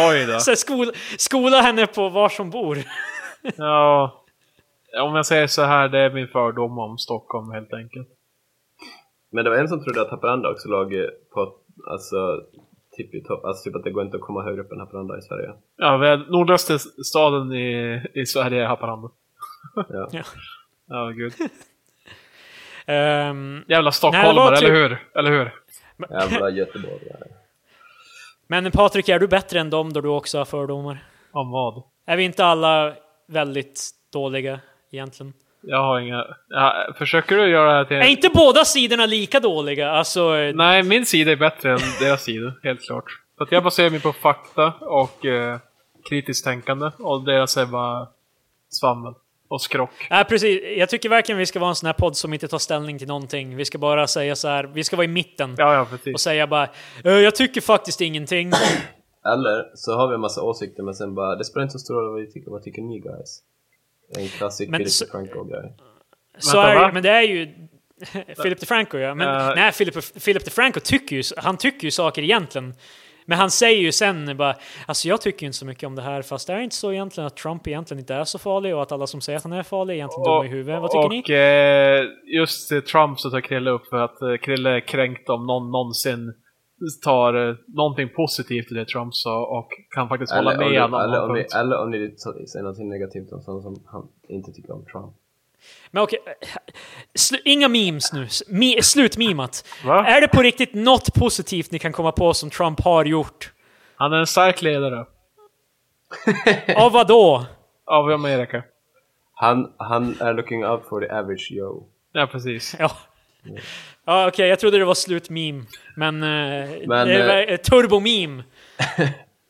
Speaker 2: Oj då!
Speaker 1: Så här, skol, skola henne på var som bor.
Speaker 2: Ja. Om jag säger så här, det är min fördom om Stockholm helt enkelt.
Speaker 3: Men det var en som trodde att Haparanda också låg eh, på, alltså, tipp i topp. Alltså typ att det går inte att komma högre upp än Haparanda i Sverige.
Speaker 2: Ja, vi är nordöstra staden i, i Sverige är Haparanda.
Speaker 3: Ja.
Speaker 2: Ja, gud.
Speaker 1: Ehm,
Speaker 2: Jävla
Speaker 1: var
Speaker 2: stockholmare,
Speaker 1: typ-
Speaker 2: eller hur? Eller hur?
Speaker 3: Jävla göteborgare.
Speaker 1: men Patrik, är du bättre än dem då du också har fördomar?
Speaker 2: Om vad?
Speaker 1: Är vi inte alla väldigt dåliga egentligen?
Speaker 2: Jag har inga... Ja, försöker du göra det här till...
Speaker 1: Är inte båda sidorna lika dåliga? Alltså, eh,
Speaker 2: Nej, min sida är bättre än deras sida, helt klart. För att jag baserar mig på fakta och eh, kritiskt tänkande och deras är bara svammel och skrock.
Speaker 1: nej, precis. Jag tycker verkligen vi ska vara en sån här podd som inte tar ställning till någonting. Vi ska bara säga så här, vi ska vara i mitten
Speaker 2: Ja, ja, precis.
Speaker 1: och säga bara "Eh, jag tycker faktiskt ingenting.
Speaker 3: Eller så har vi en massa åsikter men sen bara, det spelar inte så stor roll vad vi tycker, vad tycker ni guys? En klassisk
Speaker 1: Men
Speaker 3: Philip
Speaker 1: så-
Speaker 3: DeFranco-grej.
Speaker 1: Så
Speaker 2: Vänta,
Speaker 1: är, det-
Speaker 2: va?
Speaker 1: men det är ju Philip DeFranco ja. Men
Speaker 2: Eh.
Speaker 1: nej, Philip, Philip DeFranco tycker ju, han tycker ju saker egentligen. Men han säger ju sen bara, alltså jag tycker ju inte så mycket om det här, fast det är inte så egentligen att Trump egentligen inte är så farlig och att alla som säger att han är farlig är egentligen dumma i huvudet. Vad tycker
Speaker 2: och,
Speaker 1: ni?
Speaker 2: eh, just till Trump så tar Krille upp för att eh, Krille är kränkt om någon någonsin tar eh, någonting positivt i det Trump sa och kan faktiskt hålla
Speaker 3: Eller, om ni-
Speaker 2: med honom.
Speaker 3: eller, om ni-
Speaker 2: punkt.
Speaker 3: eller om ni så- säger någonting negativt om sådana som han inte tycker om Trump.
Speaker 1: Men okej, slu, inga memes nu. S- Mi, slut mimat.
Speaker 2: Va?
Speaker 1: Är det på riktigt något positivt ni kan komma på som Trump har gjort?
Speaker 2: Han är en stark ledare
Speaker 1: Av vad då?
Speaker 2: av Amerika.
Speaker 3: Han, han är looking up for the average Joe.
Speaker 2: Ja, precis.
Speaker 1: Ja. Ja, okej, jag trodde det var slut meme. Men, eh,
Speaker 3: Men,
Speaker 1: det är
Speaker 3: eh,
Speaker 1: eh, turbo meme.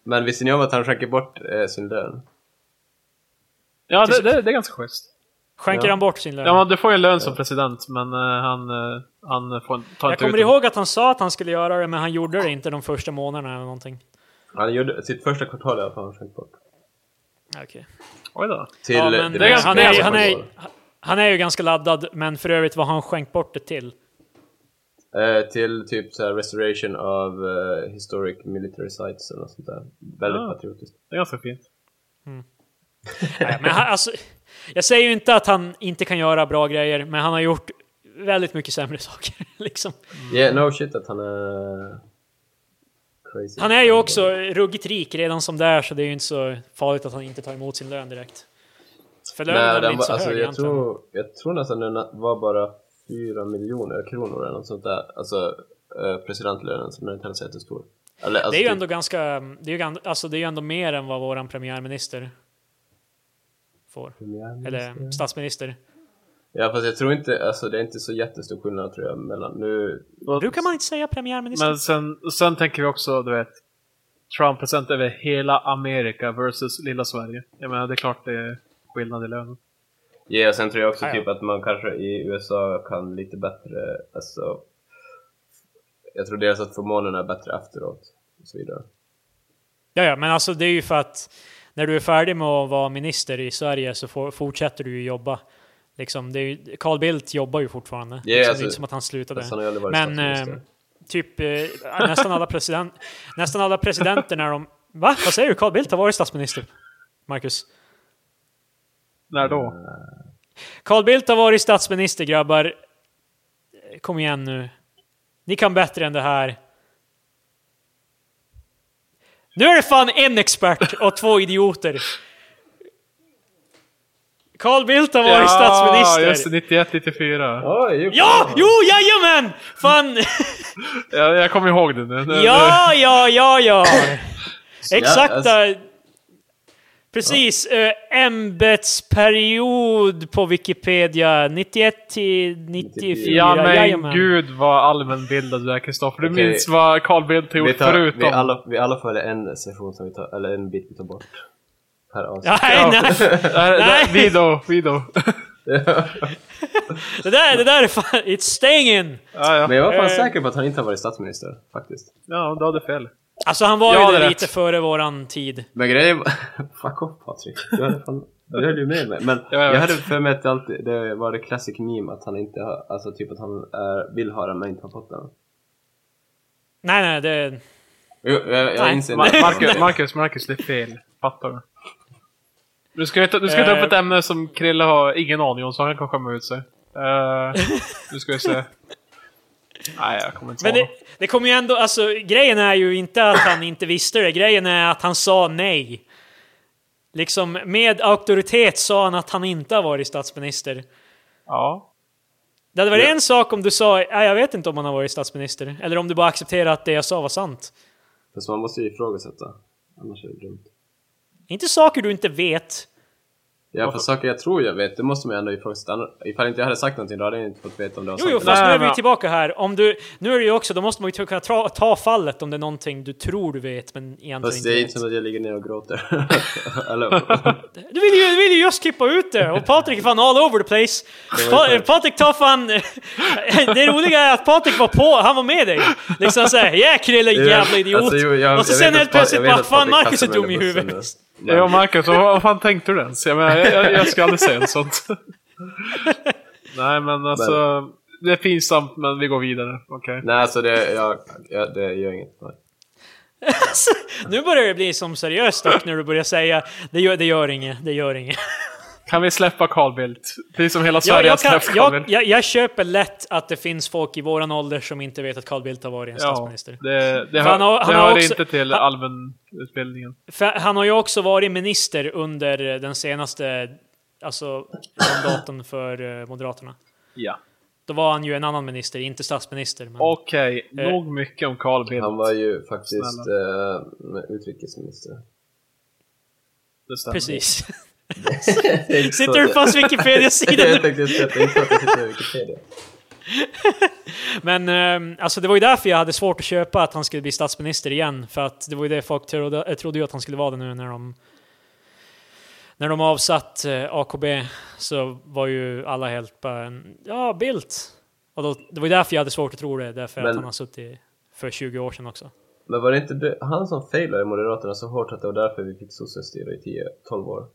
Speaker 3: Men visste ni om att han skänker bort eh, sin lön?
Speaker 2: Ja, det, det, det är ganska schysst.
Speaker 1: Skänker
Speaker 3: Ja.
Speaker 1: han bort sin lön?
Speaker 2: Ja, men du får ju lön som president, men eh, han, eh, han får,
Speaker 1: jag
Speaker 2: tar
Speaker 3: typ.
Speaker 2: inte ut
Speaker 1: kommer
Speaker 2: den.
Speaker 1: ihåg att han sa att han skulle göra det, men han gjorde det inte de första månaderna eller någonting.
Speaker 3: Han gjorde sitt första kvartal i alla fall, han skänkt bort.
Speaker 1: Okej.
Speaker 2: Oj då.
Speaker 3: Till
Speaker 1: Ja, men
Speaker 3: det
Speaker 1: det,
Speaker 2: ganska-
Speaker 1: han,
Speaker 2: det är
Speaker 1: är, ju-
Speaker 2: ganska
Speaker 1: han, är,
Speaker 3: kvartal.
Speaker 1: han är ju ganska laddad, men för övrigt vad har han skänkt bort det till?
Speaker 3: Eh, till typ så här restoration av eh, historic military sites eller något sånt där. Väldigt
Speaker 2: Ah.
Speaker 3: patriotiskt.
Speaker 2: Det är ganska fint.
Speaker 1: Nej, men han, alltså, jag säger ju inte att han inte kan göra bra grejer, men han har gjort väldigt mycket sämre saker. Liksom.
Speaker 3: Yeah, no shit att han är... Crazy.
Speaker 1: Han är ju också ruggigt rik redan som det är, så det är ju inte så farligt att han inte tar emot sin lön direkt. För lönen är
Speaker 3: Nej,
Speaker 1: väl
Speaker 3: den
Speaker 1: inte
Speaker 3: var,
Speaker 1: så
Speaker 3: alltså,
Speaker 1: hög
Speaker 3: jag,
Speaker 1: egentligen.
Speaker 3: tror, jag tror nästan den var bara 4 miljoner kronor eller något sånt där. Alltså eh, presidentlönen som den inte alls är jättestor. Eller, alltså,
Speaker 1: Det är ju
Speaker 3: typ-
Speaker 1: ändå ganska, det är ju, gan- alltså det är ju ändå mer än vad våran premiärminister får. Eller statsminister.
Speaker 3: Ja fast jag tror inte, alltså det är inte så jättestor skillnad tror jag mellan nu...
Speaker 1: Brukar man inte säga premiärminister?
Speaker 2: Men sen, sen tänker vi också, du vet, Trump-president över hela Amerika versus lilla Sverige. Jag menar, det är klart det är skillnad i lön.
Speaker 3: Ja och sen tror jag också
Speaker 1: Ah, ja.
Speaker 3: typ att man kanske i USA kan lite bättre, alltså... Jag tror dels att förmånerna är bättre efteråt och så vidare.
Speaker 1: Ja, ja, men alltså det är ju för att när du är färdig med att vara minister i Sverige så får, fortsätter du ju jobba. Liksom, det är ju, Carl Bildt jobbar ju fortfarande. liksom, det
Speaker 3: alltså,
Speaker 1: är inte som att han slutade.
Speaker 3: Fast han har ju aldrig varit
Speaker 1: Men
Speaker 3: statsminister.
Speaker 1: eh, typ eh, nästan, alla president, nästan alla presidenter när de... Va? Vad säger du? Carl Bildt har varit statsminister, Marcus.
Speaker 2: När då?
Speaker 1: Carl Bildt har varit statsminister, grabbar. Kom igen nu. Ni kan bättre än det här. Nu är det fan en expert och två idioter. Carl Bildt har varit
Speaker 2: just
Speaker 1: statsminister.
Speaker 2: det, 91, 94.
Speaker 3: Oj, ju-
Speaker 1: Ja, jo, jajamän! Fan!
Speaker 2: Jag, jag kommer ihåg det nu. nu
Speaker 1: Ja, ja, ja, ja.
Speaker 3: Ja,
Speaker 1: Exakta... Precis, eh, ämbetsperiod på Wikipedia. 91 till 94.
Speaker 2: nu. Ja men
Speaker 1: jajamän.
Speaker 2: gud vad allmänbildad du är Kristoffer. Du
Speaker 3: Okej.
Speaker 2: minns vad Carl Bildt har
Speaker 3: Vi,
Speaker 2: gjort
Speaker 3: tar,
Speaker 2: förutom...
Speaker 3: vi, alla, vi alla följer en session som vi tar, eller en bit vi tar bort. Per avsnitt.
Speaker 1: Nej, nej.
Speaker 2: Där- där-
Speaker 1: Nej.
Speaker 2: Vido, Vido.
Speaker 1: Det där, det där är fan... It's staying in!
Speaker 2: Ja, ja.
Speaker 3: Men jag var fan
Speaker 1: Eh.
Speaker 3: säker på att han inte har varit statsminister, faktiskt.
Speaker 2: ja, du hade fel.
Speaker 1: Alltså han var
Speaker 2: Jag
Speaker 1: ju
Speaker 2: hade
Speaker 1: där
Speaker 2: rätt.
Speaker 1: lite före våran tid.
Speaker 3: Men grejen var... Fuck off Patrik, du hade fan... Du höll ju med mig. Men
Speaker 2: jag
Speaker 3: jag
Speaker 2: vet.
Speaker 3: hade för mig att det, alltid, det var det classic meme att han inte har, alltså typ att han är, vill ha den men inte har fått den.
Speaker 1: Nej, nej, det...
Speaker 3: Jo, jag, jag
Speaker 1: Nej.
Speaker 3: inser
Speaker 2: Ma-
Speaker 3: nu.
Speaker 2: Marcus, Marcus, Marcus, det är fel. Fattar du? Du ska, ju ta, du ska ta upp
Speaker 1: Eh.
Speaker 2: ett ämne som Krille har ingen aning om, så han kan skämma ut sig. Eh, nu ska vi se. Nej, jag kommer inte
Speaker 1: Men det,
Speaker 2: svara.
Speaker 1: det kommer ju ändå... Alltså grejen är ju inte att han inte visste det. Grejen är att han sa nej. Liksom med auktoritet sa han att han inte har varit statsminister.
Speaker 2: Ja.
Speaker 1: Det hade varit
Speaker 3: Ja.
Speaker 1: en sak om du sa, nej jag vet inte om han har varit statsminister, eller om du bara accepterar att det jag sa var sant.
Speaker 3: Fast man måste ju ifrågasätta. Annars är det dumt.
Speaker 1: Inte saker du inte vet.
Speaker 3: Ja, för saker jag tror jag vet, det måste man ju ändå ifrågasätta. Annars- Ifall inte jag hade sagt någonting då hade jag inte fått veta om det var
Speaker 1: Jo, jo,
Speaker 3: sant.
Speaker 1: fast
Speaker 2: Nej,
Speaker 1: nu är vi
Speaker 2: men-
Speaker 1: ju tillbaka här. Om du, nu är det ju också, då måste man ju kunna ta, ta fallet om det är någonting du tror du vet, men egentligen
Speaker 3: Fast
Speaker 1: inte
Speaker 3: det är
Speaker 1: vet.
Speaker 3: inte som att jag ligger ner och gråter. Eller?
Speaker 1: Du vill ju, du vill ju just klippa ut det! Och Patrik är fan all over the place. Pa
Speaker 3: skönt.
Speaker 1: Patrik tar fan... det roliga är att Patrik var på, han var med dig. Liksom såhär, ja Krille
Speaker 3: Jo,
Speaker 1: jävla idiot.
Speaker 3: alltså, jo, jag-
Speaker 1: och så
Speaker 3: jag
Speaker 1: sen
Speaker 3: vet
Speaker 1: helt
Speaker 3: att Pa-
Speaker 1: plötsligt
Speaker 3: jag vet
Speaker 1: bara,
Speaker 3: att
Speaker 1: fan
Speaker 3: Patrik
Speaker 1: Marcus är
Speaker 3: kastar mig
Speaker 1: dum i
Speaker 3: under bussen
Speaker 1: huvudet.
Speaker 3: nu.
Speaker 2: Jo, Marcus, vad, vad fan tänkte du ens? Jag, menar, jag, jag, jag ska aldrig säga något sånt. Nej, men alltså. Det är pinsamt, men vi går vidare. Okej.
Speaker 3: Nej, alltså det, jag, jag, det gör inget. Nej.
Speaker 1: Alltså, nu börjar det bli som seriöst dock när du börjar säga det gör, det gör inget, det gör inget.
Speaker 2: Kan vi släppa Carl Bildt? Precis som hela
Speaker 1: Jag,
Speaker 2: Sverige har
Speaker 1: jag, kan,
Speaker 2: släppt Carl
Speaker 1: jag,
Speaker 2: Bildt.
Speaker 1: jag, jag köper lätt att det finns folk i våran ålder som inte vet att Carl Bildt har varit en
Speaker 2: Ja,
Speaker 1: statsminister.
Speaker 2: det, det, hör,
Speaker 1: han har-
Speaker 2: det
Speaker 1: han har
Speaker 2: hör
Speaker 1: också-
Speaker 2: inte till
Speaker 1: han-
Speaker 2: allmänutbildningen.
Speaker 1: För han har ju också varit minister under eh, den senaste alltså, mandaten för eh, Moderaterna.
Speaker 2: Ja.
Speaker 1: Då var han ju en annan minister, inte statsminister. Men...
Speaker 2: Okej,
Speaker 1: Eh,
Speaker 2: nog mycket om Carl Bildt.
Speaker 3: Han var ju faktiskt eh, utrikesminister.
Speaker 2: Det stämmer.
Speaker 1: Precis.
Speaker 3: Sitter
Speaker 1: Sitter du fast Wikipedia-sidan
Speaker 3: Jag
Speaker 1: nu?
Speaker 3: tänkte just att jag inte att det sitter i Wikipedia.
Speaker 1: Men ehm, alltså det var ju därför jag hade svårt att köpa att han skulle bli statsminister igen. För att det var ju det folk trodde, eh, trodde ju att han skulle vara det nu när de... när de avsatt eh, AKB så var ju alla helt bara en, ja, Bildt. Och då, det var ju därför jag hade svårt att tro det, därför att
Speaker 3: Men-
Speaker 1: han har suttit för 20 år sedan också.
Speaker 3: Men var det inte det, han som failade i Moderaterna så hårt att det var därför vi fick sossestyre i 10-12 år?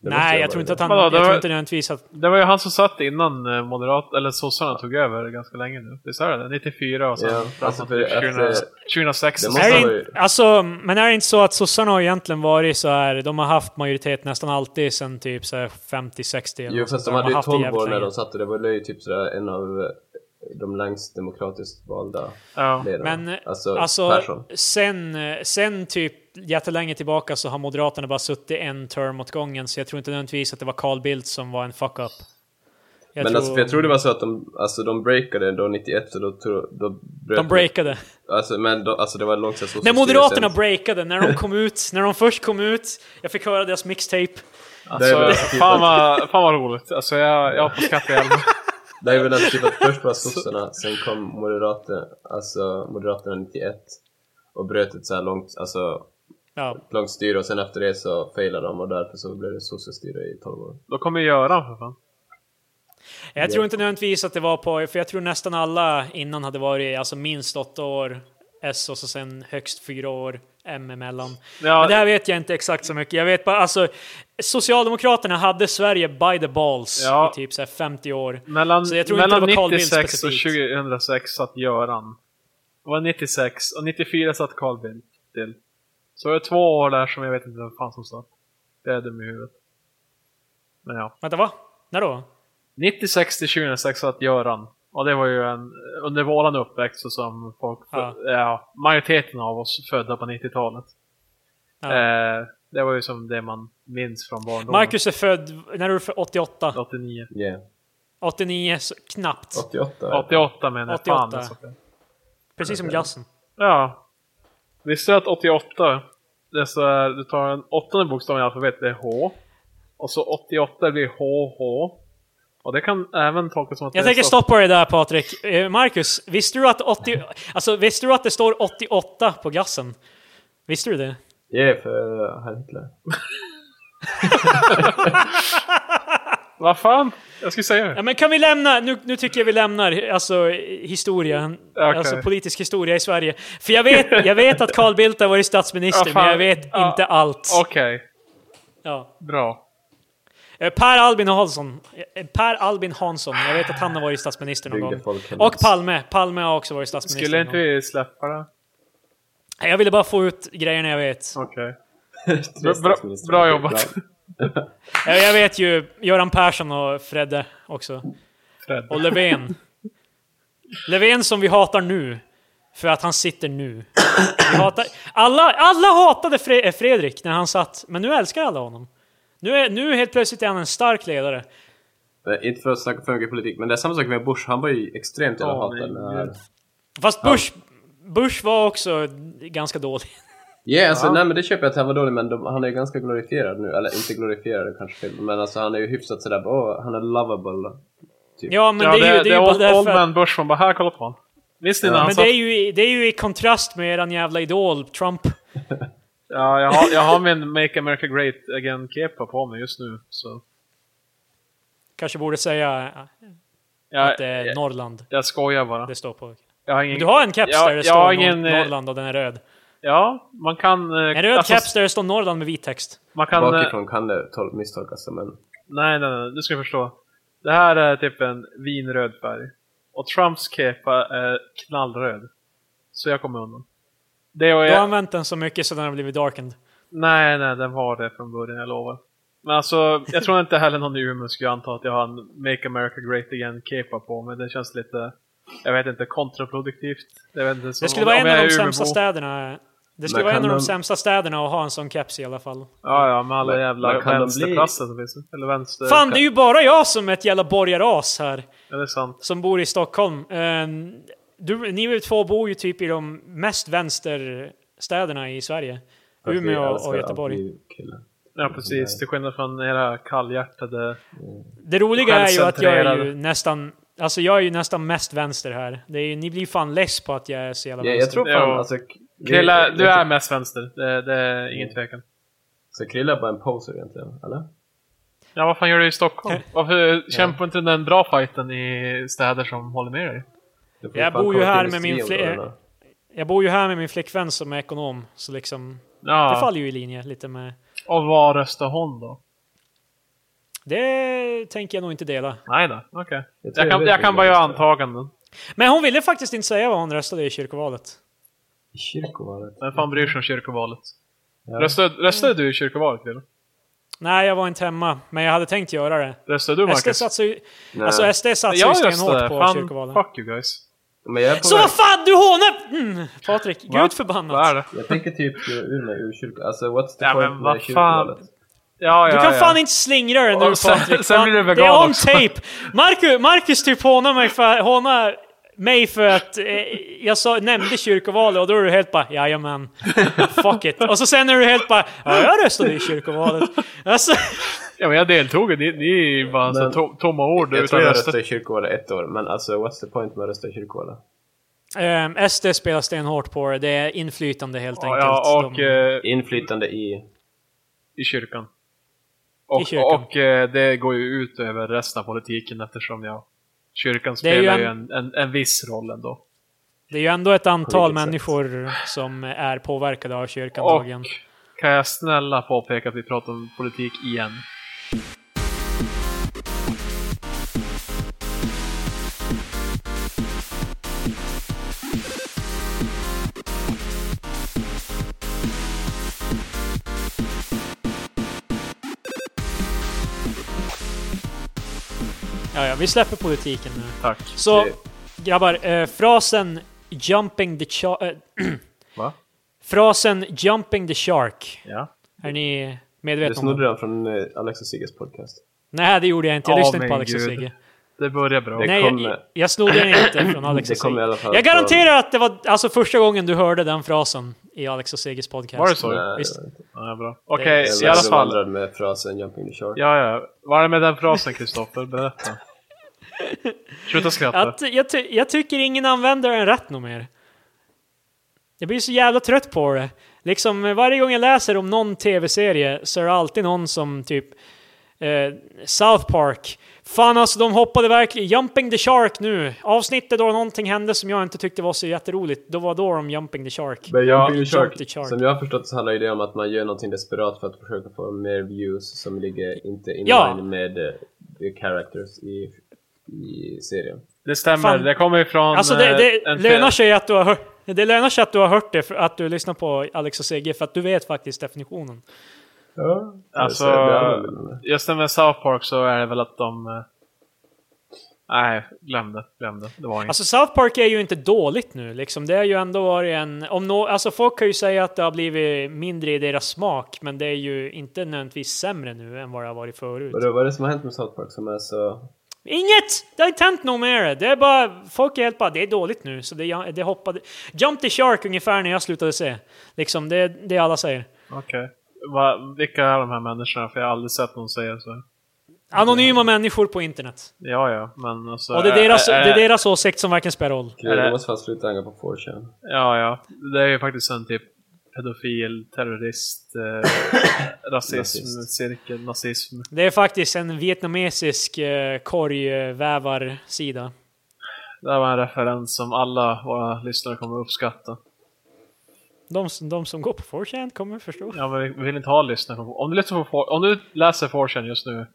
Speaker 3: Det måste
Speaker 1: Nej,
Speaker 3: ju
Speaker 1: jag
Speaker 3: ha
Speaker 1: tror
Speaker 3: varit
Speaker 1: inte att
Speaker 3: det.
Speaker 1: han,
Speaker 2: Vadå,
Speaker 1: jag
Speaker 2: det
Speaker 1: tror
Speaker 2: var-
Speaker 1: inte nödvändigtvis att,
Speaker 2: Det var ju han som satt innan eh, moderat, eller sossarna tog över ganska länge nu. Visst är det det? 94 och sen
Speaker 3: Ja,
Speaker 2: framåt
Speaker 3: alltså för
Speaker 2: till
Speaker 3: att,
Speaker 2: 2000
Speaker 3: eh,
Speaker 2: 2006.
Speaker 3: det
Speaker 2: och
Speaker 3: måste
Speaker 1: är
Speaker 2: sen-
Speaker 1: det,
Speaker 3: han ha-
Speaker 1: in- alltså, men är det inte så att sossarna har egentligen varit så här, de har haft majoritet nästan alltid sedan typ så här 50-60 eller
Speaker 3: Jo
Speaker 1: något sånt
Speaker 3: fast de
Speaker 1: där.
Speaker 3: hade ju
Speaker 1: har haft det
Speaker 3: 12
Speaker 1: jävligt
Speaker 3: år när
Speaker 1: länge.
Speaker 3: de satt och det var ju typ sådär en av eh, de längst demokratiskt valda
Speaker 2: Ja.
Speaker 3: ledarna.
Speaker 1: Men, eh,
Speaker 3: alltså,
Speaker 1: Alltså,
Speaker 3: Persson.
Speaker 1: sen, eh, sen typ jättelänge tillbaka så har Moderaterna bara suttit en term åt gången, så jag tror inte nödvändigtvis att det var Carl Bildt som var en fuck-up.
Speaker 3: Men alltså, för jag tror det var så att de, alltså, de breakade då 91 och då, tro- då bröt
Speaker 1: De breakade.
Speaker 3: Alltså, men då, alltså det var långsamt så
Speaker 1: När Moderaterna breakade, när de kom ut, när de först kom ut, jag fick höra deras mixtape.
Speaker 3: det är
Speaker 2: Alltså,
Speaker 3: väl typ
Speaker 2: fan,
Speaker 3: att-
Speaker 2: vad, fan vad roligt. Alltså jag, jag hoppas skattehjälmen.
Speaker 3: Det är väl att typ att först var sossarna, sen kom moderaterna, alltså moderaterna 91 och bröt ett så här långt, alltså,
Speaker 1: Ja,
Speaker 3: långt styre och sen efter det så failade de och därför så blev det sossestyre i 12 år.
Speaker 2: Då kommer Göran för fan.
Speaker 1: Jag tror inte nödvändigtvis att det var på, för jag tror nästan alla innan hade varit alltså minst åtta år S och så sen högst fyra år M emellan.
Speaker 2: Ja.
Speaker 1: Men det här vet jag inte exakt så mycket. Jag vet bara, alltså Socialdemokraterna hade Sverige by the balls
Speaker 2: Ja.
Speaker 1: i typ så här 50 år.
Speaker 2: Mellan,
Speaker 1: Så jag tror inte
Speaker 2: mellan
Speaker 1: det var Carl Bildt
Speaker 2: 96 och
Speaker 1: specifikt.
Speaker 2: 2006 satt Göran. Det var 96 och 94 satt Carl Bildt till. Så det är två år där som jag vet inte vem fan som satt. Det är dum i huvudet. Men ja.
Speaker 1: Vänta, va? När då?
Speaker 2: 96 till 2006 satt Göran. Och det var ju en, under våran uppväxt så som folk,
Speaker 1: Ja.
Speaker 2: ja. majoriteten av oss födda på 90-talet.
Speaker 1: Ja.
Speaker 2: Eh, det var ju som det man minns från barndomen.
Speaker 1: Marcus är född, när är du för 88?
Speaker 2: 89.
Speaker 3: Yeah.
Speaker 1: 89, så, knappt.
Speaker 3: 88?
Speaker 2: 88 menar jag. Fan
Speaker 1: 88.
Speaker 2: alltså.
Speaker 1: Precis som glassen.
Speaker 2: Ja. Visste du att 88, det är så här, du tar den åttonde bokstaven i alfabetet, det är H. Och så 88 blir HH. Och det kan även tolkas som att
Speaker 1: Jag
Speaker 2: det är
Speaker 1: tänker
Speaker 2: stopp.
Speaker 1: stoppa dig där Patrik. Eh, Marcus, visste du att 80, alltså visste du att det står 88 på gassen? Visste du det?
Speaker 3: Yeah, för eh, Heil Hitler.
Speaker 2: Vad fan? Jag skulle säga det.
Speaker 1: Ja, men kan vi lämna, nu, nu tycker jag vi lämnar alltså, historia,
Speaker 2: Okej.
Speaker 1: alltså politisk historia i Sverige. För jag vet, jag vet att Carl Bildt har varit statsminister,
Speaker 2: Ja, fan.
Speaker 1: men jag vet
Speaker 2: Ja.
Speaker 1: inte allt.
Speaker 2: Okej,
Speaker 1: Ja.
Speaker 2: bra.
Speaker 1: Eh, Per Albin Hansson, eh, Per Albin Hansson, jag vet att han har varit statsminister någon
Speaker 3: Byggde
Speaker 1: gång.
Speaker 3: folkhemmet.
Speaker 1: Och Palme, Palme har också varit statsminister
Speaker 2: Skulle
Speaker 1: någon
Speaker 2: inte
Speaker 1: gång.
Speaker 2: vi släppa det?
Speaker 1: Jag ville bara få ut grejerna jag vet.
Speaker 2: Okej.
Speaker 3: Tre
Speaker 2: Bra-
Speaker 3: statsministrar.
Speaker 2: bra jobbat.
Speaker 1: Jag, jag vet ju Göran Persson och Fredde också.
Speaker 2: Fred.
Speaker 1: Och Löfven. Löfven som vi hatar nu. För att han sitter nu. Vi hatar, alla, alla hatade Fre- eh, Fredrik när han satt, men nu älskar alla honom. Nu, är, nu helt plötsligt är han en stark ledare.
Speaker 3: Men Inte för att snacka för mycket politik, men det är samma sak med Bush, han var ju extremt jävla
Speaker 2: Åh,
Speaker 3: hatad
Speaker 2: min
Speaker 3: när...
Speaker 2: gud.
Speaker 1: Fast Bush, Bush var också ganska dålig.
Speaker 3: Yeah, alltså,
Speaker 2: Ja.
Speaker 3: nej men det köper jag att han var dålig, men de, han är ju ganska glorifierad nu. Eller inte glorifierad kanske fel, men alltså han är ju hyfsat sådär, åh, han är lovable.
Speaker 1: Ja, men
Speaker 2: Ja,
Speaker 1: det är ju, det är ju bara
Speaker 2: old, old
Speaker 1: därför att,
Speaker 2: man Bush som bara här, kolla på honom. Visst ni när han
Speaker 1: Men det
Speaker 2: satt?
Speaker 1: är, ju, i- det är ju i kontrast med eran jävla idol Trump.
Speaker 2: Ja, jag har, jag har min Make America Great Again-kepa på mig just nu. Så.
Speaker 1: Kanske borde säga eh,
Speaker 2: Jag,
Speaker 1: att det är Norrland
Speaker 2: jag skojar bara.
Speaker 1: det står på.
Speaker 2: Jag har ingen...
Speaker 1: Du har en caps
Speaker 2: jag,
Speaker 1: där det
Speaker 2: jag har
Speaker 1: står Nor-
Speaker 2: ingen, eh,
Speaker 1: Norrland och den är röd.
Speaker 2: Ja, man kan... eh,
Speaker 1: En röd
Speaker 2: alltså,
Speaker 1: caps där det står Norrland med vit text.
Speaker 2: Man kan... eh,
Speaker 3: Bakifrån kan det tol- misstolkas som en...
Speaker 2: Nej, nej, nej, du ska förstå. Det här är typ en vinröd färg. Och Trumps kepa är knallröd. Så jag kommer undan. Det och
Speaker 1: Du har
Speaker 2: jag...
Speaker 1: använt den så mycket så den har blivit darkened.
Speaker 2: Nej, nej, den var det från början, jag lovar. Men alltså, jag tror inte heller någon i Umeå skulle anta att jag har en Make America Great Again-kepa på mig. Det känns lite... Jag vet inte, kontraproduktivt. Jag vet inte, som,
Speaker 1: Det skulle
Speaker 2: om-
Speaker 1: vara
Speaker 2: om
Speaker 1: en
Speaker 2: jag
Speaker 1: av
Speaker 2: är
Speaker 1: de sämsta
Speaker 2: Umebo.
Speaker 1: städerna. Det skulle
Speaker 3: Men
Speaker 1: vara en
Speaker 3: kan
Speaker 1: av de
Speaker 3: de-
Speaker 1: sämsta städerna att ha en sån caps i alla fall.
Speaker 2: Ja, ja, med alla
Speaker 3: Men-
Speaker 2: jävla
Speaker 3: men kan de bli-
Speaker 2: vänsterplasser som finns. Eller vänster...
Speaker 1: Fan, det är ju bara jag som är ett jävla borgaras här,
Speaker 2: Ja, det är sant.
Speaker 1: som bor i Stockholm. Eh, Du, ni två bor ju typ i de mest vänsterstäderna i Sverige.
Speaker 3: för att vi
Speaker 1: Umeå
Speaker 3: Alltså, älskar
Speaker 1: och Göteborg.
Speaker 3: antikillar.
Speaker 2: Ja, precis. Till skillnad från era kallhjärtade...
Speaker 1: Det roliga är ju att jag är ju
Speaker 2: Självcentrerad.
Speaker 1: nästan, alltså jag är ju nästan mest vänster här. Det är ju, ni blir fan less på att jag är så jävla
Speaker 3: Ja,
Speaker 1: vänster.
Speaker 3: jag tror fan
Speaker 2: Ja.
Speaker 3: alltså... k- vi-
Speaker 2: Krilla,
Speaker 3: jag
Speaker 2: du är
Speaker 3: tror-
Speaker 2: mest vänster. Det, det är ingen tvekan.
Speaker 3: Så Krille är bara en poser egentligen, eller?
Speaker 2: Ja, vad fan gör du i Stockholm? Varför kämpar inte den bra fighten i städer som håller med dig?
Speaker 3: Du får
Speaker 1: Jag
Speaker 3: fan
Speaker 1: bor ju
Speaker 3: komma till
Speaker 1: här med min fle-
Speaker 3: industriområdena.
Speaker 1: Jag bor ju här med min flickvän som är ekonom, så liksom, det
Speaker 2: Ja,
Speaker 1: faller ju i linje lite med...
Speaker 2: och vad röstar hon då?
Speaker 1: Det tänker jag nog inte dela.
Speaker 2: Nej då, okej.
Speaker 3: Jag tror
Speaker 2: Jag kan,
Speaker 3: vet
Speaker 2: jag kan
Speaker 3: vilken
Speaker 2: bara göra
Speaker 3: röst det är.
Speaker 2: antaganden.
Speaker 1: Men hon ville faktiskt inte säga vad hon röstade i kyrkovalet.
Speaker 3: I kyrkovalet?
Speaker 2: Vem fan bryr sig om kyrkovalet?
Speaker 3: Ja.
Speaker 2: Röstade, röstade du i kyrkovalet, Wille?
Speaker 1: Nej, jag var inte hemma, men jag hade tänkt göra det.
Speaker 2: Röstade du,
Speaker 1: SD
Speaker 2: Marcus?
Speaker 1: satsar ju,
Speaker 3: Nej.
Speaker 1: alltså SD satsar ju
Speaker 2: Jag
Speaker 1: stenhårt
Speaker 2: röstade.
Speaker 1: på
Speaker 2: Fan,
Speaker 1: kyrkovalen.
Speaker 2: fuck you guys.
Speaker 3: Men jag är på
Speaker 1: Så
Speaker 3: väg.
Speaker 1: vad fan, du hånar... Mm, Patrik,
Speaker 2: Va?
Speaker 1: gud förbannat.
Speaker 2: Vad är det?
Speaker 3: Jag tänker typ skriva ur mig ur kyrkan. Alltså what's the
Speaker 2: Ja, men
Speaker 3: point
Speaker 2: vad
Speaker 3: med kyrkovalet?
Speaker 2: Ja, ja,
Speaker 1: Du kan
Speaker 2: ja.
Speaker 1: fan inte slingra dig nu
Speaker 2: Och sen-
Speaker 1: Patrik.
Speaker 2: sen
Speaker 1: Fan,
Speaker 2: blir du
Speaker 1: det
Speaker 2: vegan
Speaker 1: är on
Speaker 2: också.
Speaker 1: tape. Marcus, Marcus typ hånar mig för, hånar mig för att eh, jag sa, nämnde kyrkovalet och då är du helt bara jajamän, fuck it. Och så sen är du helt bara ja, jag röstade i kyrkovalet. Alltså,
Speaker 2: Ja, men jag deltog. Det, det är ju bara så
Speaker 3: Men-
Speaker 2: to, tomma ord
Speaker 3: Jag tror
Speaker 2: utan
Speaker 3: jag
Speaker 2: röster.
Speaker 3: röstade i kyrkovalet ett år, men alltså what's the point med att rösta i kyrkovalet?
Speaker 1: ehm, SD spelar stenhårt på det, det är inflytande helt
Speaker 2: Ja,
Speaker 1: enkelt.
Speaker 2: ja, och
Speaker 1: De-
Speaker 2: eh,
Speaker 3: Inflytande i...
Speaker 2: i kyrkan. Och,
Speaker 1: I kyrkan.
Speaker 2: och eh, det går ju ut över resten av politiken eftersom jag, kyrkan
Speaker 1: Det är ju
Speaker 2: spelar ju
Speaker 1: en-
Speaker 2: en, en, en viss roll ändå.
Speaker 1: det är ju ändå ett antal
Speaker 3: vilket sätt?
Speaker 1: människor som är påverkade av kyrkan
Speaker 2: Och
Speaker 1: dagligen.
Speaker 2: kan jag snälla påpeka att vi pratar om politik igen?
Speaker 1: Ja, ja, vi släpper politiken nu.
Speaker 2: Tack.
Speaker 1: Så
Speaker 3: Det-
Speaker 1: grabbar, eh, frasen jumping the shark... Eh,
Speaker 2: Va?
Speaker 1: frasen jumping the shark.
Speaker 2: Ja.
Speaker 1: Är ni
Speaker 3: Du
Speaker 1: medvetna om
Speaker 3: snodde
Speaker 1: den?
Speaker 3: den från eh, Alex och Sigges podcast.
Speaker 1: Nej, det gjorde jag inte. Jag
Speaker 2: Åh,
Speaker 1: lyssnade inte på
Speaker 2: men
Speaker 1: Alex och
Speaker 2: gud.
Speaker 1: Sigge.
Speaker 2: Det börjar bra.
Speaker 3: Nej.
Speaker 1: Nej, jag,
Speaker 3: kommer-
Speaker 1: jag snodde den inte från Alex
Speaker 3: Det
Speaker 1: och
Speaker 3: kommer i alla
Speaker 1: Sigge.
Speaker 3: fall
Speaker 1: Jag
Speaker 3: från-
Speaker 1: garanterar att det var alltså, första gången du hörde den frasen i Alex och Sigges podcast.
Speaker 2: Var det så?
Speaker 3: Nej,
Speaker 1: Visst.
Speaker 2: Ja, bra. Okej,
Speaker 1: Det är-
Speaker 3: Jag
Speaker 2: i alla
Speaker 3: blev
Speaker 2: fall.
Speaker 3: bevandrad med frasen “Jumping the shark”.
Speaker 2: Ja, ja. Vad är det med den frasen, Kristoffer? Berätta. Sluta skratta.
Speaker 1: Att, jag, ty jag tycker ingen använder den rätt nog mer. Jag blir så jävla trött på det. Liksom eh, varje gång jag läser om någon tv-serie så är det alltid någon som typ eh, South Park. Fan alltså de hoppade verkligen, Jumping the Shark nu. Avsnittet då någonting hände som jag inte tyckte var så jätteroligt. Då var då de Jumping the Shark.
Speaker 3: Men
Speaker 2: Ja,
Speaker 3: jumping the
Speaker 1: jump
Speaker 3: shark,
Speaker 1: the shark.
Speaker 3: som jag har förstått så handlar det om att man gör någonting desperat för att försöka få mer views som ligger inte in
Speaker 1: Ja.
Speaker 3: line med eh, the characters i, i serien.
Speaker 2: Det stämmer.
Speaker 1: Fan.
Speaker 2: Det kommer ifrån...
Speaker 1: Alltså det,
Speaker 2: eh,
Speaker 1: det,
Speaker 2: en-
Speaker 1: lönar sig att du har hört, det lönar sig att du har hört det, för att du lyssnar på Alex och Sigge, för att du vet faktiskt definitionen.
Speaker 3: Ja.
Speaker 2: Alltså,
Speaker 3: Så det använder man det.
Speaker 2: just det med South Park så är det väl att de... eh, Nej, glöm det. Glöm det. Det var inget.
Speaker 1: Alltså South Park är ju inte dåligt nu liksom. Det har ju ändå varit en... Om nå alltså folk kan ju säga att det har blivit mindre i deras smak, men det är ju inte nödvändigtvis sämre nu än vad det har varit förut.
Speaker 3: Vadå, vad är det som har hänt med South Park som är så...
Speaker 1: Inget! Det har inte hänt något med det. Det är bara... Folk är helt bara, det är dåligt nu, så det, det hoppade... Jump the Shark ungefär när jag slutade se. Liksom, det det alla säger.
Speaker 2: Okej. Va- Vilka är de här människorna? För jag har aldrig sett någon säga så.
Speaker 1: Anonyma människor på internet.
Speaker 2: Ja, ja, men alltså...
Speaker 1: Och det är deras, det
Speaker 2: Ä- ä-
Speaker 1: är deras åsikt som verkligen spelar roll.
Speaker 3: Kul,
Speaker 2: Eller-
Speaker 3: du måste fan sluta hänga på 4chan.
Speaker 2: Ja, ja. Det är ju faktiskt en typ pedofil, terrorist, eh, rasism,
Speaker 3: Nazist.
Speaker 2: cirkel, nazism.
Speaker 1: Det är faktiskt en vietnamesisk eh, korgvävarsida.
Speaker 2: Det här var en referens som alla våra lyssnare kommer uppskatta.
Speaker 1: De, som- de som går på 4chan kommer förstå.
Speaker 2: Ja, men vi vill inte ha lyssnare på... Om du, lyssnar på, om du läser 4chan just nu,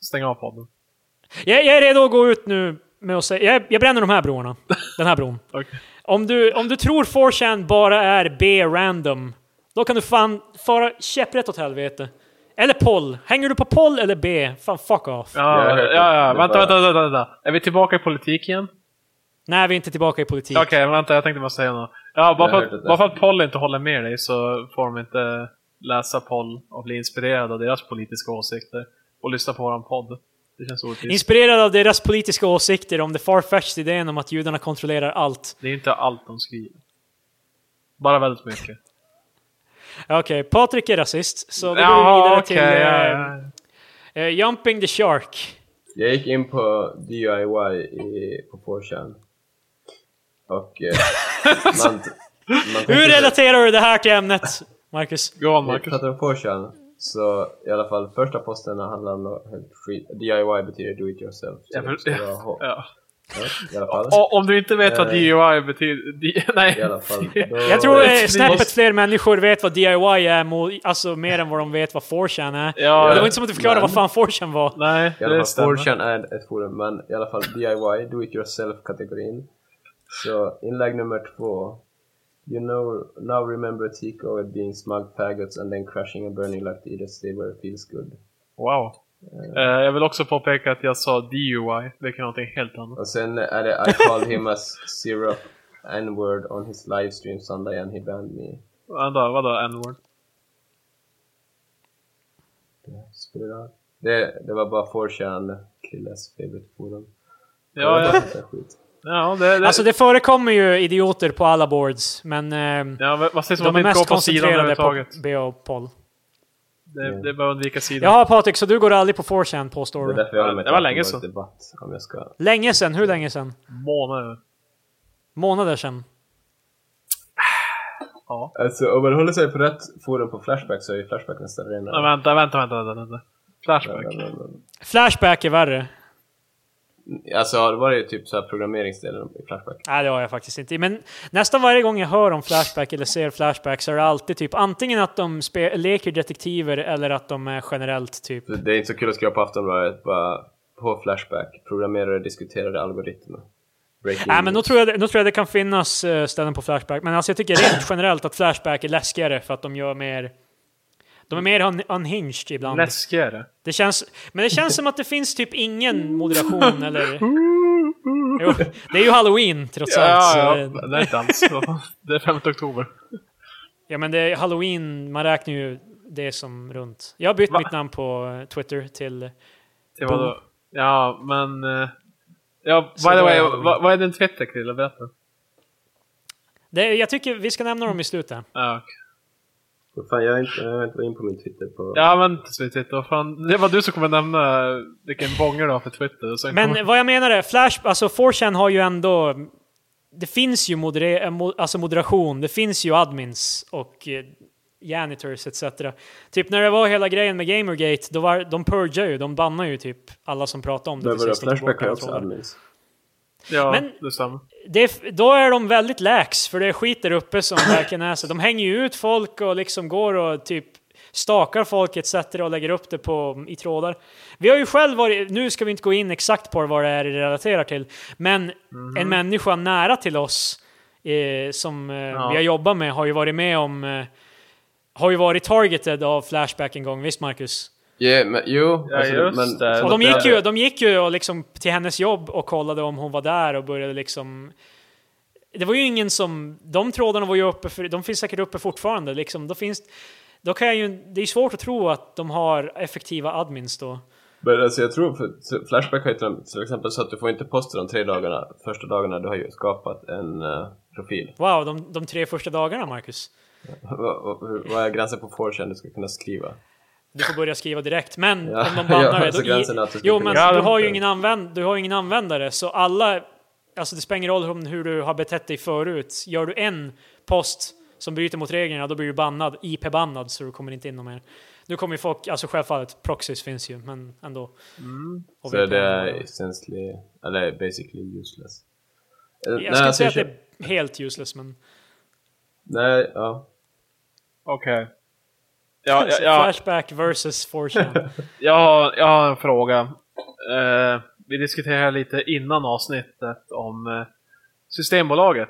Speaker 2: stäng av podden.
Speaker 1: Jag, jag är redo att gå ut nu med att säga... Jag, jag bränner de här broarna. Den här bron.
Speaker 2: Okej.
Speaker 1: Om du, om du tror 4chan bara är B-random, då kan du fan fara käpprätt åt helvete. Eller poll. Hänger du på poll eller B, fan fuck off.
Speaker 2: Ja,
Speaker 3: Jag
Speaker 2: ja,
Speaker 3: hörde det.
Speaker 2: ja,
Speaker 3: Det
Speaker 2: Vänta,
Speaker 3: bara-
Speaker 2: vänta, vänta, vänta. Är vi tillbaka i politik igen?
Speaker 1: Nej, vi är inte tillbaka i politik.
Speaker 2: Okej, vänta, jag tänkte bara säga något. Ja, bara
Speaker 3: Jag
Speaker 2: för,
Speaker 3: hörde
Speaker 2: att,
Speaker 3: det.
Speaker 2: bara för att Poll inte håller med dig så får de inte läsa Poll och bli inspirerade av deras politiska åsikter och lyssna på våran podd. Det känns orättvist.
Speaker 1: Inspirerad av deras politiska åsikter om the farfetched idén om att judarna kontrollerar allt.
Speaker 2: Det är inte allt de skriver. Bara väldigt mycket.
Speaker 1: Okej, Patrik är rasist, så då går vi
Speaker 2: Ja,
Speaker 1: vidare
Speaker 2: okej.
Speaker 1: till
Speaker 2: ja,
Speaker 1: eh,
Speaker 2: ja.
Speaker 1: eh, Jumping the Shark.
Speaker 3: Jag gick in på DIY i, på 4chan. Och... Eh, man, man
Speaker 1: Hur relaterar du det här till ämnet, Marcus?
Speaker 2: Gå on,
Speaker 3: Om vi
Speaker 2: Marcus.
Speaker 3: pratar om 4chan Så i alla fall, första posten handlar om något helt skit. DIY betyder do it yourself. Så
Speaker 2: Ja, men-
Speaker 3: det ska vara hå-
Speaker 2: Ja.
Speaker 3: ja, I alla fall.
Speaker 2: Och, om du inte vet vad
Speaker 3: Eh,
Speaker 2: DUI betyder... D- nej.
Speaker 3: I alla fall. Då,
Speaker 1: Jag tror eh,
Speaker 2: det-
Speaker 1: snäppet
Speaker 2: måste-
Speaker 1: fler människor vet vad DIY är, mo- alltså mer än vad de vet vad 4chan är.
Speaker 2: Ja,
Speaker 1: det var inte som att du förklarade
Speaker 3: men-
Speaker 1: vad fan 4chan var.
Speaker 2: Nej,
Speaker 3: I alla
Speaker 2: det
Speaker 3: fall,
Speaker 2: stämmer.
Speaker 3: 4chan är ett forum, men i alla fall DIY, do it yourself-kategorin. Så inlägg nummer två. You know, now remember Tico and being smug faggots and then crashing and burning like the idiots they were feels good.
Speaker 2: Wow. Eh, jag vill också påpeka att jag sa DUI, vilket är någonting helt annat.
Speaker 3: Och sen är det I called him a syrup n-word on his livestream Sunday and he banned me.
Speaker 2: Vänta, vadå N-word?
Speaker 3: Det spelar ingen roll. Det, det var bara 4chan, killes favorite forum.
Speaker 2: Ja, ja.
Speaker 3: Det är skit.
Speaker 2: ja, det, det,
Speaker 1: Alltså det förekommer ju idioter på alla boards, men ehm,
Speaker 2: ja men vad sägs om
Speaker 1: de
Speaker 2: att
Speaker 1: är
Speaker 2: inte gå
Speaker 1: mest
Speaker 2: på sidan
Speaker 1: koncentrerade på
Speaker 2: överhuvudtaget?
Speaker 1: BH-poll.
Speaker 2: Det, det är bara att undvika sidan.
Speaker 1: Jaha Patrik, så du går aldrig på 4chan
Speaker 3: Det är
Speaker 1: påstår du?
Speaker 3: därför jag håller mig
Speaker 2: Det var
Speaker 3: till
Speaker 2: länge
Speaker 3: Aftonbladet
Speaker 2: sedan.
Speaker 3: debatt, om jag ska...
Speaker 1: Länge sen, hur länge sen?
Speaker 2: Månader.
Speaker 1: Månader sen?
Speaker 2: Ja.
Speaker 3: Alltså om man håller sig på rätt forum på Flashback så är ju Flashback nästan renare.
Speaker 2: Nej, vänta, vänta, vänta, vänta, vänta. Flashback.
Speaker 1: Flashback är värre.
Speaker 3: Alltså ja, det var ju typ så här programmeringsdelen i Flashback.
Speaker 1: Nej, det har jag faktiskt inte. Men nästan varje gång jag hör om Flashback eller ser Flashback så är det alltid typ antingen att de spe- leker detektiver eller att de är generellt typ...
Speaker 3: Så Det är inte så kul att skriva på Aftonbladet bara på Flashback, programmerare diskuterade algoritmer. Breaking
Speaker 1: Nej, men då
Speaker 3: news.
Speaker 1: tror, jag, det- då tror jag det kan finnas eh, ställen på Flashback. Men alltså jag tycker rent generellt att Flashback är läskigare för att de gör mer... De är mer un- unhinged ibland.
Speaker 2: Läskigare.
Speaker 1: Det känns, men det känns som att det finns typ ingen moderation eller... Jo, det är ju halloween trots allt.
Speaker 2: Ja,
Speaker 1: så
Speaker 2: ja,
Speaker 1: det-
Speaker 2: det är inte alls. Det är 5 oktober.
Speaker 1: Ja men det är halloween, man räknar ju det som runt. Jag har bytt
Speaker 2: Va?
Speaker 1: mitt namn på eh, Twitter till...
Speaker 2: Det var då. Ja, men... eh, Ja, by
Speaker 1: Så
Speaker 2: the
Speaker 1: då
Speaker 2: way,
Speaker 1: är det-
Speaker 2: vad, vad är din Twitter, Krille? Berätta.
Speaker 1: Det, är- jag tycker vi ska nämna dem i slutet.
Speaker 2: Ja, okej.
Speaker 3: Vad Fan, jag har inte, jag har inte varit in på min Twitter på...
Speaker 2: ja men till slut, Twitter. vad Fan, det var du som kommer nämna eh, vilken bånger du har för Twitter. Och sen kommer,
Speaker 1: Men vad jag menar är, Flash, alltså 4chan har ju ändå... Det finns ju modere, eh, mo- alltså moderation, det finns ju admins och eh, janitors etc. Typ när det var hela grejen med Gamergate, då var, de purgade ju, de bannade ju typ alla som pratade om det.
Speaker 3: Men
Speaker 1: till
Speaker 3: vadå,
Speaker 1: sist och tog
Speaker 3: Flashback
Speaker 1: bort
Speaker 3: har ju
Speaker 1: alla
Speaker 3: också
Speaker 1: trådar.
Speaker 3: admins.
Speaker 2: ja,
Speaker 1: men-
Speaker 2: det stämmer.
Speaker 1: det, är f- då är de väldigt lax, för det är skit där uppe som verkligen är så. De hänger ju ut folk och liksom går och typ stakar folk etc. och lägger upp det på, i trådar. Vi har ju själv varit, nu ska vi inte gå in exakt på vad det är det relaterar till, men en människa nära till oss eh, som eh, vi har jobbat med har ju varit med om, eh, har ju varit targeted av Flashback en gång, visst Marcus?
Speaker 3: Yeah, men, jo, alltså,
Speaker 2: Ja, just det.
Speaker 1: Och de
Speaker 2: det-
Speaker 1: gick ju, de gick ju och liksom till hennes jobb och kollade om hon var där och började liksom... Det var ju ingen som... De trådarna var ju uppe, för, de finns säkert uppe fortfarande. Liksom. Då finns, då kan jag ju, det är ju svårt att tro att de har effektiva admins då.
Speaker 3: Men alltså jag tror, för så Flashback har ju till- till exempel så att du får inte posta de tre dagarna, första dagarna du har ju skapat en eh, profil.
Speaker 1: Wow, de, de tre första dagarna, Marcus.
Speaker 3: Vad- vad- hur- Vad är gränsen på 4chan du ska kunna skriva?
Speaker 1: Du får börja skriva direkt, men
Speaker 3: Ja,
Speaker 1: om de bannar
Speaker 3: ja,
Speaker 1: dig,
Speaker 3: alltså
Speaker 1: då-
Speaker 3: gränsen att du ska
Speaker 1: Jo,
Speaker 3: kunna-
Speaker 1: men
Speaker 2: Ja,
Speaker 1: du
Speaker 2: de-
Speaker 1: har ju ingen, använd, du har ju ingen användare, så alla... Alltså det spelar ingen roll om hur du har betett dig förut. Gör du en post som bryter mot reglerna, då blir du bannad, IP-bannad, så du kommer inte in någon mer. Nu kommer ju folk, alltså självfallet, proxies finns ju, men ändå. Och
Speaker 3: Mm. Så
Speaker 1: VPN.
Speaker 3: det är essentially, eller basically useless. Eh,
Speaker 1: Jag skulle inte säga att
Speaker 3: alltså,
Speaker 1: det är helt useless, men...
Speaker 3: Nej, ja.
Speaker 2: Okej. Ja, ja, ja,
Speaker 1: Flashback versus 4chan.
Speaker 2: jag, har, jag har en fråga. Eh, vi diskuterade lite innan avsnittet om eh, Systembolaget.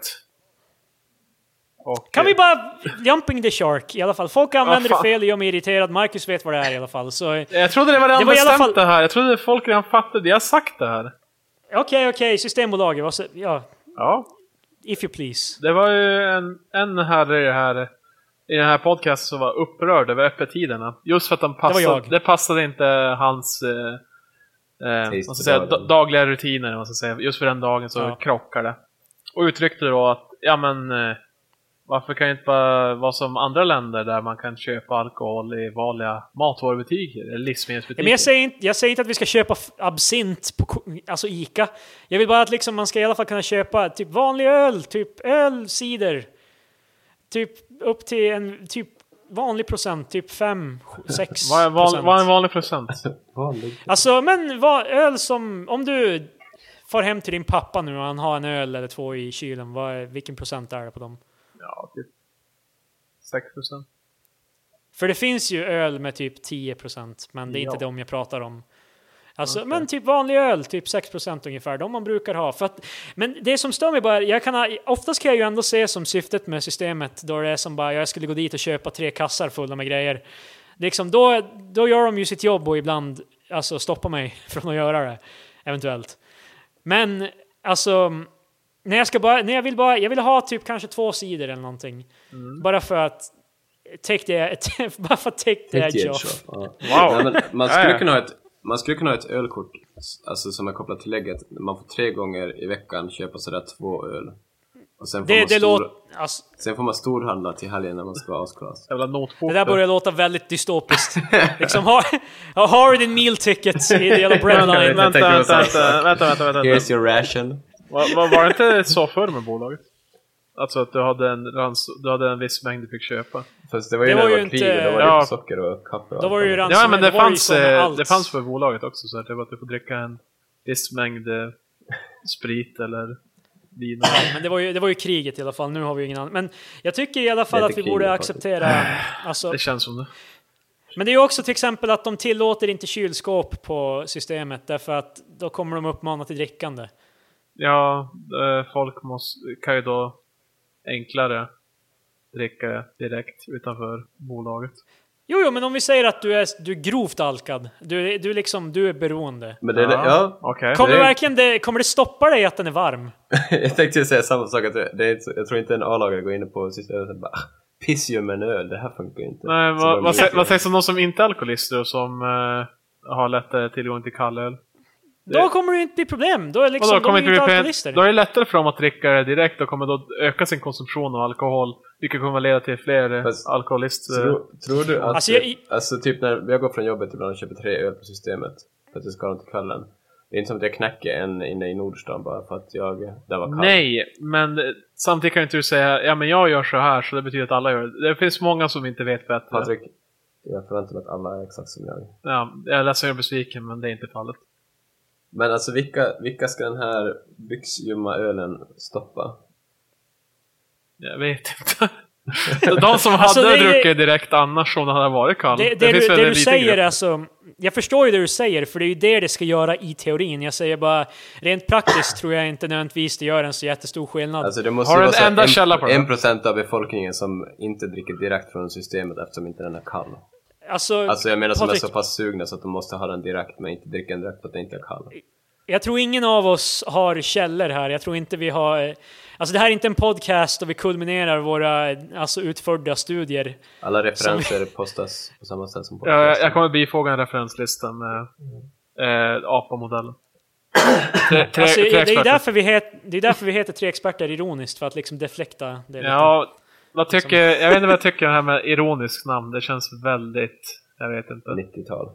Speaker 2: Och, eh,
Speaker 1: Kan vi bara... Jumping the shark, i alla fall. Folk använder det
Speaker 2: fan.
Speaker 1: fel, det gör mig irriterad. Marcus vet vad det är i alla fall, så... eh,
Speaker 2: Jag trodde det var redan
Speaker 1: Det var i alla
Speaker 2: bestämt
Speaker 1: fall-
Speaker 2: det här. Jag trodde folk redan fattade. Jag har sagt det här.
Speaker 1: Okej, okej, Systembolaget. Vad så, ja,
Speaker 2: Ja.
Speaker 1: if you please.
Speaker 2: Det var ju en, en herre i det här i den här podcasten som var upprörd över öppettiderna. Just för att de passade, det,
Speaker 1: var jag.
Speaker 2: passade inte hans eh, eh, vad ska jag säga,
Speaker 3: dagen.
Speaker 2: da- dagliga rutiner. vad ska jag säga. Just för den dagen så
Speaker 1: Ja.
Speaker 2: krockar det. Och uttryckte då att, ja men eh, varför kan det inte bara vara som andra länder där man kan köpa alkohol i vanliga matvarubutiker eller
Speaker 1: Ja,
Speaker 2: livsmedelsbutiker?
Speaker 1: men jag, säger inte, jag säger inte att vi ska köpa f- absint på ko- alltså Ica. Jag vill bara att liksom man ska i alla fall kunna köpa typ vanlig öl, typ öl, cider. Typ upp till en typ vanlig procent, typ 5, 6
Speaker 2: Vad är, van, vad är en vanlig procent?
Speaker 3: Vanlig.
Speaker 1: Alltså, men vad, öl som... Om du far hem till din pappa nu och han har en öl eller två i kylen, vad är, vilken procent är det på dem?
Speaker 2: Ja, typ 6 procent.
Speaker 1: För det finns ju öl med typ 10 procent, men det är
Speaker 2: Ja.
Speaker 1: inte de jag pratar om. Alltså, Men typ vanlig öl, typ 6 procent ungefär, de man brukar ha. För att, men det som stör mig bara, är- jag kan, ha- oftast kan jag ju ändå se som syftet med systemet, då det är som bara, jag skulle gå dit och köpa tre kassar fulla med grejer. Liksom, då, då gör de ju sitt jobb och ibland alltså, stoppar mig från att göra det, eventuellt. Men alltså, när jag, ska bara, när jag, vill, bara, jag vill ha typ kanske två sidor eller någonting. Bara för att Take the, bara för att take the edge off.
Speaker 3: Wow!
Speaker 2: Wow.
Speaker 3: Nej, men man, skulle
Speaker 2: Ja, ja.
Speaker 3: kunna ha ett, man skulle kunna ha ett ölkort alltså, som är kopplat till lägget. Man får tre gånger i veckan köpa sådär två öl. Och sen får,
Speaker 1: Det,
Speaker 3: man,
Speaker 1: det,
Speaker 3: stor,
Speaker 1: låter, alltså,
Speaker 3: sen får man storhandla till helgen när man ska vara asklass.
Speaker 2: Jävla
Speaker 1: det
Speaker 2: notbok.
Speaker 1: där börjar låta väldigt dystopiskt. liksom, har, har du din meal ticket i the yellow bread
Speaker 2: Vänta,
Speaker 1: line?
Speaker 2: vänta,
Speaker 3: tänker
Speaker 2: vänta,
Speaker 3: också.
Speaker 2: vänta, vänta, vänta, vänta.
Speaker 3: Here's your ration.
Speaker 2: Var, var, var det inte så förr med bolaget? Alltså att du hade en, rans, du hade en viss mängd du fick köpa.
Speaker 1: Alltså,
Speaker 3: Fast det var ju
Speaker 1: Det
Speaker 3: när
Speaker 1: var
Speaker 3: det
Speaker 1: ju
Speaker 3: var krig
Speaker 1: inte-
Speaker 3: och då var det
Speaker 2: Ja.
Speaker 3: ju socker och kaffe. och
Speaker 1: Då
Speaker 3: allt
Speaker 1: var det ju
Speaker 3: annat.
Speaker 1: ransoner,
Speaker 2: Ja, men det
Speaker 1: var ju
Speaker 2: fanns,
Speaker 1: så med
Speaker 2: eh,
Speaker 1: allt.
Speaker 2: det fanns för bolaget också. Så att det var typ att du får dricka en viss mängd eh, sprit eller vin.
Speaker 1: Men det var, ju, det var ju kriget i alla fall, nu har vi ju ingen annan. Men jag tycker i alla fall
Speaker 3: Det är
Speaker 1: att
Speaker 3: inte
Speaker 1: vi borde
Speaker 3: kriget, faktiskt.
Speaker 1: acceptera... Alltså,
Speaker 2: Det känns som det.
Speaker 1: men det är ju också till exempel att de tillåter inte kylskåp på systemet därför att då kommer de uppmana till drickande.
Speaker 2: Ja, eh, folk måste, kan ju då enklare dricka direkt utanför bolaget.
Speaker 1: Jo, jo, men om vi säger att du är, du är grovt alkad, du, är- du, är liksom, du är beroende.
Speaker 3: Men det, ja,
Speaker 2: Okej.
Speaker 1: Kommer,
Speaker 3: det är-
Speaker 1: verkligen det, kommer det stoppa dig att den är varm?
Speaker 3: jag tänkte ju säga samma sak. Att det det är, inte så- jag tror inte en A-lagare går in på systemet och bara "Ah, piss ju med en öl, det här funkar ju inte.
Speaker 2: Nej,
Speaker 3: Så
Speaker 2: vad,
Speaker 3: de
Speaker 2: vad,
Speaker 3: dricker
Speaker 2: sä- vad sägs om de som inte är alkoholister och som eh, har lättare tillgång till kallöl?
Speaker 1: Då kommer det ju inte bli problem. Då är liksom,
Speaker 2: Vadå,
Speaker 1: de
Speaker 2: kommer
Speaker 1: är
Speaker 2: inte
Speaker 1: ju inte
Speaker 2: bli
Speaker 1: alkoholister.
Speaker 2: pen- Då är det lättare för dem att dricka det direkt och kommer då öka sin konsumtion av alkohol. Vilket kommer leda till fler eh,
Speaker 3: Fast-
Speaker 2: Fast, alkoholister.
Speaker 3: Tror, tror du att...
Speaker 1: Alltså,
Speaker 3: Alltså,
Speaker 1: jag-
Speaker 3: typ när jag går från jobbet ibland och köper tre öl på systemet för att jag ska ha dem till kvällen. Det är inte som att jag knackar en inne i Nordstan bara för att jag... Där var kallt.
Speaker 2: Nej, men eh, samtidigt kan ju inte du säga ja men jag gör så här så det betyder att alla gör det. Det finns många som inte vet bättre.
Speaker 3: Patrik, jag förväntar mig att alla är exakt som jag.
Speaker 2: Ja, jag är ledsen att jag är besviken men det är inte fallet.
Speaker 3: Men alltså vilka, vilka ska den här byxljumma ölen stoppa?
Speaker 2: Jag vet inte. De som hade
Speaker 1: Alltså, det är-
Speaker 2: druckit direkt annars om det hade varit kall.
Speaker 1: Det, det, du,
Speaker 2: väl
Speaker 1: det
Speaker 2: en
Speaker 1: du
Speaker 2: liten
Speaker 1: säger,
Speaker 2: grupp.
Speaker 1: alltså, jag förstår ju det du säger, för det är ju det det ska göra i teorin. Jag säger bara, rent praktiskt tror jag inte nödvändigtvis det gör en så jättestor skillnad.
Speaker 3: Alltså det måste
Speaker 2: Har
Speaker 3: ju
Speaker 2: du
Speaker 3: vara
Speaker 2: en
Speaker 3: så
Speaker 2: enda
Speaker 3: att
Speaker 2: källa på det?
Speaker 3: en procent av befolkningen som inte dricker direkt från systemet eftersom inte den är kall.
Speaker 1: Alltså,
Speaker 3: Alltså jag menar som är
Speaker 1: Patrik,
Speaker 3: så pass sugna så att de måste ha den direkt men inte dricker den direkt för att den inte är kall.
Speaker 1: Jag tror ingen av oss har källor här. Jag tror inte vi har... eh, Alltså det här är inte en podcast och vi kulminerar våra eh, alltså, utförda studier.
Speaker 3: Alla referenser postas på samma sätt som på
Speaker 2: Ja, jag,
Speaker 1: Alltså.
Speaker 2: jag kommer bifoga en referenslista med eh, apa-modellen. Tre, tre,
Speaker 1: Alltså,
Speaker 2: tre
Speaker 1: det, är ju
Speaker 2: experter.
Speaker 1: därför vi het, det är därför vi heter Tre Experter ironiskt, för att liksom deflekta det lite.
Speaker 2: Ja, vad
Speaker 1: Liksom.
Speaker 2: tycker, jag vet inte vad jag tycker om det här med ironiskt namn. Det känns väldigt... Jag vet inte.
Speaker 3: 90-tal.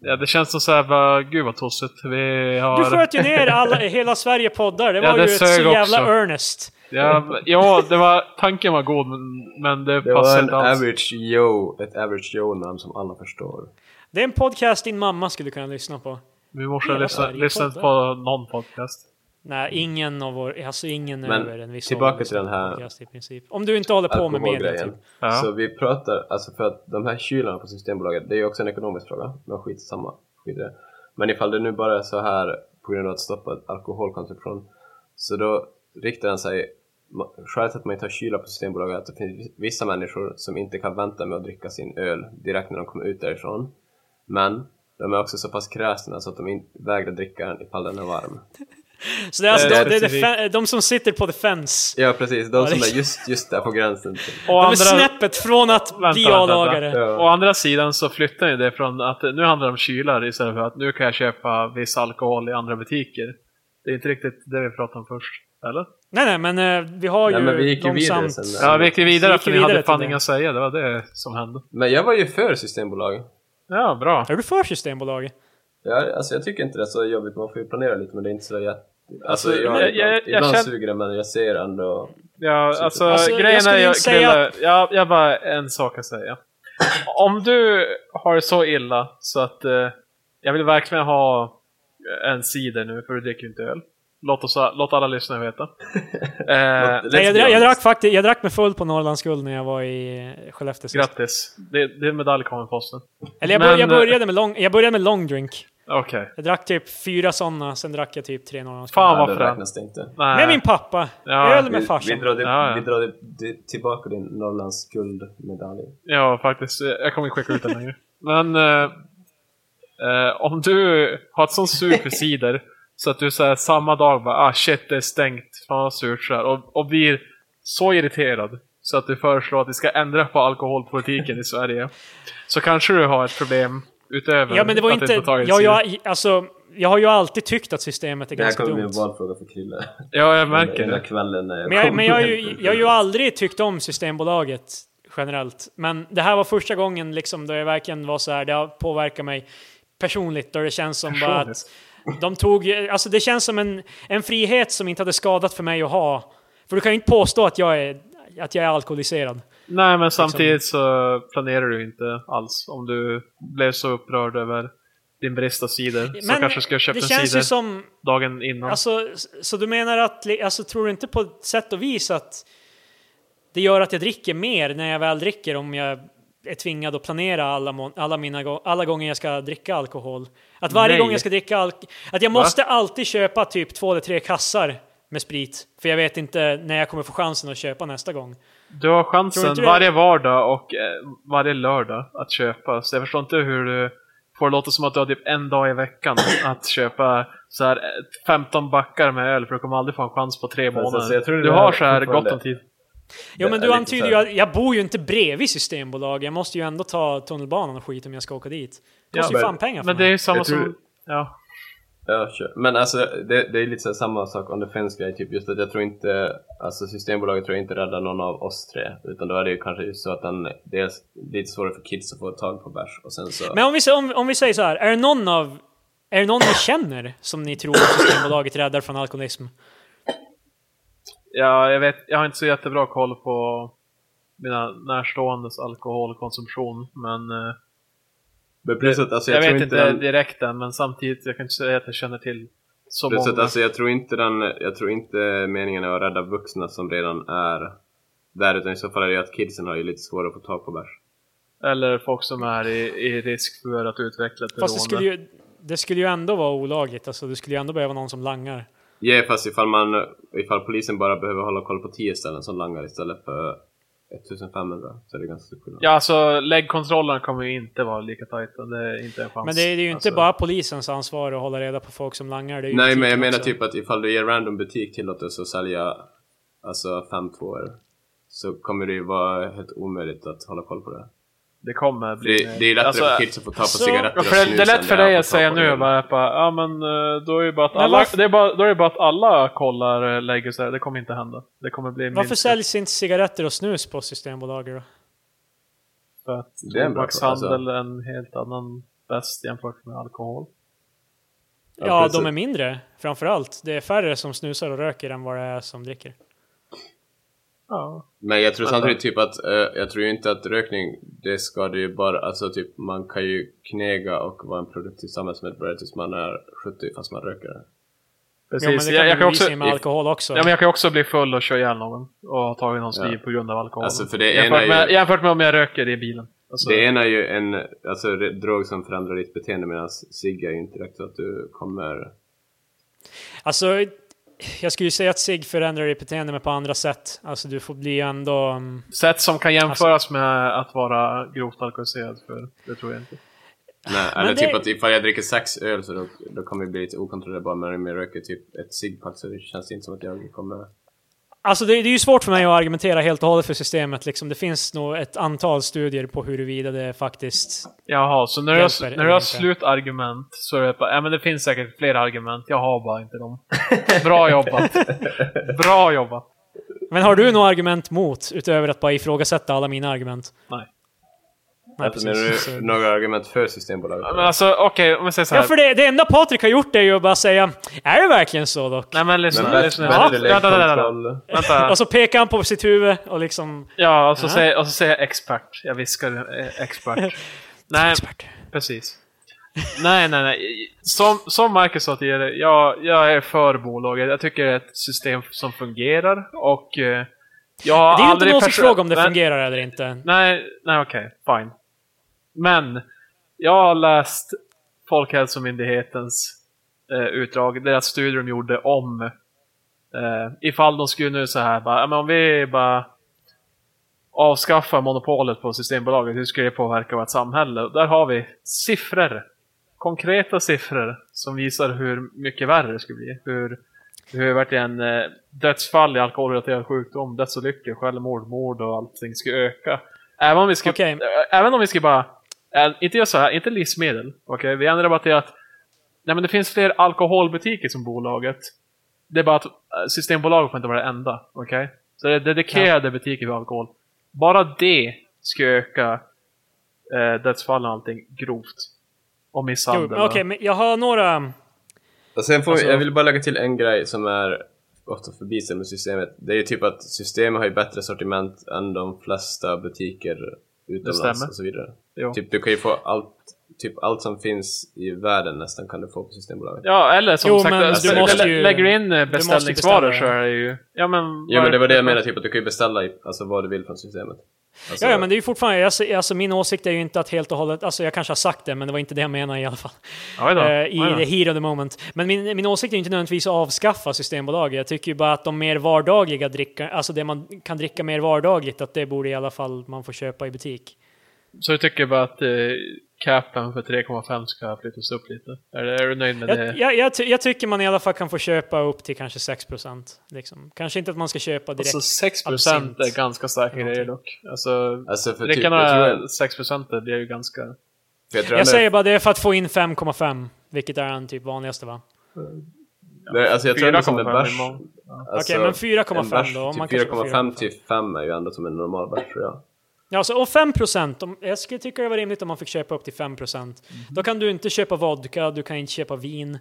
Speaker 2: Ja, det känns som så här, bara, gud vad tossigt. Vi
Speaker 1: Du
Speaker 2: har...
Speaker 1: sköt ju ner alla, hela Sverige poddar, det
Speaker 2: Ja,
Speaker 1: var
Speaker 2: det
Speaker 1: ju ett så
Speaker 2: sög
Speaker 1: jävla
Speaker 2: också.
Speaker 1: earnest.
Speaker 2: ja, ja, det var, tanken var god men, men det,
Speaker 3: Det var
Speaker 2: passade
Speaker 3: en
Speaker 2: inte alls.
Speaker 3: average Joe, ett average Joe-namn som alla förstår.
Speaker 1: Det är en podcast din mamma skulle kunna lyssna på.
Speaker 2: Vi måste
Speaker 1: Hela
Speaker 2: lyssna,
Speaker 1: Sverige
Speaker 2: lyssna
Speaker 1: poddar.
Speaker 2: på någon podcast.
Speaker 1: Nej, ingen av vår, alltså ingen
Speaker 3: Mm. Men
Speaker 1: över en viss
Speaker 3: tillbaka
Speaker 1: ålder
Speaker 3: till den här
Speaker 1: podcast i princip. Om du inte håller på med media typ.
Speaker 3: Alkoholgrejen.
Speaker 2: Ja.
Speaker 3: Så vi pratar, alltså för att de här kylarna på Systembolaget, det är ju också en ekonomisk fråga. Men skit samma, skit i det. Men ifall det nu bara är så här på grund av att stoppa alkoholkonsumtion, så då riktar den sig ma- Skälet till att man inte har kylar på Systembolaget är att det finns vissa människor som inte kan vänta med att dricka sin öl direkt när de kommer ut därifrån. Men de är också så pass kräsna så att de in- vägrar dricka den ifall den är varm.
Speaker 1: Så det är alltså
Speaker 3: Eh,
Speaker 1: de, det är
Speaker 2: specifikt.
Speaker 1: defen- de som sitter på the fence.
Speaker 3: Ja precis, de som
Speaker 1: det-
Speaker 3: är just, just där på gränsen. typ. till-
Speaker 2: Och
Speaker 1: De är
Speaker 2: andra,
Speaker 1: snäppet från att
Speaker 2: Vänta,
Speaker 1: bli
Speaker 2: vänta, vänta.
Speaker 1: A-lagare.
Speaker 3: Ja.
Speaker 2: Å andra sidan så flyttar ju det från att nu handlar det om kylar istället för att nu kan jag köpa viss alkohol i andra butiker. Det är inte riktigt det vi pratade om först, eller?
Speaker 1: Nej, nej, men eh, vi har
Speaker 3: Nej,
Speaker 1: ju
Speaker 3: men vi gick ju vidare
Speaker 1: långsamt...
Speaker 3: sen där.
Speaker 2: Ja, vi gick ju
Speaker 1: Vi
Speaker 2: vidare
Speaker 1: gick
Speaker 2: för
Speaker 1: ju
Speaker 2: ni hade
Speaker 1: vidare
Speaker 2: fan
Speaker 1: till det.
Speaker 2: inga att säga, det var det som hände.
Speaker 3: Men jag var ju för Systembolaget.
Speaker 2: Ja, bra.
Speaker 1: Är du för Systembolaget?
Speaker 3: Ja, alltså jag tycker inte det är så jobbigt, man får ju planera lite men det är inte så jätte... Alltså,
Speaker 2: Alltså,
Speaker 3: jag,
Speaker 2: men jag-
Speaker 3: ibland,
Speaker 2: jag
Speaker 3: ibland
Speaker 2: känner-
Speaker 3: suger det men jag ser ändå...
Speaker 2: Ja, alltså,
Speaker 1: Alltså, jag
Speaker 2: grejen
Speaker 1: skulle
Speaker 2: är...
Speaker 1: inte
Speaker 2: Jag,
Speaker 1: säga
Speaker 2: Krille, jag, jag har bara en sak att säga. Om du har det så illa så att eh, jag vill verkligen ha en cider nu för du dricker ju inte öl. Låt, oss, låt alla lyssnare veta. Eh,
Speaker 3: Let's
Speaker 1: Nej, jag, drack,
Speaker 3: be
Speaker 1: jag,
Speaker 3: honest.
Speaker 1: drack faktiskt, jag drack mig full på Norrlands guld när jag var i eh, Skellefteå sist.
Speaker 2: grattis, det, din medalj kommer i posten.
Speaker 1: Eller jag, bör,
Speaker 2: Men,
Speaker 1: jag,
Speaker 2: eh,
Speaker 1: började med long, jag började med long drink.
Speaker 2: Okej.
Speaker 1: Jag drack typ fyra sådana, sen drack jag typ tre Norrlands guld.
Speaker 2: Fan
Speaker 3: Ja,
Speaker 2: vad
Speaker 3: det
Speaker 2: fränt.
Speaker 3: räknas det inte.
Speaker 2: Nej.
Speaker 1: Med min pappa!
Speaker 2: Ja,
Speaker 1: Öl
Speaker 3: Vi,
Speaker 1: med
Speaker 3: vi
Speaker 1: farsan.
Speaker 3: drar, det,
Speaker 2: Ja, ja.
Speaker 3: vi drar det, det, tillbaka din Norrlands guldmedalj.
Speaker 2: Ja, faktiskt. Jag kommer inte skicka ut den längre. Men eh, eh, om du har ett sånt sug för cider så att du så här, samma dag bara ah shit det är stängt, fan vad surt så här, och, och blir så irriterad så att du föreslår att vi ska ändra på alkoholpolitiken i Sverige. Så kanske du har ett problem utöver
Speaker 1: Ja, men det var
Speaker 2: att
Speaker 1: inte...
Speaker 2: inte tagit
Speaker 1: Ja,
Speaker 2: cider.
Speaker 1: jag, alltså, jag har ju alltid tyckt att systemet är
Speaker 3: Det här
Speaker 1: ganska
Speaker 3: kommer bli
Speaker 1: dumt.
Speaker 3: en valfråga för Krille.
Speaker 2: ja, jag
Speaker 3: Den
Speaker 2: märker
Speaker 3: där
Speaker 2: det.
Speaker 3: kvällen när jag
Speaker 1: Men jag,
Speaker 3: kommer
Speaker 1: men jag, har
Speaker 3: hem
Speaker 1: ju,
Speaker 3: från
Speaker 1: jag har ju
Speaker 3: Krille.
Speaker 1: aldrig tyckt om Systembolaget generellt. Men det här var första gången liksom då jag verkligen var så här, det har påverkat mig personligt och det känns som bara att de tog, alltså det känns som en, en frihet som inte hade skadat för mig att ha. För du kan ju inte påstå att jag är, att jag är alkoholiserad.
Speaker 2: Nej, men
Speaker 1: Liksom-
Speaker 2: samtidigt så planerar du inte alls. Om du blev så upprörd över din brist av cider så
Speaker 1: Men
Speaker 2: kanske du skulle ha köpt
Speaker 1: det
Speaker 2: en
Speaker 1: känns
Speaker 2: cider
Speaker 1: ju som,
Speaker 2: dagen innan.
Speaker 1: alltså, s- så du menar att, li- alltså tror du inte på ett sätt och vis att det gör att jag dricker mer när jag väl dricker om jag är tvingad att planera alla, må- alla, mina, gå- alla gånger jag ska dricka alkohol. Att varje
Speaker 2: Nej.
Speaker 1: gång jag ska dricka alkohol, att jag
Speaker 2: Va?
Speaker 1: måste alltid köpa typ två eller tre kassar med sprit, för jag vet inte när jag kommer få chansen att köpa nästa gång.
Speaker 2: Du har
Speaker 1: Tror
Speaker 2: chansen
Speaker 1: inte det-
Speaker 2: varje vardag och eh, varje lördag att köpa. Så jag förstår inte hur du får det låta som att du har typ en dag i veckan att köpa så här eh, 15 backar med öl för du kommer aldrig få en chans på tre
Speaker 3: Fast
Speaker 2: månader.
Speaker 3: alltså, jag tror
Speaker 2: du
Speaker 3: det
Speaker 2: har
Speaker 3: här
Speaker 2: så här
Speaker 3: fortfarande-
Speaker 2: gott om tid.
Speaker 1: Jo
Speaker 3: Det
Speaker 1: men
Speaker 3: är
Speaker 1: du
Speaker 3: lite
Speaker 1: antyder
Speaker 3: så
Speaker 1: ju
Speaker 3: här-
Speaker 1: att jag bor ju inte bredvid Systembolag, jag måste ju ändå ta tunnelbanan och skit om jag ska åka dit. Det
Speaker 2: Ja,
Speaker 1: kostar ju
Speaker 3: men-
Speaker 1: fan pengar för
Speaker 2: Men det är
Speaker 1: mig.
Speaker 2: ju samma
Speaker 3: Jag tror-
Speaker 2: som... Ja.
Speaker 3: Ja, sure. Men alltså det, det är lite så här samma sak on the fence grej, typ just att jag tror inte, alltså Systembolaget tror jag inte räddar någon av oss tre, utan då är det ju kanske just så att den, det är lite svårare för kids att få tag på bärs och sen så...
Speaker 1: Men om vi, sä- om, om vi säger så här, är det någon av är det någon ni känner som ni tror att Systembolaget räddar från alkoholism?
Speaker 2: ja, jag vet. Jag har inte så jättebra koll på mina närståendes alkoholkonsumtion. Men eh,
Speaker 3: Men plus att alltså
Speaker 2: jag,
Speaker 3: jag, tror
Speaker 2: vet
Speaker 3: inte
Speaker 2: inte
Speaker 3: den,
Speaker 2: direkt än. Men samtidigt, jag kan inte säga att jag känner till så
Speaker 3: plus att
Speaker 2: många.
Speaker 3: alltså jag tror inte den, jag tror inte meningen är att rädda vuxna som redan är där, utan i så fall är det ju att kidsen har ju lite svårare att få tag på bärs.
Speaker 2: Eller folk som är i, i risk för att utveckla ett
Speaker 1: Fast det
Speaker 2: beroende.
Speaker 1: skulle, ju, det skulle ju ändå vara olagligt, alltså, du skulle ju ändå behöva någon som langar.
Speaker 3: Ja, fast ifall man, ifall polisen bara behöver hålla koll på 10 ställen som langar istället för 1500 så är det ganska stor skillnad.
Speaker 2: Ja, alltså läggkontrollen kommer ju inte vara lika tajta. Det är inte en chans.
Speaker 1: Men det är ju inte
Speaker 2: alltså,
Speaker 1: bara polisens ansvar att hålla reda på folk som langar. Det är ju
Speaker 3: Nej,
Speaker 1: butiken
Speaker 3: men jag menar
Speaker 1: också.
Speaker 3: typ att ifall du ger random butik tillåtelse att sälja alltså fem tvåor så kommer det ju vara helt omöjligt att hålla koll på det.
Speaker 2: Det kommer bli...
Speaker 3: Det, det är ju lättare
Speaker 2: Alltså,
Speaker 3: för kids att få ta på
Speaker 1: så-
Speaker 3: cigaretter
Speaker 2: ja,
Speaker 3: och
Speaker 2: för det,
Speaker 3: snus
Speaker 2: det är
Speaker 3: än
Speaker 2: lätt för
Speaker 3: det är
Speaker 2: dig
Speaker 3: få
Speaker 2: att
Speaker 3: ta
Speaker 2: säga
Speaker 3: på
Speaker 2: nu
Speaker 3: öl.
Speaker 2: bara, bara, ja men eh, då är ju bara att
Speaker 1: Men
Speaker 2: alla,
Speaker 1: varför-
Speaker 2: det är bara, då är det bara att alla kollar eh, lägger så här. Det kommer inte hända. Det kommer bli
Speaker 1: Varför
Speaker 2: minst
Speaker 1: säljs inte cigaretter och snus på Systembolaget då?
Speaker 2: för att
Speaker 3: Det är en bra alltså.
Speaker 2: tobakshandel
Speaker 3: fråga,
Speaker 2: är en helt annan bäst jämfört med alkohol.
Speaker 1: Ja,
Speaker 3: precis.
Speaker 1: de är mindre framförallt. Det är färre som snusar och röker än vad det är som dricker.
Speaker 2: Ja.
Speaker 3: Men jag tror samtidigt typ att, eh, jag tror ju inte att rökning, det ska det ju bara, alltså typ man kan ju knega och vara en produktiv samhällsmedborgare tills man är 70 fast man röker.
Speaker 1: Ja, men
Speaker 2: Precis.
Speaker 1: det
Speaker 2: jag,
Speaker 1: kan
Speaker 2: jag
Speaker 1: jag,
Speaker 2: kan
Speaker 1: ju
Speaker 2: också,
Speaker 1: också... med alkohol också.
Speaker 2: Ja, men jag kan ju också bli full och köra ihjäl någon och ha tagit någons
Speaker 3: Ja.
Speaker 2: liv på grund av alkohol.
Speaker 3: Alltså, för det ena är
Speaker 2: jämfört,
Speaker 3: ju-
Speaker 2: med, jämfört med om jag röker i bilen. Alltså,
Speaker 3: Det ena är ju en alltså, re- drog som förändrar ditt beteende medan cigg är ju inte direkt så att du kommer...
Speaker 1: Alltså, jag skulle ju säga att SIG förändrar ditt beteende men på andra sätt. Alltså du får bli ändå... mm,
Speaker 2: Sätt som kan jämföras med att vara grovt alkoholiserad, för det tror jag inte.
Speaker 3: Nej, eller
Speaker 1: det-
Speaker 3: typ att ifall jag dricker sex öl så då, då kommer jag bli lite okontrollerbar men om jag röker typ ett ciggpack så det känns inte som att jag kommer...
Speaker 1: Alltså det, det är ju svårt för mig att argumentera helt och hållet för systemet liksom. Det finns nog ett antal studier på huruvida det faktiskt...
Speaker 2: Jaha, så när du har,
Speaker 1: Hjälper
Speaker 2: när du har
Speaker 1: inte.
Speaker 2: slutargument så är det bara, ja men det finns säkert fler argument, jag har bara inte dem. Bra jobbat! Bra jobbat!
Speaker 1: Men har du några argument mot, utöver att bara ifrågasätta alla mina argument?
Speaker 2: Nej.
Speaker 1: Nej,
Speaker 3: alltså, menar
Speaker 1: precis. Så-
Speaker 3: du några argument för Systembolaget?
Speaker 2: Men alltså okej, om vi säger så här.
Speaker 1: Ja, för det, det enda Patrik har gjort är ju att bara säga “Är det verkligen så dock?”
Speaker 2: Nej men lyssna,
Speaker 3: men bäst,
Speaker 2: lyssna. vänta,
Speaker 3: bättre
Speaker 2: vänta, vänta, vänta.
Speaker 3: läggkontroll.
Speaker 2: vänta.
Speaker 1: Och så pekar han på sitt huvud och liksom...
Speaker 2: Ja, och så,
Speaker 1: Ja.
Speaker 2: säger, och så säger jag expert. Jag viskar eh, expert. nej,
Speaker 1: Expert.
Speaker 2: precis. Nej, nej, nej. Som, som Marcus sa tidigare, jag, jag är för bolaget. Jag tycker det är ett system som fungerar och eh, jag har
Speaker 1: Det är ju inte
Speaker 2: aldrig
Speaker 1: någon som
Speaker 2: perso-
Speaker 1: frågar om det
Speaker 2: Men-
Speaker 1: fungerar eller inte.
Speaker 2: Nej, nej okej, fine. Men, jag har läst Folkhälsomyndighetens eh, utdrag, deras studie de gjorde om eh, ifall de skulle nu så här bara, "Ja, men om vi bara avskaffar monopolet på Systembolaget, hur skulle det påverka vårt samhälle? Och Där har vi siffror, konkreta siffror som visar hur mycket värre det skulle bli. Hur, hur verkligen eh, dödsfall i alkoholrelaterad sjukdom, dödsolyckor, självmord, mord och allting skulle öka. Även om vi skulle,
Speaker 1: Okej.
Speaker 2: äh, även om vi skulle bara, äh, inte göra så här, inte livsmedel, okej? Vi ändrar bara till att Nej men det finns fler alkoholbutiker som bolaget. Det är bara att eh, Systembolaget får inte vara det enda. Okej? Så det är dedikerade butiker för alkohol. Bara det skulle öka eh, dödsfallen och allting grovt. Och
Speaker 1: Jo,
Speaker 2: misshandel.
Speaker 1: men Okej, men jag har några... mm.
Speaker 3: Och sen får
Speaker 1: Alltså-
Speaker 3: jag vill bara lägga till en grej som är ofta förbisedd med systemet. Det är ju typ att systemet har ju bättre sortiment än de flesta butiker utomlands
Speaker 2: stämmer.
Speaker 3: och så vidare.
Speaker 2: Jo.
Speaker 3: Typ du kan ju få allt, typ allt som finns i världen nästan kan du få på Systembolaget.
Speaker 2: Ja, eller som
Speaker 1: Jo,
Speaker 2: sagt,
Speaker 1: men du
Speaker 2: alltså,
Speaker 3: måste
Speaker 2: lä-
Speaker 1: ju-
Speaker 2: lägger du in eh,
Speaker 1: måste
Speaker 2: beställningsvaror
Speaker 1: beställa,
Speaker 2: så är det ju... Ja men...
Speaker 3: Ja men det var det
Speaker 2: varför-
Speaker 3: jag menade, typ att du kan ju beställa i, alltså, vad du vill från systemet. Alltså,
Speaker 1: Ja, ja, men det är ju fortfarande... jag ser- Alltså, min åsikt är ju inte att helt och hållet... Alltså, jag kanske har sagt det, men det var inte det jag menade i alla fall.
Speaker 2: Oj då,
Speaker 1: Eh,
Speaker 2: oj
Speaker 1: I
Speaker 2: då.
Speaker 1: the heat of the moment. Men min, min åsikt är ju inte nödvändigtvis att avskaffa Systembolaget. Jag tycker ju bara att de mer vardagliga dricka, alltså det man kan dricka mer vardagligt, att det borde i alla fall man få köpa i butik.
Speaker 2: Så du tycker bara att eh, capen för 3,5 ska flyttas upp lite? Är, är du nöjd med det?
Speaker 1: Jag, jag, jag, ty- jag tycker man i alla fall kan få köpa upp till kanske 6%. Liksom. Kanske inte att man ska köpa direkt.
Speaker 2: Alltså 6%
Speaker 1: absint.
Speaker 2: är ganska starka grejer
Speaker 1: Någonting.
Speaker 2: dock. Alltså,
Speaker 3: Alltså för typ,
Speaker 2: dricka
Speaker 3: jag tror,
Speaker 2: några
Speaker 3: jag,
Speaker 2: 6% det är ju ganska...
Speaker 3: för jag tror
Speaker 1: jag
Speaker 3: ändå-
Speaker 1: säger bara det är för att få in 5,5, vilket är den typ vanligaste va?
Speaker 3: Nej, alltså jag tror ändå som en
Speaker 2: 4,5
Speaker 3: bärs. alltså,
Speaker 2: imorgon.
Speaker 1: Okej, men
Speaker 3: en
Speaker 1: 4,5
Speaker 3: bärs,
Speaker 1: då? om man
Speaker 3: typ
Speaker 1: kanske får
Speaker 3: 4,5 till 5 är ju ändå som en normal bärs tror jag.
Speaker 1: Ja, så, och 5 procent. Jag skulle tycka det var rimligt om man fick köpa upp till 5 procent. Då kan du inte köpa vodka, du kan inte köpa vin.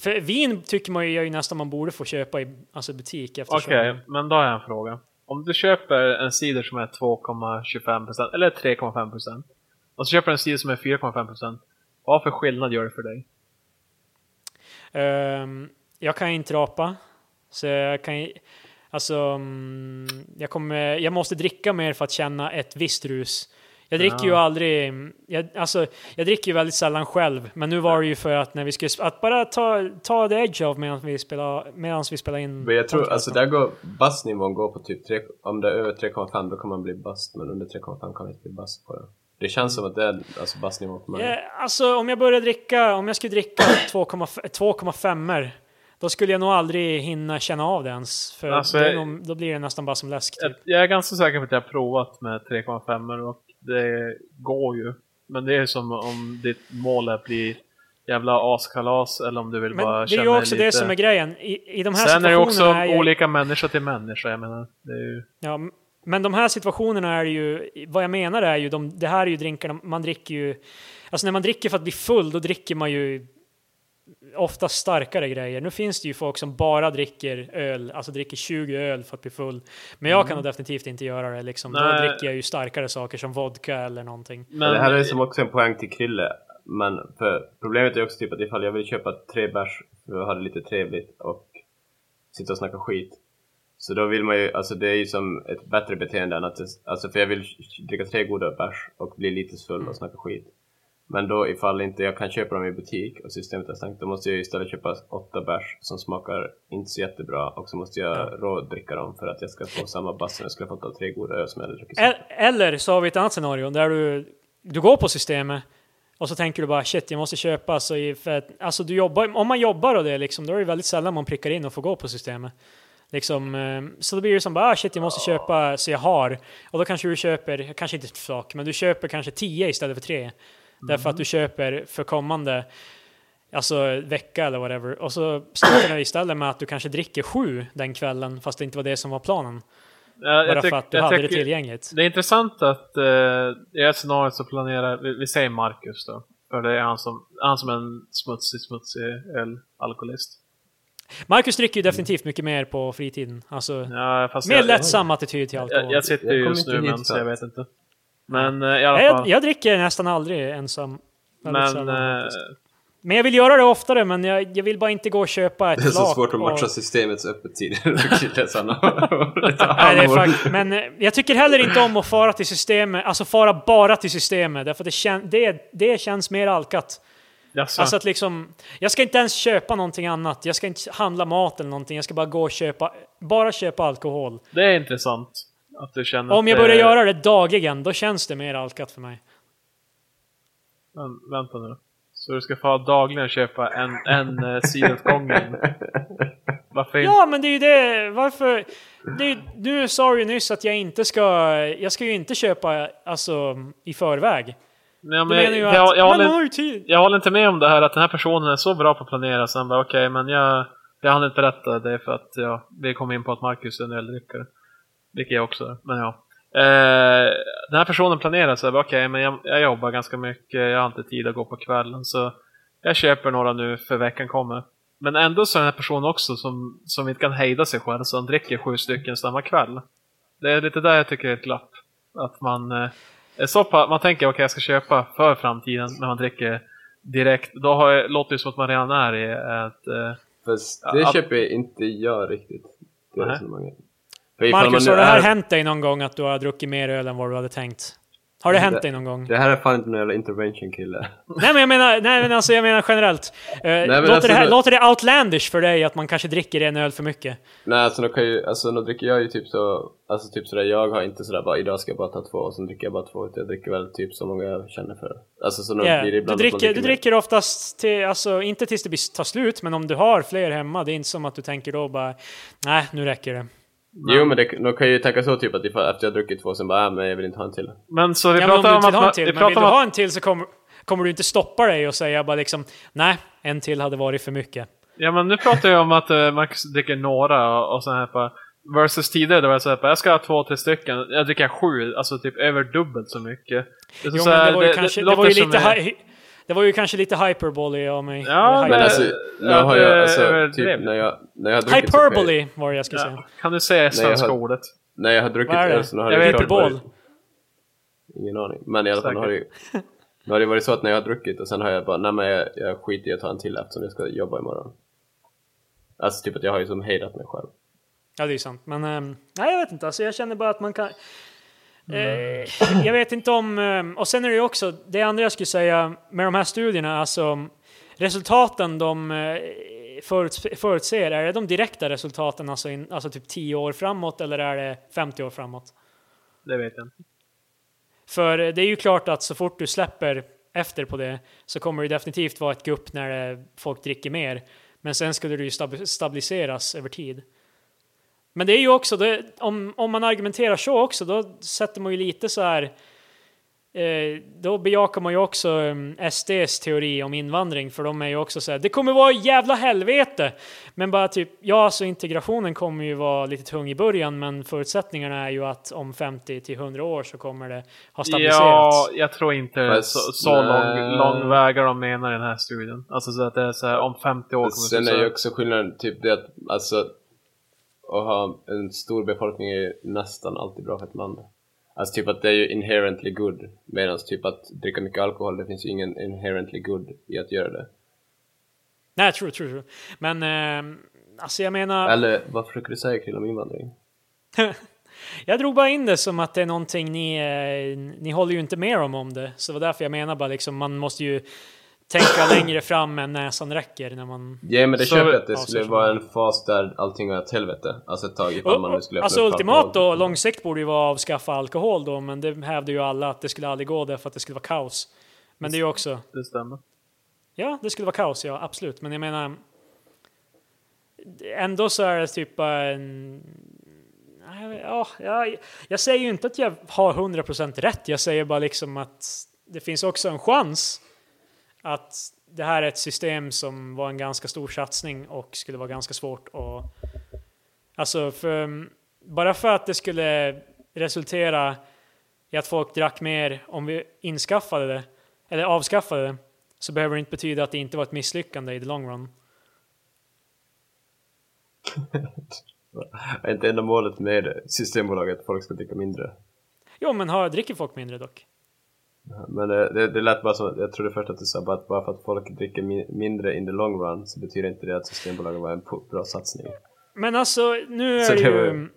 Speaker 1: För vin tycker man ju, är ju nästan man borde få köpa i alltså butik eftersom...
Speaker 2: Okej, men då har jag en fråga. Om du köper en cider som är 2,25% eller 3,5% och så köper du en cider som är 4,5% vad för skillnad gör det för
Speaker 1: Typ.
Speaker 2: dig?
Speaker 1: Ehm, jag kan inte rapa. Så jag kan ju- Alltså, mm, jag, kommer, jag måste dricka mer för att känna ett visst rus. Jag dricker ju
Speaker 2: Ja.
Speaker 1: aldrig, jag, alltså, jag dricker ju väldigt sällan själv, men nu var det ju för att när vi skulle, sp- att bara ta, ta the edge av medan vi spelar, medans vi spelar in.
Speaker 3: Men jag tror, alltså
Speaker 1: podcasten.
Speaker 3: där går, bassnivån går på typ 3, om det är över 3,5 då kan man bli bast, men under 3,5 kan man inte bli bast på det. Det känns som att det är alltså bassnivån för mig.
Speaker 1: Ja, alltså om jag börjar dricka, om jag skulle dricka 2,5 då skulle jag nog aldrig hinna känna av det ens. För
Speaker 2: Alltså,
Speaker 1: det är nog, då blir det nästan bara som läsk. Typ.
Speaker 2: Jag- Jag är ganska säker på att jag har provat med 3,5 och det går ju. Men det är som om ditt mål är att bli jävla askalas eller om du vill bara
Speaker 1: Men det är
Speaker 2: känna
Speaker 1: ju också
Speaker 2: lite...
Speaker 1: det som är grejen. I, i de här
Speaker 2: Sen är det
Speaker 1: situationerna
Speaker 2: också
Speaker 1: är ju-
Speaker 2: olika människa till människa, jag menar. Det är ju...
Speaker 1: Ja, m- men de här situationerna är ju, vad jag menar är ju, de, det här är ju drinkar, man dricker ju, alltså när man dricker för att bli full, då dricker man ju ofta starkare grejer. Nu finns det ju folk som bara dricker öl, alltså dricker 20 öl för att bli full. Men jag kan då definitivt inte göra det liksom. Då
Speaker 2: Mm. Nej.
Speaker 1: dricker jag ju starkare saker som vodka eller någonting.
Speaker 2: Men,
Speaker 3: det här är som också en poäng till Krille, men för problemet är också typ att ifall jag vill köpa tre bärs för att ha det lite trevligt och sitta och snacka skit, så då vill man ju, alltså det är ju som ett bättre beteende än att, det, alltså för jag vill dricka tre goda bärs och bli lite full och snacka skit. Men då ifall inte jag kan köpa dem i butik och systemet är stängt, då måste jag ju istället köpa åtta bärs som smakar inte så jättebra och så måste jag rådricka dem för att jag ska få samma bass som jag skulle ha fått av tre goda öl som jag hade druckit. sen.
Speaker 1: E- Eller så har vi ett annat scenario där du, du går på systemet och så tänker du bara shit, jag måste köpa. Så i- för att, alltså du jobbar, om man jobbar och det liksom, då är det väldigt sällan man prickar in och får gå på systemet. Liksom, eh, så då blir det som bara ah, shit, jag måste köpa så jag har. Och då kanske du köper, kanske inte sak, men du köper kanske 10 istället för 3. Därför att
Speaker 2: Mm.
Speaker 1: du köper för kommande alltså vecka eller whatever. Och så slutar det istället med att du kanske dricker sju den kvällen, fast det inte var det som var planen. Bara
Speaker 2: Jag, jag tyck-
Speaker 1: för att du
Speaker 2: jag
Speaker 1: hade det
Speaker 2: tycker-
Speaker 1: tillgängligt.
Speaker 2: Det är intressant att eh, i ett scenario så planerar, vi, vi säger Marcus då, för det är han som, han som är en smutsig, smutsig ölalkoholist.
Speaker 1: Marcus dricker ju definitivt mycket mer på fritiden. Alltså,
Speaker 2: Ja, fast
Speaker 1: mer
Speaker 2: jag, jag,
Speaker 1: lättsam attityd till alkohol.
Speaker 2: jag, jag sitter
Speaker 3: Jag
Speaker 2: ju
Speaker 3: kommer
Speaker 2: just
Speaker 3: inte
Speaker 2: nu
Speaker 3: hit
Speaker 2: men så jag
Speaker 3: faktiskt.
Speaker 2: vet inte. Men eh, i alla
Speaker 1: Nej,
Speaker 2: fall.
Speaker 1: jag, jag dricker nästan aldrig ensam. Väldigt
Speaker 2: men,
Speaker 1: sällan,
Speaker 2: eh,
Speaker 1: faktiskt. men jag vill göra det oftare, men jag, jag vill bara inte gå och köpa ett
Speaker 3: Det är så
Speaker 1: flak
Speaker 3: svårt att
Speaker 1: av-
Speaker 3: matcha systemets öppettider och killens
Speaker 1: Nej, det är
Speaker 3: annan.
Speaker 1: fakt- men eh, jag tycker heller inte om att fara till systemet, alltså fara bara till systemet, därför att det, kän- det, det känns mer alkat.
Speaker 2: jaså.
Speaker 1: Alltså att liksom, jag ska inte ens köpa någonting annat, jag ska inte handla mat eller någonting, jag ska bara gå och köpa, bara köpa alkohol.
Speaker 2: det är intressant att du känner
Speaker 1: Om
Speaker 2: att
Speaker 1: jag
Speaker 2: det-
Speaker 1: börjar göra det dagligen, då känns det mer alkat för mig.
Speaker 2: Men, vänta nu. Så du ska få dagligen köpa en, en eh, sida åt gången? Varför inte?
Speaker 1: Ja, men det är ju det, varför? Det är, ju- nu sa du ju nyss att jag inte ska, jag ska ju inte köpa alltså i förväg.
Speaker 2: Nej,
Speaker 1: Du
Speaker 2: men,
Speaker 1: menar
Speaker 2: jag,
Speaker 1: ju
Speaker 2: jag,
Speaker 1: att,
Speaker 2: jag,
Speaker 1: men man
Speaker 2: håller,
Speaker 1: har ju tid.
Speaker 2: jag håller inte med om det här att den här personen är så bra på att planera så han bara okej men jag, jag hann inte berätta det för att jag, vi kom in på att Marcus är en öldrickare. Vilket jag också är, men ja. Eh, den här personen planerar så jag bara okej men jag, jag jobbar ganska mycket, jag har inte tid att gå på kvällen så jag köper några nu för veckan kommer. Men ändå så är den här personen också som, som inte kan hejda sig själv så han dricker sju stycken samma kväll. Det är lite där jag tycker det är ett glapp. Att man, eh, är så pa, man tänker okej jag ska köpa för framtiden när man dricker direkt. Då har jag, låter det som att man redan är i ett... Eh,
Speaker 3: Fast
Speaker 2: Ja,
Speaker 3: det
Speaker 2: att-
Speaker 3: köper inte jag riktigt. Det
Speaker 2: Nej.
Speaker 3: resonemanget. För ifall man
Speaker 1: Marcus,
Speaker 3: nu
Speaker 1: har det här
Speaker 3: är-
Speaker 1: hänt dig någon gång att du har druckit mer öl än vad du hade tänkt? Har det
Speaker 3: Det-
Speaker 1: hänt dig någon gång?
Speaker 3: Det här är fan inte någon jävla intervention kille.
Speaker 1: Nej men jag menar, nej, men alltså, jag menar generellt. Eh,
Speaker 3: men
Speaker 1: låter,
Speaker 3: alltså,
Speaker 1: det här,
Speaker 3: det-
Speaker 1: låter det outlandish för dig att man kanske dricker en öl för mycket?
Speaker 3: Nej alltså då kan ju, alltså då dricker jag ju typ så, alltså typ sådär jag har inte sådär bara idag ska jag bara ta två och sen dricker jag bara två utan jag dricker väl typ så många jag känner för. Alltså så då
Speaker 1: Yeah.
Speaker 3: blir det
Speaker 1: Du,
Speaker 3: ibland att man
Speaker 1: dricker, du
Speaker 3: mer.
Speaker 1: dricker oftast, till, alltså, inte tills det blir- tar slut, men om du har fler hemma, det är inte som att du tänker då bara nej, nu räcker det.
Speaker 3: Jo men det, då kan jag ju tänka så typ att ifall, efter jag har druckit två sen bara äh, men jag vill inte ha en till.
Speaker 2: men så vi
Speaker 1: Ja, men om du
Speaker 2: pratar om
Speaker 1: inte vill
Speaker 2: att...
Speaker 1: ha
Speaker 2: Man,
Speaker 1: en till,
Speaker 2: vi
Speaker 1: men vill
Speaker 2: pratar
Speaker 1: du
Speaker 2: om att
Speaker 1: ha en till så kommer, kommer du inte stoppa dig och säga bara liksom nej, en till hade varit för mycket.
Speaker 2: Ja men nu pratar jag om att eh, Marcus dricker några och, och så här på Versus tidigare då var jag såhär jag ska ha två, tre stycken. Jag dricker sju, alltså typ över dubbelt så mycket. Det, är
Speaker 1: Jo,
Speaker 2: så
Speaker 1: men
Speaker 2: här,
Speaker 1: det var ju
Speaker 2: det-
Speaker 1: kanske-
Speaker 2: det
Speaker 1: det var
Speaker 2: låter
Speaker 1: ju
Speaker 2: som
Speaker 1: lite
Speaker 2: en-
Speaker 1: hy- det var ju kanske lite hyperbole av mig.
Speaker 2: Ja,
Speaker 1: Eller
Speaker 3: Men
Speaker 2: Eh,
Speaker 3: alltså, nu har
Speaker 2: ja, det
Speaker 3: jag alltså
Speaker 2: är
Speaker 3: typ
Speaker 2: trevligt.
Speaker 3: när jag, när jag har druckit så kan jag-
Speaker 1: Hyperbole var det jag skulle säga.
Speaker 2: Ja, kan du säga svenska
Speaker 3: jag har-
Speaker 2: ordet?
Speaker 3: När jag har druckit
Speaker 1: Vad är det?
Speaker 3: öl så nu har
Speaker 2: Jag
Speaker 3: det
Speaker 2: vet inte.
Speaker 3: varit-
Speaker 1: Hyperbol.
Speaker 3: Ingen aning. Men i alla fall
Speaker 2: Säkert.
Speaker 3: har det ju... Nu har det varit så att när jag har druckit och sen har jag bara, nej men jag, jag skiter i att ta en till eftersom jag ska jobba imorgon. Alltså typ att jag har ju som hejdat mig själv.
Speaker 1: Ja, det är ju sant. Men ehm, nej, jag vet inte. Alltså, jag känner bara att man kan... Eh, jag vet inte om... ehm, och sen är det ju också, det andra jag skulle säga med de här studierna, alltså resultaten de eh, föruts- förutser, är det de direkta resultaten, alltså, in, alltså typ 10 år framåt eller är det 50 år framåt?
Speaker 2: Det vet jag inte.
Speaker 1: För eh, det är ju klart att så fort du släpper efter på det så kommer det definitivt vara ett gupp när eh, folk dricker mer. Men sen skulle det ju stab- stabiliseras över tid. Men det är ju också, det, om, om man argumenterar så också, då sätter man ju lite så här Eh, då bejakar man ju också um, SDs teori om invandring, för de är ju också så här, det kommer vara jävla helvete! Men bara typ, ja alltså integrationen kommer ju vara lite tung i början, men förutsättningarna är ju att om 50 till 100 år så kommer det ha
Speaker 2: Ja,
Speaker 1: stabiliserats.
Speaker 2: jag tror inte det är
Speaker 3: Fast- eh,
Speaker 2: så, så
Speaker 3: nej.
Speaker 2: lång, lång vägar de menar i den här studien. Alltså så att det är så här, om 50 år kommer
Speaker 3: Sen
Speaker 2: det
Speaker 3: är ju
Speaker 2: så
Speaker 3: också skillnaden typ det att, alltså att ha en stor befolkning är ju nästan alltid bra för ett land. Alltså typ att det är ju inherently good, medan typ att dricka mycket alkohol, det finns ju ingen inherently good i att göra det.
Speaker 1: Nej, true, true, true. Men ehm, alltså jag menar,
Speaker 3: Eller vad försöker du säga kring om invandring?
Speaker 1: jag drog bara in det som att det är någonting ni, eh, ni håller ju inte med om om det, så det var därför jag menar bara liksom, man måste ju tänka längre fram än näsan räcker när man
Speaker 3: Ja men det
Speaker 2: Så-
Speaker 3: köper jag att det
Speaker 1: ja,
Speaker 3: skulle
Speaker 1: så-
Speaker 3: vara en fas där allting var åt helvete. Alltså ett tag ifall man nu skulle öppna
Speaker 1: alltså
Speaker 3: upp
Speaker 1: ultimat
Speaker 3: alkohol.
Speaker 1: då, långsikt borde ju vara att avskaffa alkohol då, men det hävdar ju alla att det skulle aldrig gå därför att det skulle vara kaos. Men det är ju också,
Speaker 2: det stämmer.
Speaker 1: ja det skulle vara kaos ja, absolut, men jag menar ändå så är det typ bara en... Nej, Ja, jag, jag säger ju inte att jag har 100% rätt, jag säger bara liksom att det finns också en chans att det här är ett system som var en ganska stor satsning och skulle vara ganska svårt att... Alltså, för bara för att det skulle resultera i att folk drack mer om vi inskaffade det, eller avskaffade det, så behöver det inte betyda att det inte var ett misslyckande i the long run.
Speaker 3: Är inte enda målet med Systembolaget att folk ska dricka mindre?
Speaker 1: Jo, men har, dricker folk mindre dock?
Speaker 3: Men eh, det, det lät bara som, att- jag trodde först att du sa bara att bara för att folk dricker mi- mindre in the long run så betyder inte det att Systembolaget var en po- bra satsning.
Speaker 1: Men alltså, nu
Speaker 3: Så
Speaker 1: är det
Speaker 3: det var-
Speaker 1: ju...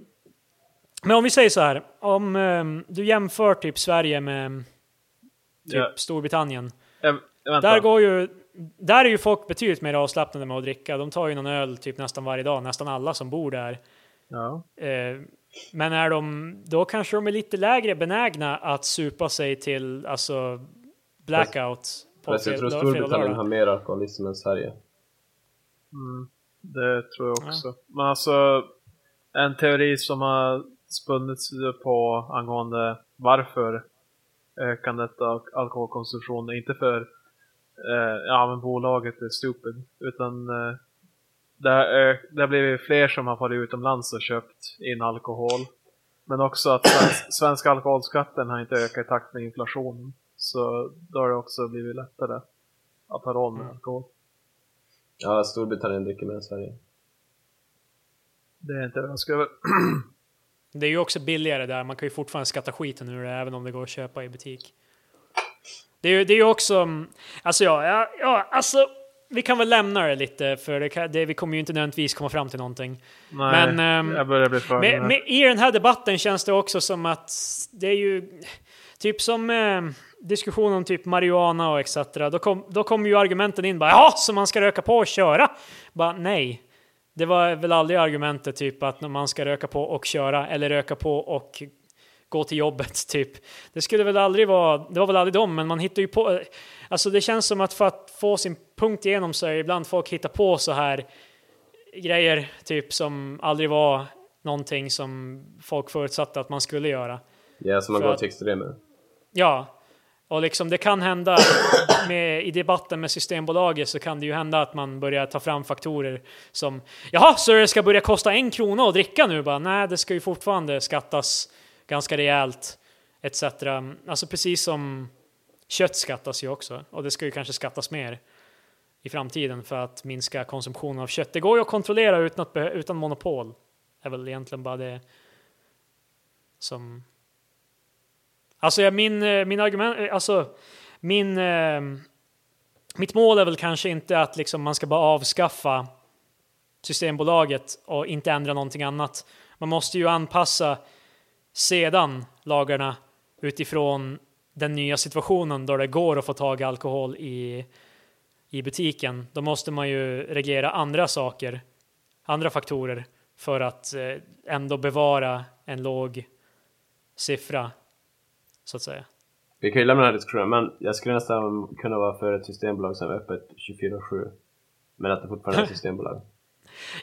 Speaker 1: Men om vi säger så här, om ehm, du jämför typ Sverige med ehm, typ
Speaker 2: Ja.
Speaker 1: Storbritannien.
Speaker 2: Jag, jag väntar.
Speaker 1: Där, går ju, där är ju folk betydligt mer avslappnade med att dricka. De tar ju någon öl typ nästan varje dag, nästan alla som bor där.
Speaker 2: Ja.
Speaker 1: Eh, Men är de, då kanske de är lite lägre benägna att supa sig till alltså, blackout på
Speaker 3: Fast Alltså, jag
Speaker 1: fred-
Speaker 3: tror
Speaker 1: lör- fredag och
Speaker 3: Storbritannien har
Speaker 1: lördag.
Speaker 3: mer alkoholism än Sverige.
Speaker 2: Mm, det tror jag också. Men alltså, en teori som har spunnits på angående varför ökandet av alkoholkonsumtion är inte för eh, ja, men bolaget är stupid, utan eh, det, har ö- det har blivit fler som har varit utomlands och köpt in alkohol. Men också att svensk, svenska alkoholskatten har inte ökat i takt med inflationen. Så då har det också blivit lättare att ha råd med alkohol.
Speaker 3: Ja, Storbritannien dricker mer än Sverige.
Speaker 2: Det är inte överraskad över.
Speaker 1: Det är ju också billigare där, man kan ju fortfarande skatta skiten ur det även om det går att köpa i butik. Det är ju det är ju också, mm, alltså ja, ja, ja, alltså vi kan väl lämna det lite för det, kan, det, vi kommer ju inte nödvändigtvis komma fram till någonting.
Speaker 2: Nej,
Speaker 1: Men, ehm,
Speaker 2: jag börjar bli för
Speaker 1: Med, med, I den här debatten känns det också som att det är ju typ som eh, diskussion om typ marijuana och etc. Då kom, då kom ju argumenten in bara ja, så man ska röka på och köra. Bara nej, det var väl aldrig argumentet typ att när man ska röka på och köra eller röka på och gå till jobbet typ. Det skulle väl aldrig vara, det var väl aldrig dem, men man hittar ju på. Alltså det känns som att för att få sin punkt igenom så är det ibland folk hittar på så här grejer typ som aldrig var någonting som folk förutsatte att man skulle göra.
Speaker 3: Ja, så man
Speaker 1: För
Speaker 3: går
Speaker 1: att-
Speaker 3: till extremer.
Speaker 1: Ja, och liksom det kan hända med, i debatten med Systembolaget så kan det ju hända att man börjar ta fram faktorer som jaha, så det ska börja kosta en krona att dricka nu? Bara, nej, det ska ju fortfarande skattas ganska rejält etc. Alltså precis som kött skattas ju också och det ska ju kanske skattas mer i framtiden för att minska konsumtionen av kött. Det går ju att kontrollera utan, att, behö- utan monopol. är väl egentligen bara det som Alltså jag, min, eh, min argument, eh, alltså min, eh, mitt mål är väl kanske inte att liksom man ska bara avskaffa Systembolaget och inte ändra någonting annat. Man måste ju anpassa sedan lagarna utifrån den nya situationen då det går att få tag i alkohol i, i butiken. Då måste man ju reglera andra saker, andra faktorer för att eh, ändå bevara en låg siffra så att säga.
Speaker 3: Vi kan ju lämna den här diskussionen, men jag skulle nästan kunna vara för ett systembolag som är öppet 24-7. Men att det fortfarande är ett systembolag.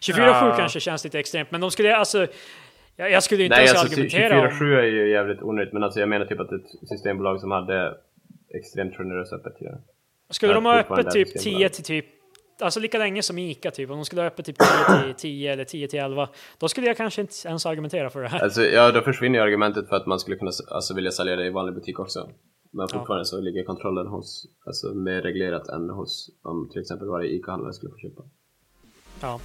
Speaker 1: 24-7
Speaker 2: Ja.
Speaker 1: kanske känns lite extremt, men de skulle alltså... Jag, jag skulle ju inte
Speaker 3: Nej,
Speaker 1: ens
Speaker 3: alltså ty-
Speaker 1: argumentera
Speaker 3: 24-7
Speaker 1: om...
Speaker 3: är ju jävligt onödigt, men alltså jag menar typ att ett systembolag som hade extremt generösa öppettider.
Speaker 1: Skulle de ha öppet
Speaker 3: fortfarande
Speaker 1: typ
Speaker 3: systembolag.
Speaker 1: 10 till typ... Alltså lika länge som Ica typ, om de skulle ha öppet typ 10 till 10 eller 10 till 11, då skulle jag kanske inte ens argumentera för det här.
Speaker 3: Alltså, ja, då försvinner ju argumentet för att man skulle kunna s- alltså, vilja sälja det i vanlig butik också. Men fortfarande så ligger kontrollen hos, alltså mer reglerat än hos om till exempel varje ICA-handlare skulle få köpa.
Speaker 1: Ja.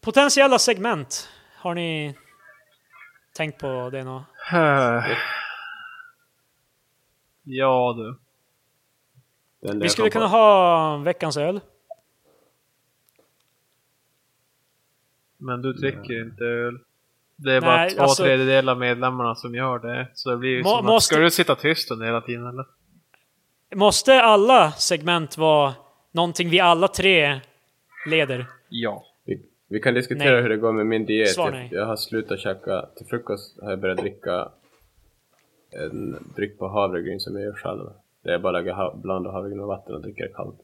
Speaker 1: Potentiella segment, har ni tänkt på det något?
Speaker 2: Ja du.
Speaker 3: Det enda
Speaker 1: Vi
Speaker 3: jag
Speaker 1: skulle
Speaker 3: kom
Speaker 1: kunna
Speaker 3: på-
Speaker 1: ha veckans öl.
Speaker 2: Men du dricker ju inte öl. Det är bara
Speaker 1: Nej,
Speaker 2: två
Speaker 1: alltså-
Speaker 2: tredjedelar av medlemmarna som gör det. Så det blir ju
Speaker 1: Må-
Speaker 2: som
Speaker 1: måste-
Speaker 2: att, Ska du sitta tyst under hela tiden eller?
Speaker 1: Måste alla segment vara någonting vi alla tre leder?
Speaker 2: Ja.
Speaker 3: vi, vi kan diskutera
Speaker 1: Nej.
Speaker 3: hur det går med min diet.
Speaker 1: Svar
Speaker 3: Jag,
Speaker 1: nej.
Speaker 3: jag har slutat käka, till frukost har jag börjat dricka en dryck på havregryn som jag gör själv. Där jag bara lägger ha- blandar havregryn med vatten och dricker det kallt.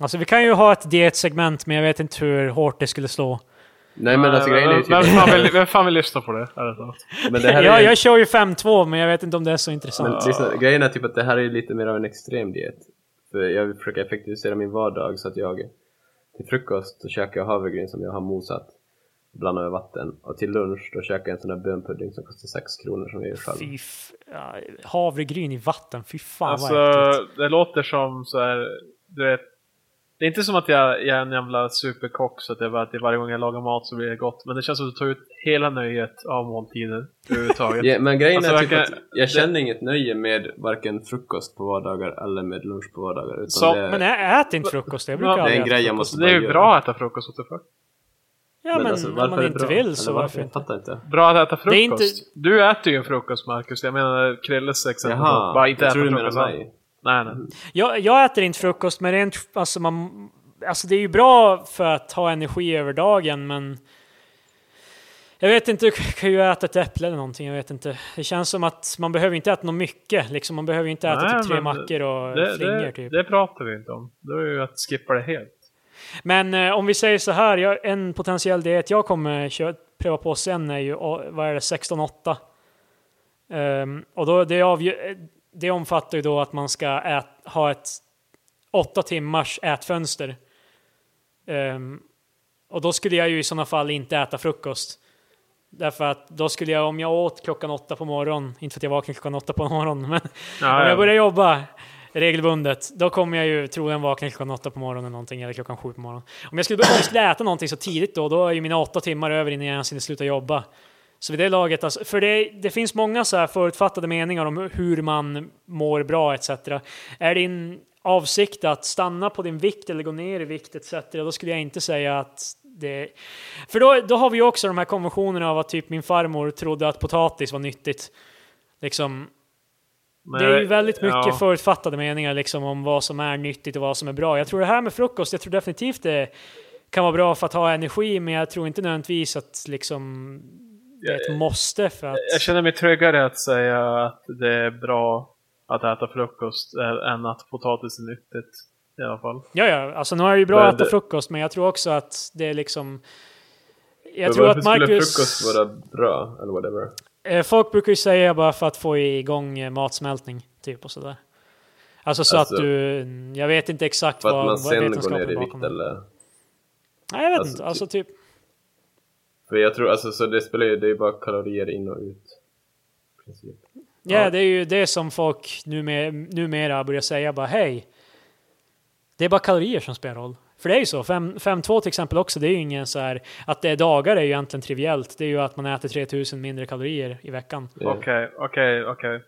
Speaker 1: Alltså vi kan ju ha ett dietsegment men jag vet inte hur hårt det skulle slå.
Speaker 3: Nej men alltså grejen är ju
Speaker 2: vem,
Speaker 3: typ...
Speaker 2: fan vill, vem fan vill lyssna på det? Är det så?
Speaker 3: Men det här är
Speaker 1: Jag,
Speaker 3: ju-
Speaker 1: jag kör ju 5-2 men jag vet inte om det är så
Speaker 3: Men
Speaker 1: intressant.
Speaker 3: lyssna, grejen är typ att det här är lite mer av en extrem diet. För jag vill försöka effektivisera min vardag så att jag Till frukost då käkar jag havregryn som jag har mosat, blandat med vatten. Och till lunch då käkar jag en sån där bönpudding som kostar 6 kronor som jag gör själv.
Speaker 1: Fy f- ja, havregryn i vatten, fy fan
Speaker 2: Alltså,
Speaker 1: vad äckligt.
Speaker 2: det låter som så här, du vet. Det är inte som att jag, jag är en jävla superkock så att jag bara att varje gång jag lagar mat så blir det gott. Men det känns som att du tar ut hela nöjet av måltiden överhuvudtaget.
Speaker 3: Ja, men grejen är
Speaker 2: Alltså,
Speaker 3: typ
Speaker 2: verkar-
Speaker 3: att jag känner inget nöje med varken frukost på vardagar eller med lunch på vardagar. Utan
Speaker 2: Så-
Speaker 3: det, är-
Speaker 1: Men ä- ät inte frukost, jag brukar
Speaker 2: Ja,
Speaker 3: det är
Speaker 1: aldrig
Speaker 3: en
Speaker 1: äta
Speaker 3: grej jag
Speaker 1: frukost.
Speaker 3: måste
Speaker 2: Så det är
Speaker 3: bara
Speaker 2: ju
Speaker 3: göra.
Speaker 2: bra att äta frukost åt för.
Speaker 1: Ja, men
Speaker 3: alltså,
Speaker 1: om
Speaker 3: varför är
Speaker 1: man
Speaker 3: det
Speaker 1: inte
Speaker 3: bra?
Speaker 1: vill så
Speaker 3: Eller
Speaker 1: varför
Speaker 3: Jag
Speaker 1: inte?
Speaker 3: fattar inte.
Speaker 2: Bra att äta
Speaker 1: Det är
Speaker 2: frukost.
Speaker 1: inte-
Speaker 2: Du äter ju en frukost Marcus. Jag menar Krilles exempel.
Speaker 3: Jaha,
Speaker 2: Bara inte
Speaker 3: jag
Speaker 2: äta
Speaker 3: tror du menar
Speaker 2: frukost. alls.
Speaker 3: mig.
Speaker 2: Nej,
Speaker 1: Mm.
Speaker 2: nej.
Speaker 1: Jag, jag äter inte frukost, men rent, alltså, man, alltså det är ju bra för att ha energi över dagen, men jag vet inte, jag kan ju äta ett äpple eller någonting, jag vet inte. Det känns som att man behöver inte äta något mycket, liksom. Man behöver inte äta
Speaker 2: Nej,
Speaker 1: typ tre
Speaker 2: men
Speaker 1: mackor och
Speaker 2: Det,
Speaker 1: flingor
Speaker 2: det,
Speaker 1: typ.
Speaker 2: det pratar vi inte om. Det är ju att skippa det helt.
Speaker 1: Men eh, om vi säger så här, jag, en potentiell diet jag kommer köra, pröva på sen är ju, å- vad är det, 16-8. Ehm, och då, det, avgö- eh, det omfattar ju då att man ska ät, ha ett 8 timmars ätfönster. Ehm, och då skulle jag ju i sådana fall inte äta frukost. Därför att då skulle jag, om jag åt klockan åtta på morgonen, inte för att jag vaknar klockan åtta på morgonen, men
Speaker 2: Ja,
Speaker 1: om
Speaker 2: ja.
Speaker 1: jag börjar jobba regelbundet, då kommer jag ju troligen vakna klockan åtta på morgonen eller någonting, eller klockan sju på morgonen. Om jag skulle, om jag skulle äta någonting så tidigt då, då är ju mina åtta timmar över innan jag ens hinner sluta jobba. Så vid det laget, alltså, för det, det finns många så här förutfattade meningar om hur man mår bra etc. Är din avsikt att stanna på din vikt eller gå ner i vikt etc. Då skulle jag inte säga att det... För då, då har vi ju också de här konventionerna av att typ min farmor trodde att potatis var nyttigt. Liksom,
Speaker 2: Men
Speaker 1: det är ju
Speaker 2: jag-
Speaker 1: väldigt mycket
Speaker 2: ja.
Speaker 1: förutfattade meningar liksom, om vad som är nyttigt och vad som är bra. Jag tror det här med frukost, jag tror definitivt det kan vara bra för att ha energi, men jag tror inte nödvändigtvis att liksom, det är ett måste för att...
Speaker 2: Jag känner mig tryggare att säga att det är bra att äta frukost eh, än att potatis är nyttigt. I alla fall.
Speaker 1: Ja, ja, alltså nu är det ju bra att
Speaker 3: Men
Speaker 1: äta
Speaker 3: det-
Speaker 1: frukost, men jag tror också att det är liksom... Jag
Speaker 3: Men
Speaker 1: tror
Speaker 3: varför
Speaker 1: att
Speaker 3: skulle
Speaker 1: Marcus...
Speaker 3: frukost vara bra, eller whatever?
Speaker 1: Eh, Folk brukar ju säga bara för att få igång eh, matsmältning, typ och sådär. Alltså så
Speaker 3: Alltså,
Speaker 1: att du... mm, Jag vet inte exakt
Speaker 3: För att
Speaker 1: vad,
Speaker 3: man
Speaker 1: vad
Speaker 3: sen går
Speaker 1: vetenskapen
Speaker 3: ner i
Speaker 1: bakom
Speaker 3: vikt
Speaker 1: det.
Speaker 3: eller?
Speaker 1: Nej, jag vet
Speaker 3: Alltså,
Speaker 1: inte. Alltså typ...
Speaker 3: För jag tror, alltså så det spelar ju, det är ju bara kalorier in och ut. I princip.
Speaker 1: Ja,
Speaker 3: Ja.
Speaker 1: det är ju det som folk numera, numera börjar säga bara hej. Det är bara kalorier som spelar roll. För det är ju så, Fem- 5-2 till exempel också, det är ju ingen så här, att det är dagar är ju egentligen triviellt, det är ju att man äter 3000 mindre kalorier i veckan.
Speaker 3: Det-
Speaker 2: Okej, okej, okej.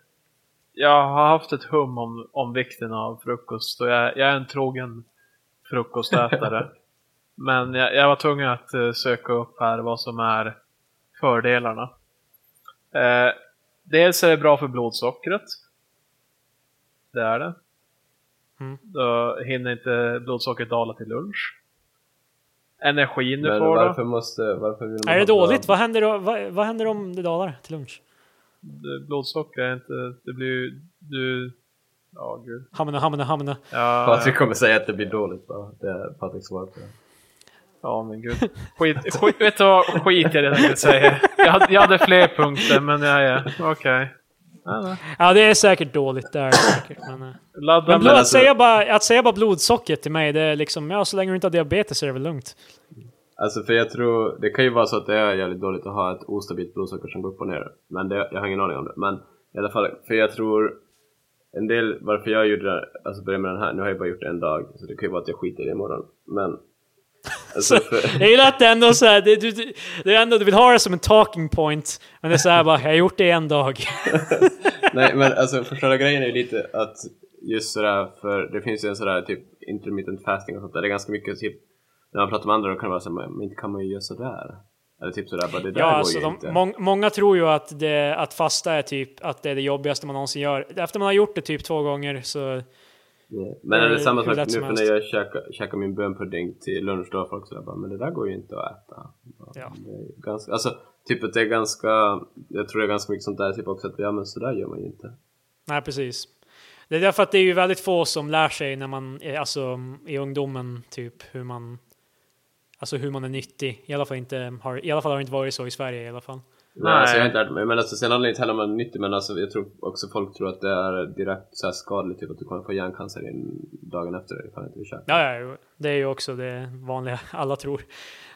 Speaker 2: Jag har haft ett hum om, om vikten av frukost och jag, jag är en trogen frukostätare. Men jag, jag var tvungen att eh, söka upp här vad som är fördelarna. Eh, dels är det bra för blodsockret. Det är det.
Speaker 1: Mm.
Speaker 2: Då hinner inte blodsockret dala till lunch. Energin du
Speaker 3: Men
Speaker 2: får då.
Speaker 3: varför måste, varför vill
Speaker 1: Är
Speaker 3: man
Speaker 1: det
Speaker 3: ha bra-
Speaker 1: dåligt? Vad händer, då- vad, vad händer om det dalar till lunch?
Speaker 2: blodsocker är inte... Det blir ju... Du... Ja, gud.
Speaker 1: Hamna, hamna, hamna.
Speaker 2: Ja,
Speaker 3: Patrik kommer säga att det blir dåligt bara. Det är Patriks svar på det.
Speaker 2: ja men gud. Skit, skit, vet du vad? Skit jag redan tänkte säga. Jag hade, jag hade fler punkter, men jag är... Okej. Ja, nej.
Speaker 1: Ja, det är säkert dåligt, det är det säkert. Men, eh.
Speaker 2: Ladda
Speaker 1: men
Speaker 2: men
Speaker 1: blod, att,
Speaker 3: alltså-
Speaker 1: säga bara, att säga bara blodsockret till mig, det är liksom, ja så länge du inte har diabetes är det väl lugnt.
Speaker 3: Alltså för jag tror, det kan ju vara så att det är jävligt dåligt att ha ett ostabilt blodsocker som går upp och ner. Men det, jag har ingen aning om det. Men i alla fall, för jag tror en del, varför jag gjorde det, här- alltså började med den här, nu har jag bara gjort en dag, så det kan ju vara att jag skiter i det imorgon. Men... Alltså för,
Speaker 1: Jag gillar att det ändå så här, det, du, du, det är ändå, du vill ha det som en talking point, men det är så här bara, jag har gjort det en dag.
Speaker 3: nej men alltså förstörda grejen är ju lite att just sådär, för det finns ju en sådär typ intermittent fasting och sånt där, det är ganska mycket typ när man pratar med andra då kan det vara såhär, men inte kan man ju göra sådär? Eller typ sådär, bara det där
Speaker 1: Ja,
Speaker 3: går
Speaker 1: alltså,
Speaker 3: ju
Speaker 1: de,
Speaker 3: inte.
Speaker 1: mång- många tror ju att, det, att fasta är typ att det är det jobbigaste man någonsin gör. Efter man har gjort det typ två gånger så...
Speaker 3: Ja, Men är
Speaker 1: Det är
Speaker 3: det samma
Speaker 1: hur
Speaker 3: sak
Speaker 1: lätt
Speaker 3: nu
Speaker 1: som
Speaker 3: för
Speaker 1: helst.
Speaker 3: när jag käkar, käkar min bönpudding till lunch då har folk sådär bara men det där går ju inte att äta.
Speaker 1: Ja.
Speaker 3: Det är ganska, alltså typ att det är ganska, jag tror det är ganska mycket sånt där typ också att ja men sådär gör man ju inte.
Speaker 1: Nej, precis. Det är därför att det är ju väldigt få som lär sig när man, är- alltså i ungdomen, typ hur man... Alltså hur man är nyttig. I alla fall inte har, i alla fall har det inte varit så i Sverige i alla fall.
Speaker 3: Nej, alltså jag har inte lärt mig. Men alltså, sen handlar det inte heller om något nytt, men alltså, jag tror också folk tror att det är direkt så här skadligt, typ att du kommer få hjärncancer en- dagen efter ifall inte du käkar.
Speaker 1: Ja, ja, jo. det är ju också det vanliga alla tror.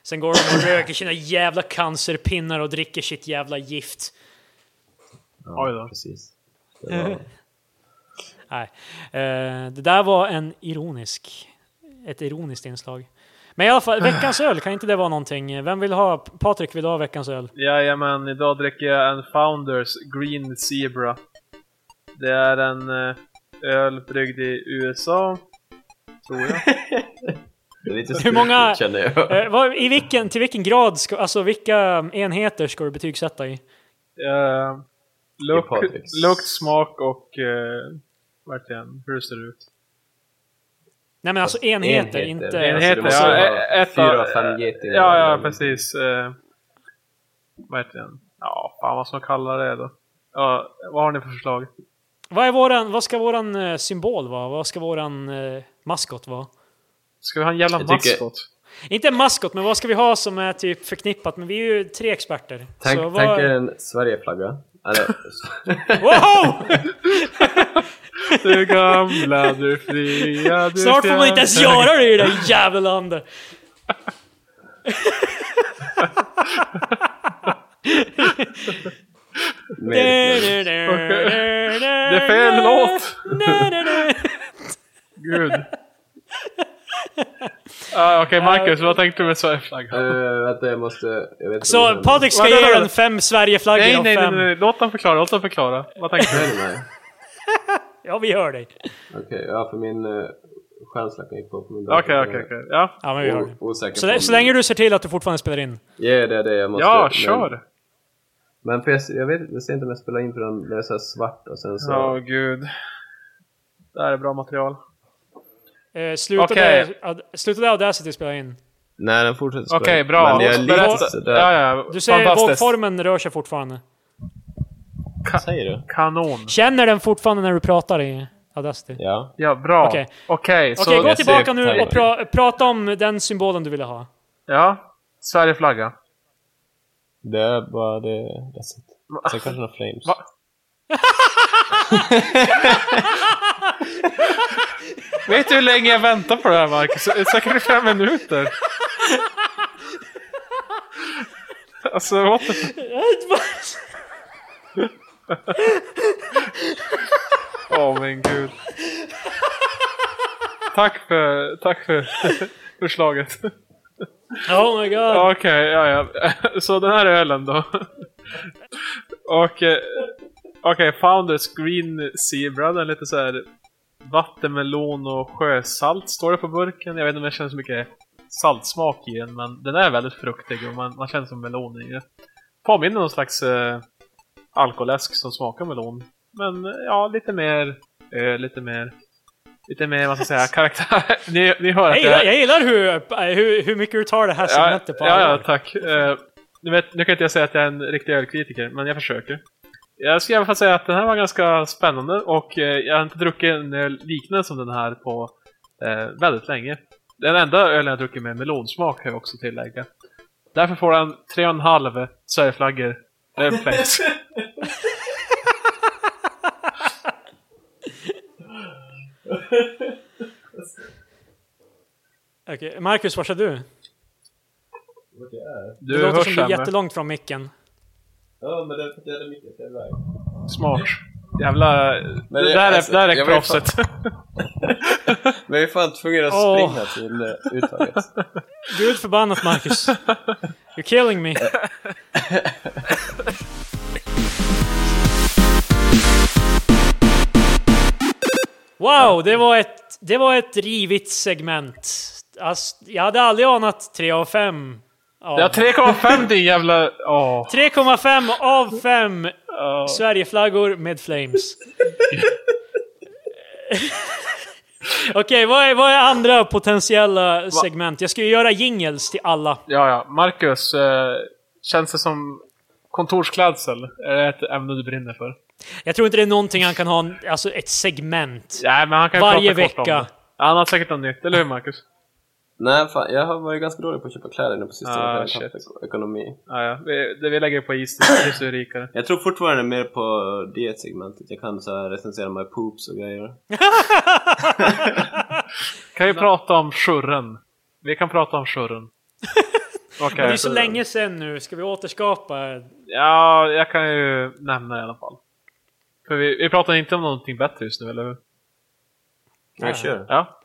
Speaker 1: Sen går de och röker sina jävla cancerpinnar och dricker sitt jävla gift.
Speaker 3: Ja,
Speaker 2: Oj då.
Speaker 3: Precis. Det var...
Speaker 1: Nej, eh, det där var en ironisk, ett ironiskt inslag. Men i alla fall, veckans öl, kan inte det vara någonting? Vem vill ha, Patrik vill ha veckans öl?
Speaker 2: Jajamän, idag dricker jag en Founders Green Zebra. Det är en eh, öl bryggd i USA, tror jag.
Speaker 3: det är lite
Speaker 1: Hur många-
Speaker 3: styrtigt, känner jag.
Speaker 1: Eh, vad, I vilken, till vilken grad, ska, alltså vilka enheter ska du betygsätta i?
Speaker 2: Eh, lukt,
Speaker 3: Det är Patricks.
Speaker 2: lukt, smak och eh, verkligen hur det ser ut.
Speaker 1: Nej men alltså enheter, inte...
Speaker 3: Alltså,
Speaker 2: Enheter,
Speaker 3: du måste
Speaker 2: ja,
Speaker 3: ha
Speaker 2: ä- eh, ett
Speaker 3: fyra,
Speaker 2: av-
Speaker 3: fem getingar.
Speaker 2: Ja, ja
Speaker 3: Men-
Speaker 2: precis. Eh, verkligen. Ja, fan vad ska man kalla det då? Ja, vad har ni för förslag?
Speaker 1: Vad, är våran, vad ska våran eh, symbol vara? Vad ska våran eh, maskot vara?
Speaker 2: Ska vi ha en jävla
Speaker 3: Jag tycker-
Speaker 2: maskot?
Speaker 1: Inte en maskot, men vad ska vi ha som är typ förknippat? Men vi är ju tre experter.
Speaker 3: Tänk,
Speaker 1: så vad...
Speaker 3: tänk er
Speaker 2: eh,
Speaker 3: en Sverigeflagga. Eller,
Speaker 1: Wow!
Speaker 2: Du gamla, du fria, du
Speaker 1: Snart får man inte ens
Speaker 2: fjärran.
Speaker 1: göra det i det där jävla landet.
Speaker 3: med,
Speaker 2: Det är fel låt! Gud. Ah, Okej Marcus, vad tänkte du med Sverigeflaggan?
Speaker 3: Eh, vänta, jag måste... Jag vet inte
Speaker 1: Så
Speaker 3: vad
Speaker 1: Patrik ska
Speaker 2: Vänta,
Speaker 1: ge
Speaker 2: vänta.
Speaker 1: den fem Sverigeflaggor
Speaker 2: Nej,
Speaker 1: av
Speaker 2: nej, nej,
Speaker 1: fem.
Speaker 2: nej, låt dem förklara, låt dem förklara. Vad tänkte
Speaker 3: jag
Speaker 2: du?
Speaker 3: känner mig.
Speaker 1: Ja, vi hör dig.
Speaker 3: Okej, ja för min uh, stjärnsläckare gick på på min dator.
Speaker 2: Okej, okej, okej. Ja,
Speaker 1: Ja, men vi hör dig.
Speaker 3: O- osäker
Speaker 1: Så,
Speaker 3: på
Speaker 1: lä-
Speaker 3: om-
Speaker 1: så länge du ser till att du fortfarande spelar in.
Speaker 3: Ja, det är det jag måste...
Speaker 2: ja
Speaker 3: men-
Speaker 2: kör!
Speaker 3: Men för jag, jag vet jag ser inte om jag spelar in för den den är så här svart och sen så...
Speaker 2: Åh gud. Det här är bra material.
Speaker 1: Eh, slutade,
Speaker 2: Okej.
Speaker 1: ad, slutade Audacity spela in?
Speaker 3: Nej, den fortsätter spela
Speaker 2: Okej,
Speaker 3: in.
Speaker 2: bra.
Speaker 3: Men jag är
Speaker 2: Berätta.
Speaker 3: lite sådär...
Speaker 2: Ja, ja.
Speaker 1: Du ser
Speaker 2: Fantastiskt.
Speaker 1: vågformen rör sig fortfarande.
Speaker 3: Vad säger du?
Speaker 2: Kanon.
Speaker 1: Känner den fortfarande när du pratar i Audacity?
Speaker 3: Ja.
Speaker 2: Ja, bra.
Speaker 1: Okej.
Speaker 2: Okej,
Speaker 1: Okej,
Speaker 2: så...
Speaker 1: gå
Speaker 3: Jag
Speaker 1: tillbaka
Speaker 3: ser
Speaker 1: nu och
Speaker 3: timer.
Speaker 1: pra, prata om den symbolen du ville ha.
Speaker 2: Ja. Sverigeflagga.
Speaker 3: Det är bara det... That's it. Sen kanske några flames.
Speaker 2: Va? Vet du hur länge jag väntar på det här Marcus? Säkert i fem minuter. Alltså, what the... Åh min gud. Tack för, tack för förslaget.
Speaker 1: oh my god.
Speaker 2: Okej, ja, ja. Så den här ölen då. Och... eh, Okej, Founders Green Zebra. Den är lite så här vattenmelon och sjösalt står det på burken. Jag vet inte om jag känner så mycket saltsmak i den, men den är väldigt fruktig och man, man känner som melon i det. Påminner om någon slags eh, alkoläsk som smakar melon. Men eh, ja, lite mer öl, lite mer... Lite mer, vad ska jag säga, karaktär. ni, ni hör
Speaker 1: Jag
Speaker 2: att jag...
Speaker 1: gillar, jag gillar hur, hur, hur mycket du tar det här segmentet på
Speaker 2: ja, ja,
Speaker 1: allvar.
Speaker 2: tack. Eh, nu, vet, nu kan inte jag säga att jag är en riktig ölkritiker, men jag försöker. Jag skulle i alla fall säga att den här var ganska spännande och eh, jag har inte druckit en öl liknande som den här på eh, väldigt länge. Den enda ölen jag druckit med melonsmak kan jag också tillägga. Därför får den 3,5 Sverigeflaggor. Det är flex.
Speaker 1: Okej, Marcus, var är du?
Speaker 2: Du
Speaker 1: Det låter som
Speaker 2: hörs
Speaker 1: du är
Speaker 2: sämre.
Speaker 1: jättelångt från micken.
Speaker 3: Ja, men det är för att jag hade mycket fel väg.
Speaker 2: Smart. Jävla...
Speaker 3: Men
Speaker 2: det
Speaker 3: jag-
Speaker 2: där
Speaker 3: alltså,
Speaker 2: är, där är
Speaker 3: jag var ju fan-
Speaker 2: proffset.
Speaker 3: Men vi är fan tvungna att
Speaker 1: Åh.
Speaker 3: springa till eh, uttaget.
Speaker 1: Gud förbannat, Marcus. You're killing me. Wow, det var ett, det var ett rivigt segment. Alltså, jag hade aldrig anat 3 av 5.
Speaker 2: Jag har 3,5 din jävla... Åh.
Speaker 1: 3,5 av 5
Speaker 2: åh.
Speaker 1: Sverigeflaggor med flames. Okej, vad, är, vad är andra potentiella segment? Jag ska ju göra jingles till alla.
Speaker 2: Ja, ja. Marcus, eh, känns det som kontorsklädsel? Är det ett ämne du brinner för?
Speaker 1: Jag tror inte det är någonting han kan ha, en- alltså ett segment.
Speaker 2: Nej, men han kan ju
Speaker 1: Varje
Speaker 2: prata kort om
Speaker 1: vecka.
Speaker 2: det. Ja, Han har säkert något nytt, eller hur Marcus?
Speaker 3: Nej, fan, jag har varit ganska dålig på att köpa kläder nu på sistone.
Speaker 2: Ah,
Speaker 3: för jag
Speaker 2: shit.
Speaker 3: har tappat ekonomi.
Speaker 2: Ja, ja. Vi, det vi lägger på is, desto är rikare.
Speaker 3: Jag tror fortfarande mer på det segmentet. Jag kan så här recensera my poops och grejer.
Speaker 2: Kan vi prata om churren? Vi kan prata om churren. Okej.
Speaker 1: Men det är så länge sedan nu, ska vi återskapa?
Speaker 2: Ja, jag kan ju nämna i alla fall. För vi, vi pratar inte om någonting bättre just nu, eller hur?
Speaker 1: Ja.
Speaker 3: Jag kör.
Speaker 2: Ja.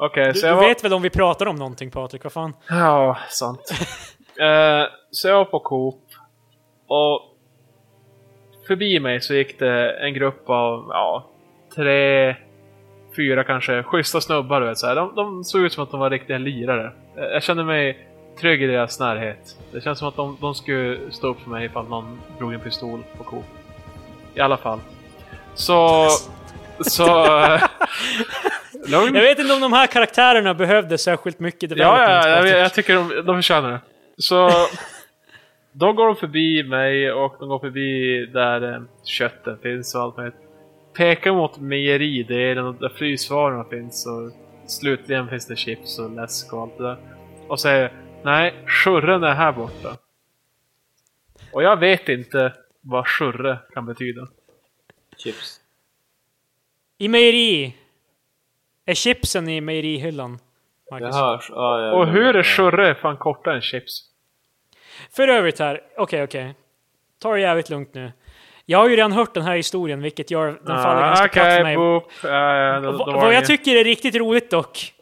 Speaker 2: Okej,
Speaker 1: Du,
Speaker 2: så
Speaker 1: du
Speaker 2: jag var...
Speaker 1: vet väl om vi pratar om någonting Patrik, vad fan?
Speaker 2: Ja, sant. Eh, så jag var på Coop och förbi mig så gick det en grupp av, ja, tre, fyra kanske schyssta snubbar. Du vet, så här. De, de såg ut som att de var riktiga lirare. Eh, jag kände mig trygg i deras närhet. Det känns som att de, de skulle stå upp för mig ifall någon drog en pistol på Coop. I alla fall. Så... så... eh, lugn.
Speaker 1: Jag vet inte om de här karaktärerna behövde särskilt mycket
Speaker 2: Mm. Ja,
Speaker 1: development.
Speaker 2: ja, jag,
Speaker 1: Patrik.
Speaker 2: jag tycker de, de förtjänar det. Så... då går de förbi mig och de går förbi där eh, köttet finns och allt möjligt. Pekar mot mejeridelen och där frysvarorna finns och slutligen finns det chips och läsk och allt det där. Och säger Nej, churren är här borta. Och jag vet inte vad churre kan betyda.
Speaker 3: Chips.
Speaker 1: I mejeri. Är chipsen i mejerihyllan? Marcus?
Speaker 3: Jaha, sh- ja, ja,
Speaker 2: Och hur är
Speaker 3: ja.
Speaker 2: churre fan kortare än chips?
Speaker 1: För övrigt här, okej okej. Ta det jävligt lugnt nu. Jag har ju redan hört den här historien, vilket gör den faller
Speaker 2: Ah,
Speaker 1: ganska platt för mig.
Speaker 2: Okej, boop. Ja, ja, då-
Speaker 1: Och
Speaker 2: då
Speaker 1: vad-
Speaker 2: var det
Speaker 1: vad jag
Speaker 2: ingen-
Speaker 1: tycker är riktigt roligt dock,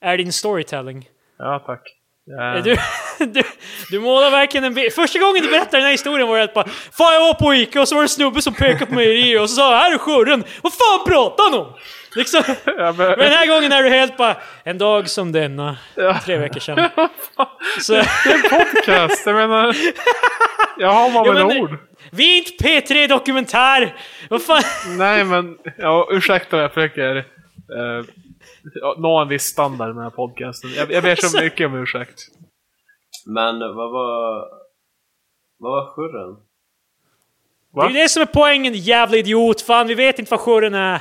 Speaker 1: är din storytelling.
Speaker 2: Ja, tack. Ja.
Speaker 1: Du, du, du målar verkligen en bild. Första gången du berättade den här historien var det att bara Fan jag var på Ica och så var det en snubbe som pekade på mejerier och så sa han, Här är skörden! Vad fan pratar han om? Liksom.
Speaker 2: Ja, men,
Speaker 1: Men den här gången är du helt bara En dag som denna,
Speaker 2: Ja.
Speaker 1: tre veckor sedan. Så,
Speaker 2: det är en podcast, jag menar... Jag har man
Speaker 1: Jo,
Speaker 2: väl
Speaker 1: men det-
Speaker 2: ord?
Speaker 1: vi är inte P3 Dokumentär! Vad fan?
Speaker 2: Nej, men ja, ursäkta om jag försöker eh, ja, nå en viss standard med den här podcasten. Jag, jag ber
Speaker 1: Alltså-
Speaker 2: så mycket om ursäkt.
Speaker 3: Men vad var... Vad var churren?
Speaker 1: Det är
Speaker 2: Va?
Speaker 1: ju det som är poängen jävla idiot! Fan vi vet inte vad skörden är!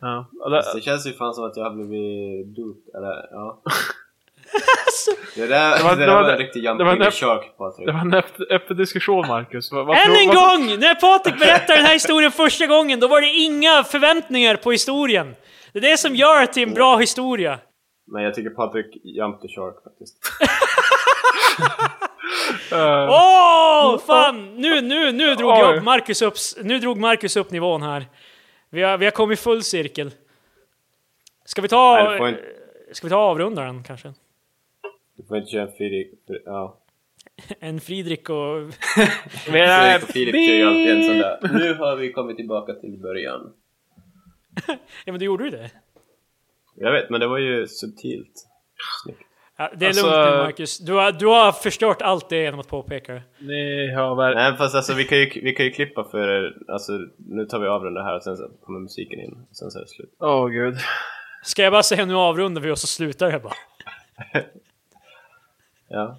Speaker 2: Ja, och det-
Speaker 3: Det känns ju fan som att jag har blivit duped, eller ja.
Speaker 1: Alltså,
Speaker 3: Det där det
Speaker 2: var-
Speaker 3: var,
Speaker 2: det var-
Speaker 3: en riktig
Speaker 2: det
Speaker 3: jumping
Speaker 2: var
Speaker 3: the
Speaker 2: en-
Speaker 3: shark,
Speaker 2: det
Speaker 3: Patrik.
Speaker 2: var en öppen, öppen diskussion, Marcus. Vad, vad,
Speaker 1: Än
Speaker 2: tror-
Speaker 1: en
Speaker 2: vad,
Speaker 1: gång! När Patrik berättade den här historien första gången, då var det inga förväntningar på historien. Det är det som gör det till en bra historia.
Speaker 3: Men jag tycker Patrik jumped the shark faktiskt.
Speaker 2: eh,
Speaker 1: Åh! fan! Nu, nu, nu drog
Speaker 2: Oj.
Speaker 1: jag Marcus upp, nu drog Marcus upp nivån här. Vi har, vi har kommit full cirkel. Ska vi ta...
Speaker 3: Nej, du får inte-
Speaker 1: Ska vi ta avrundaren kanske?
Speaker 3: Du får inte köra en Filip. Ja.
Speaker 1: En Fridrik och...
Speaker 2: men,
Speaker 3: Fredrik och Filip kör ju alltid en sån
Speaker 2: beep.
Speaker 3: där. Nu har vi kommit tillbaka till början.
Speaker 1: Ja men du gjorde ju det.
Speaker 3: Jag vet, men det var ju subtilt.
Speaker 1: Ja, det är
Speaker 2: Alltså-
Speaker 1: lugnt nu Marcus. Du har, du har förstört allt det genom att påpeka det.
Speaker 2: Ni har väl...
Speaker 3: Nej, fast alltså vi kan ju, vi kan ju klippa för er. Alltså, nu tar vi avrundar här och sen så kommer musiken in. Och sen så är det slut.
Speaker 2: Åh, gud.
Speaker 1: Ska jag bara säga nu avrundar vi och så slutar det bara.
Speaker 3: Ja.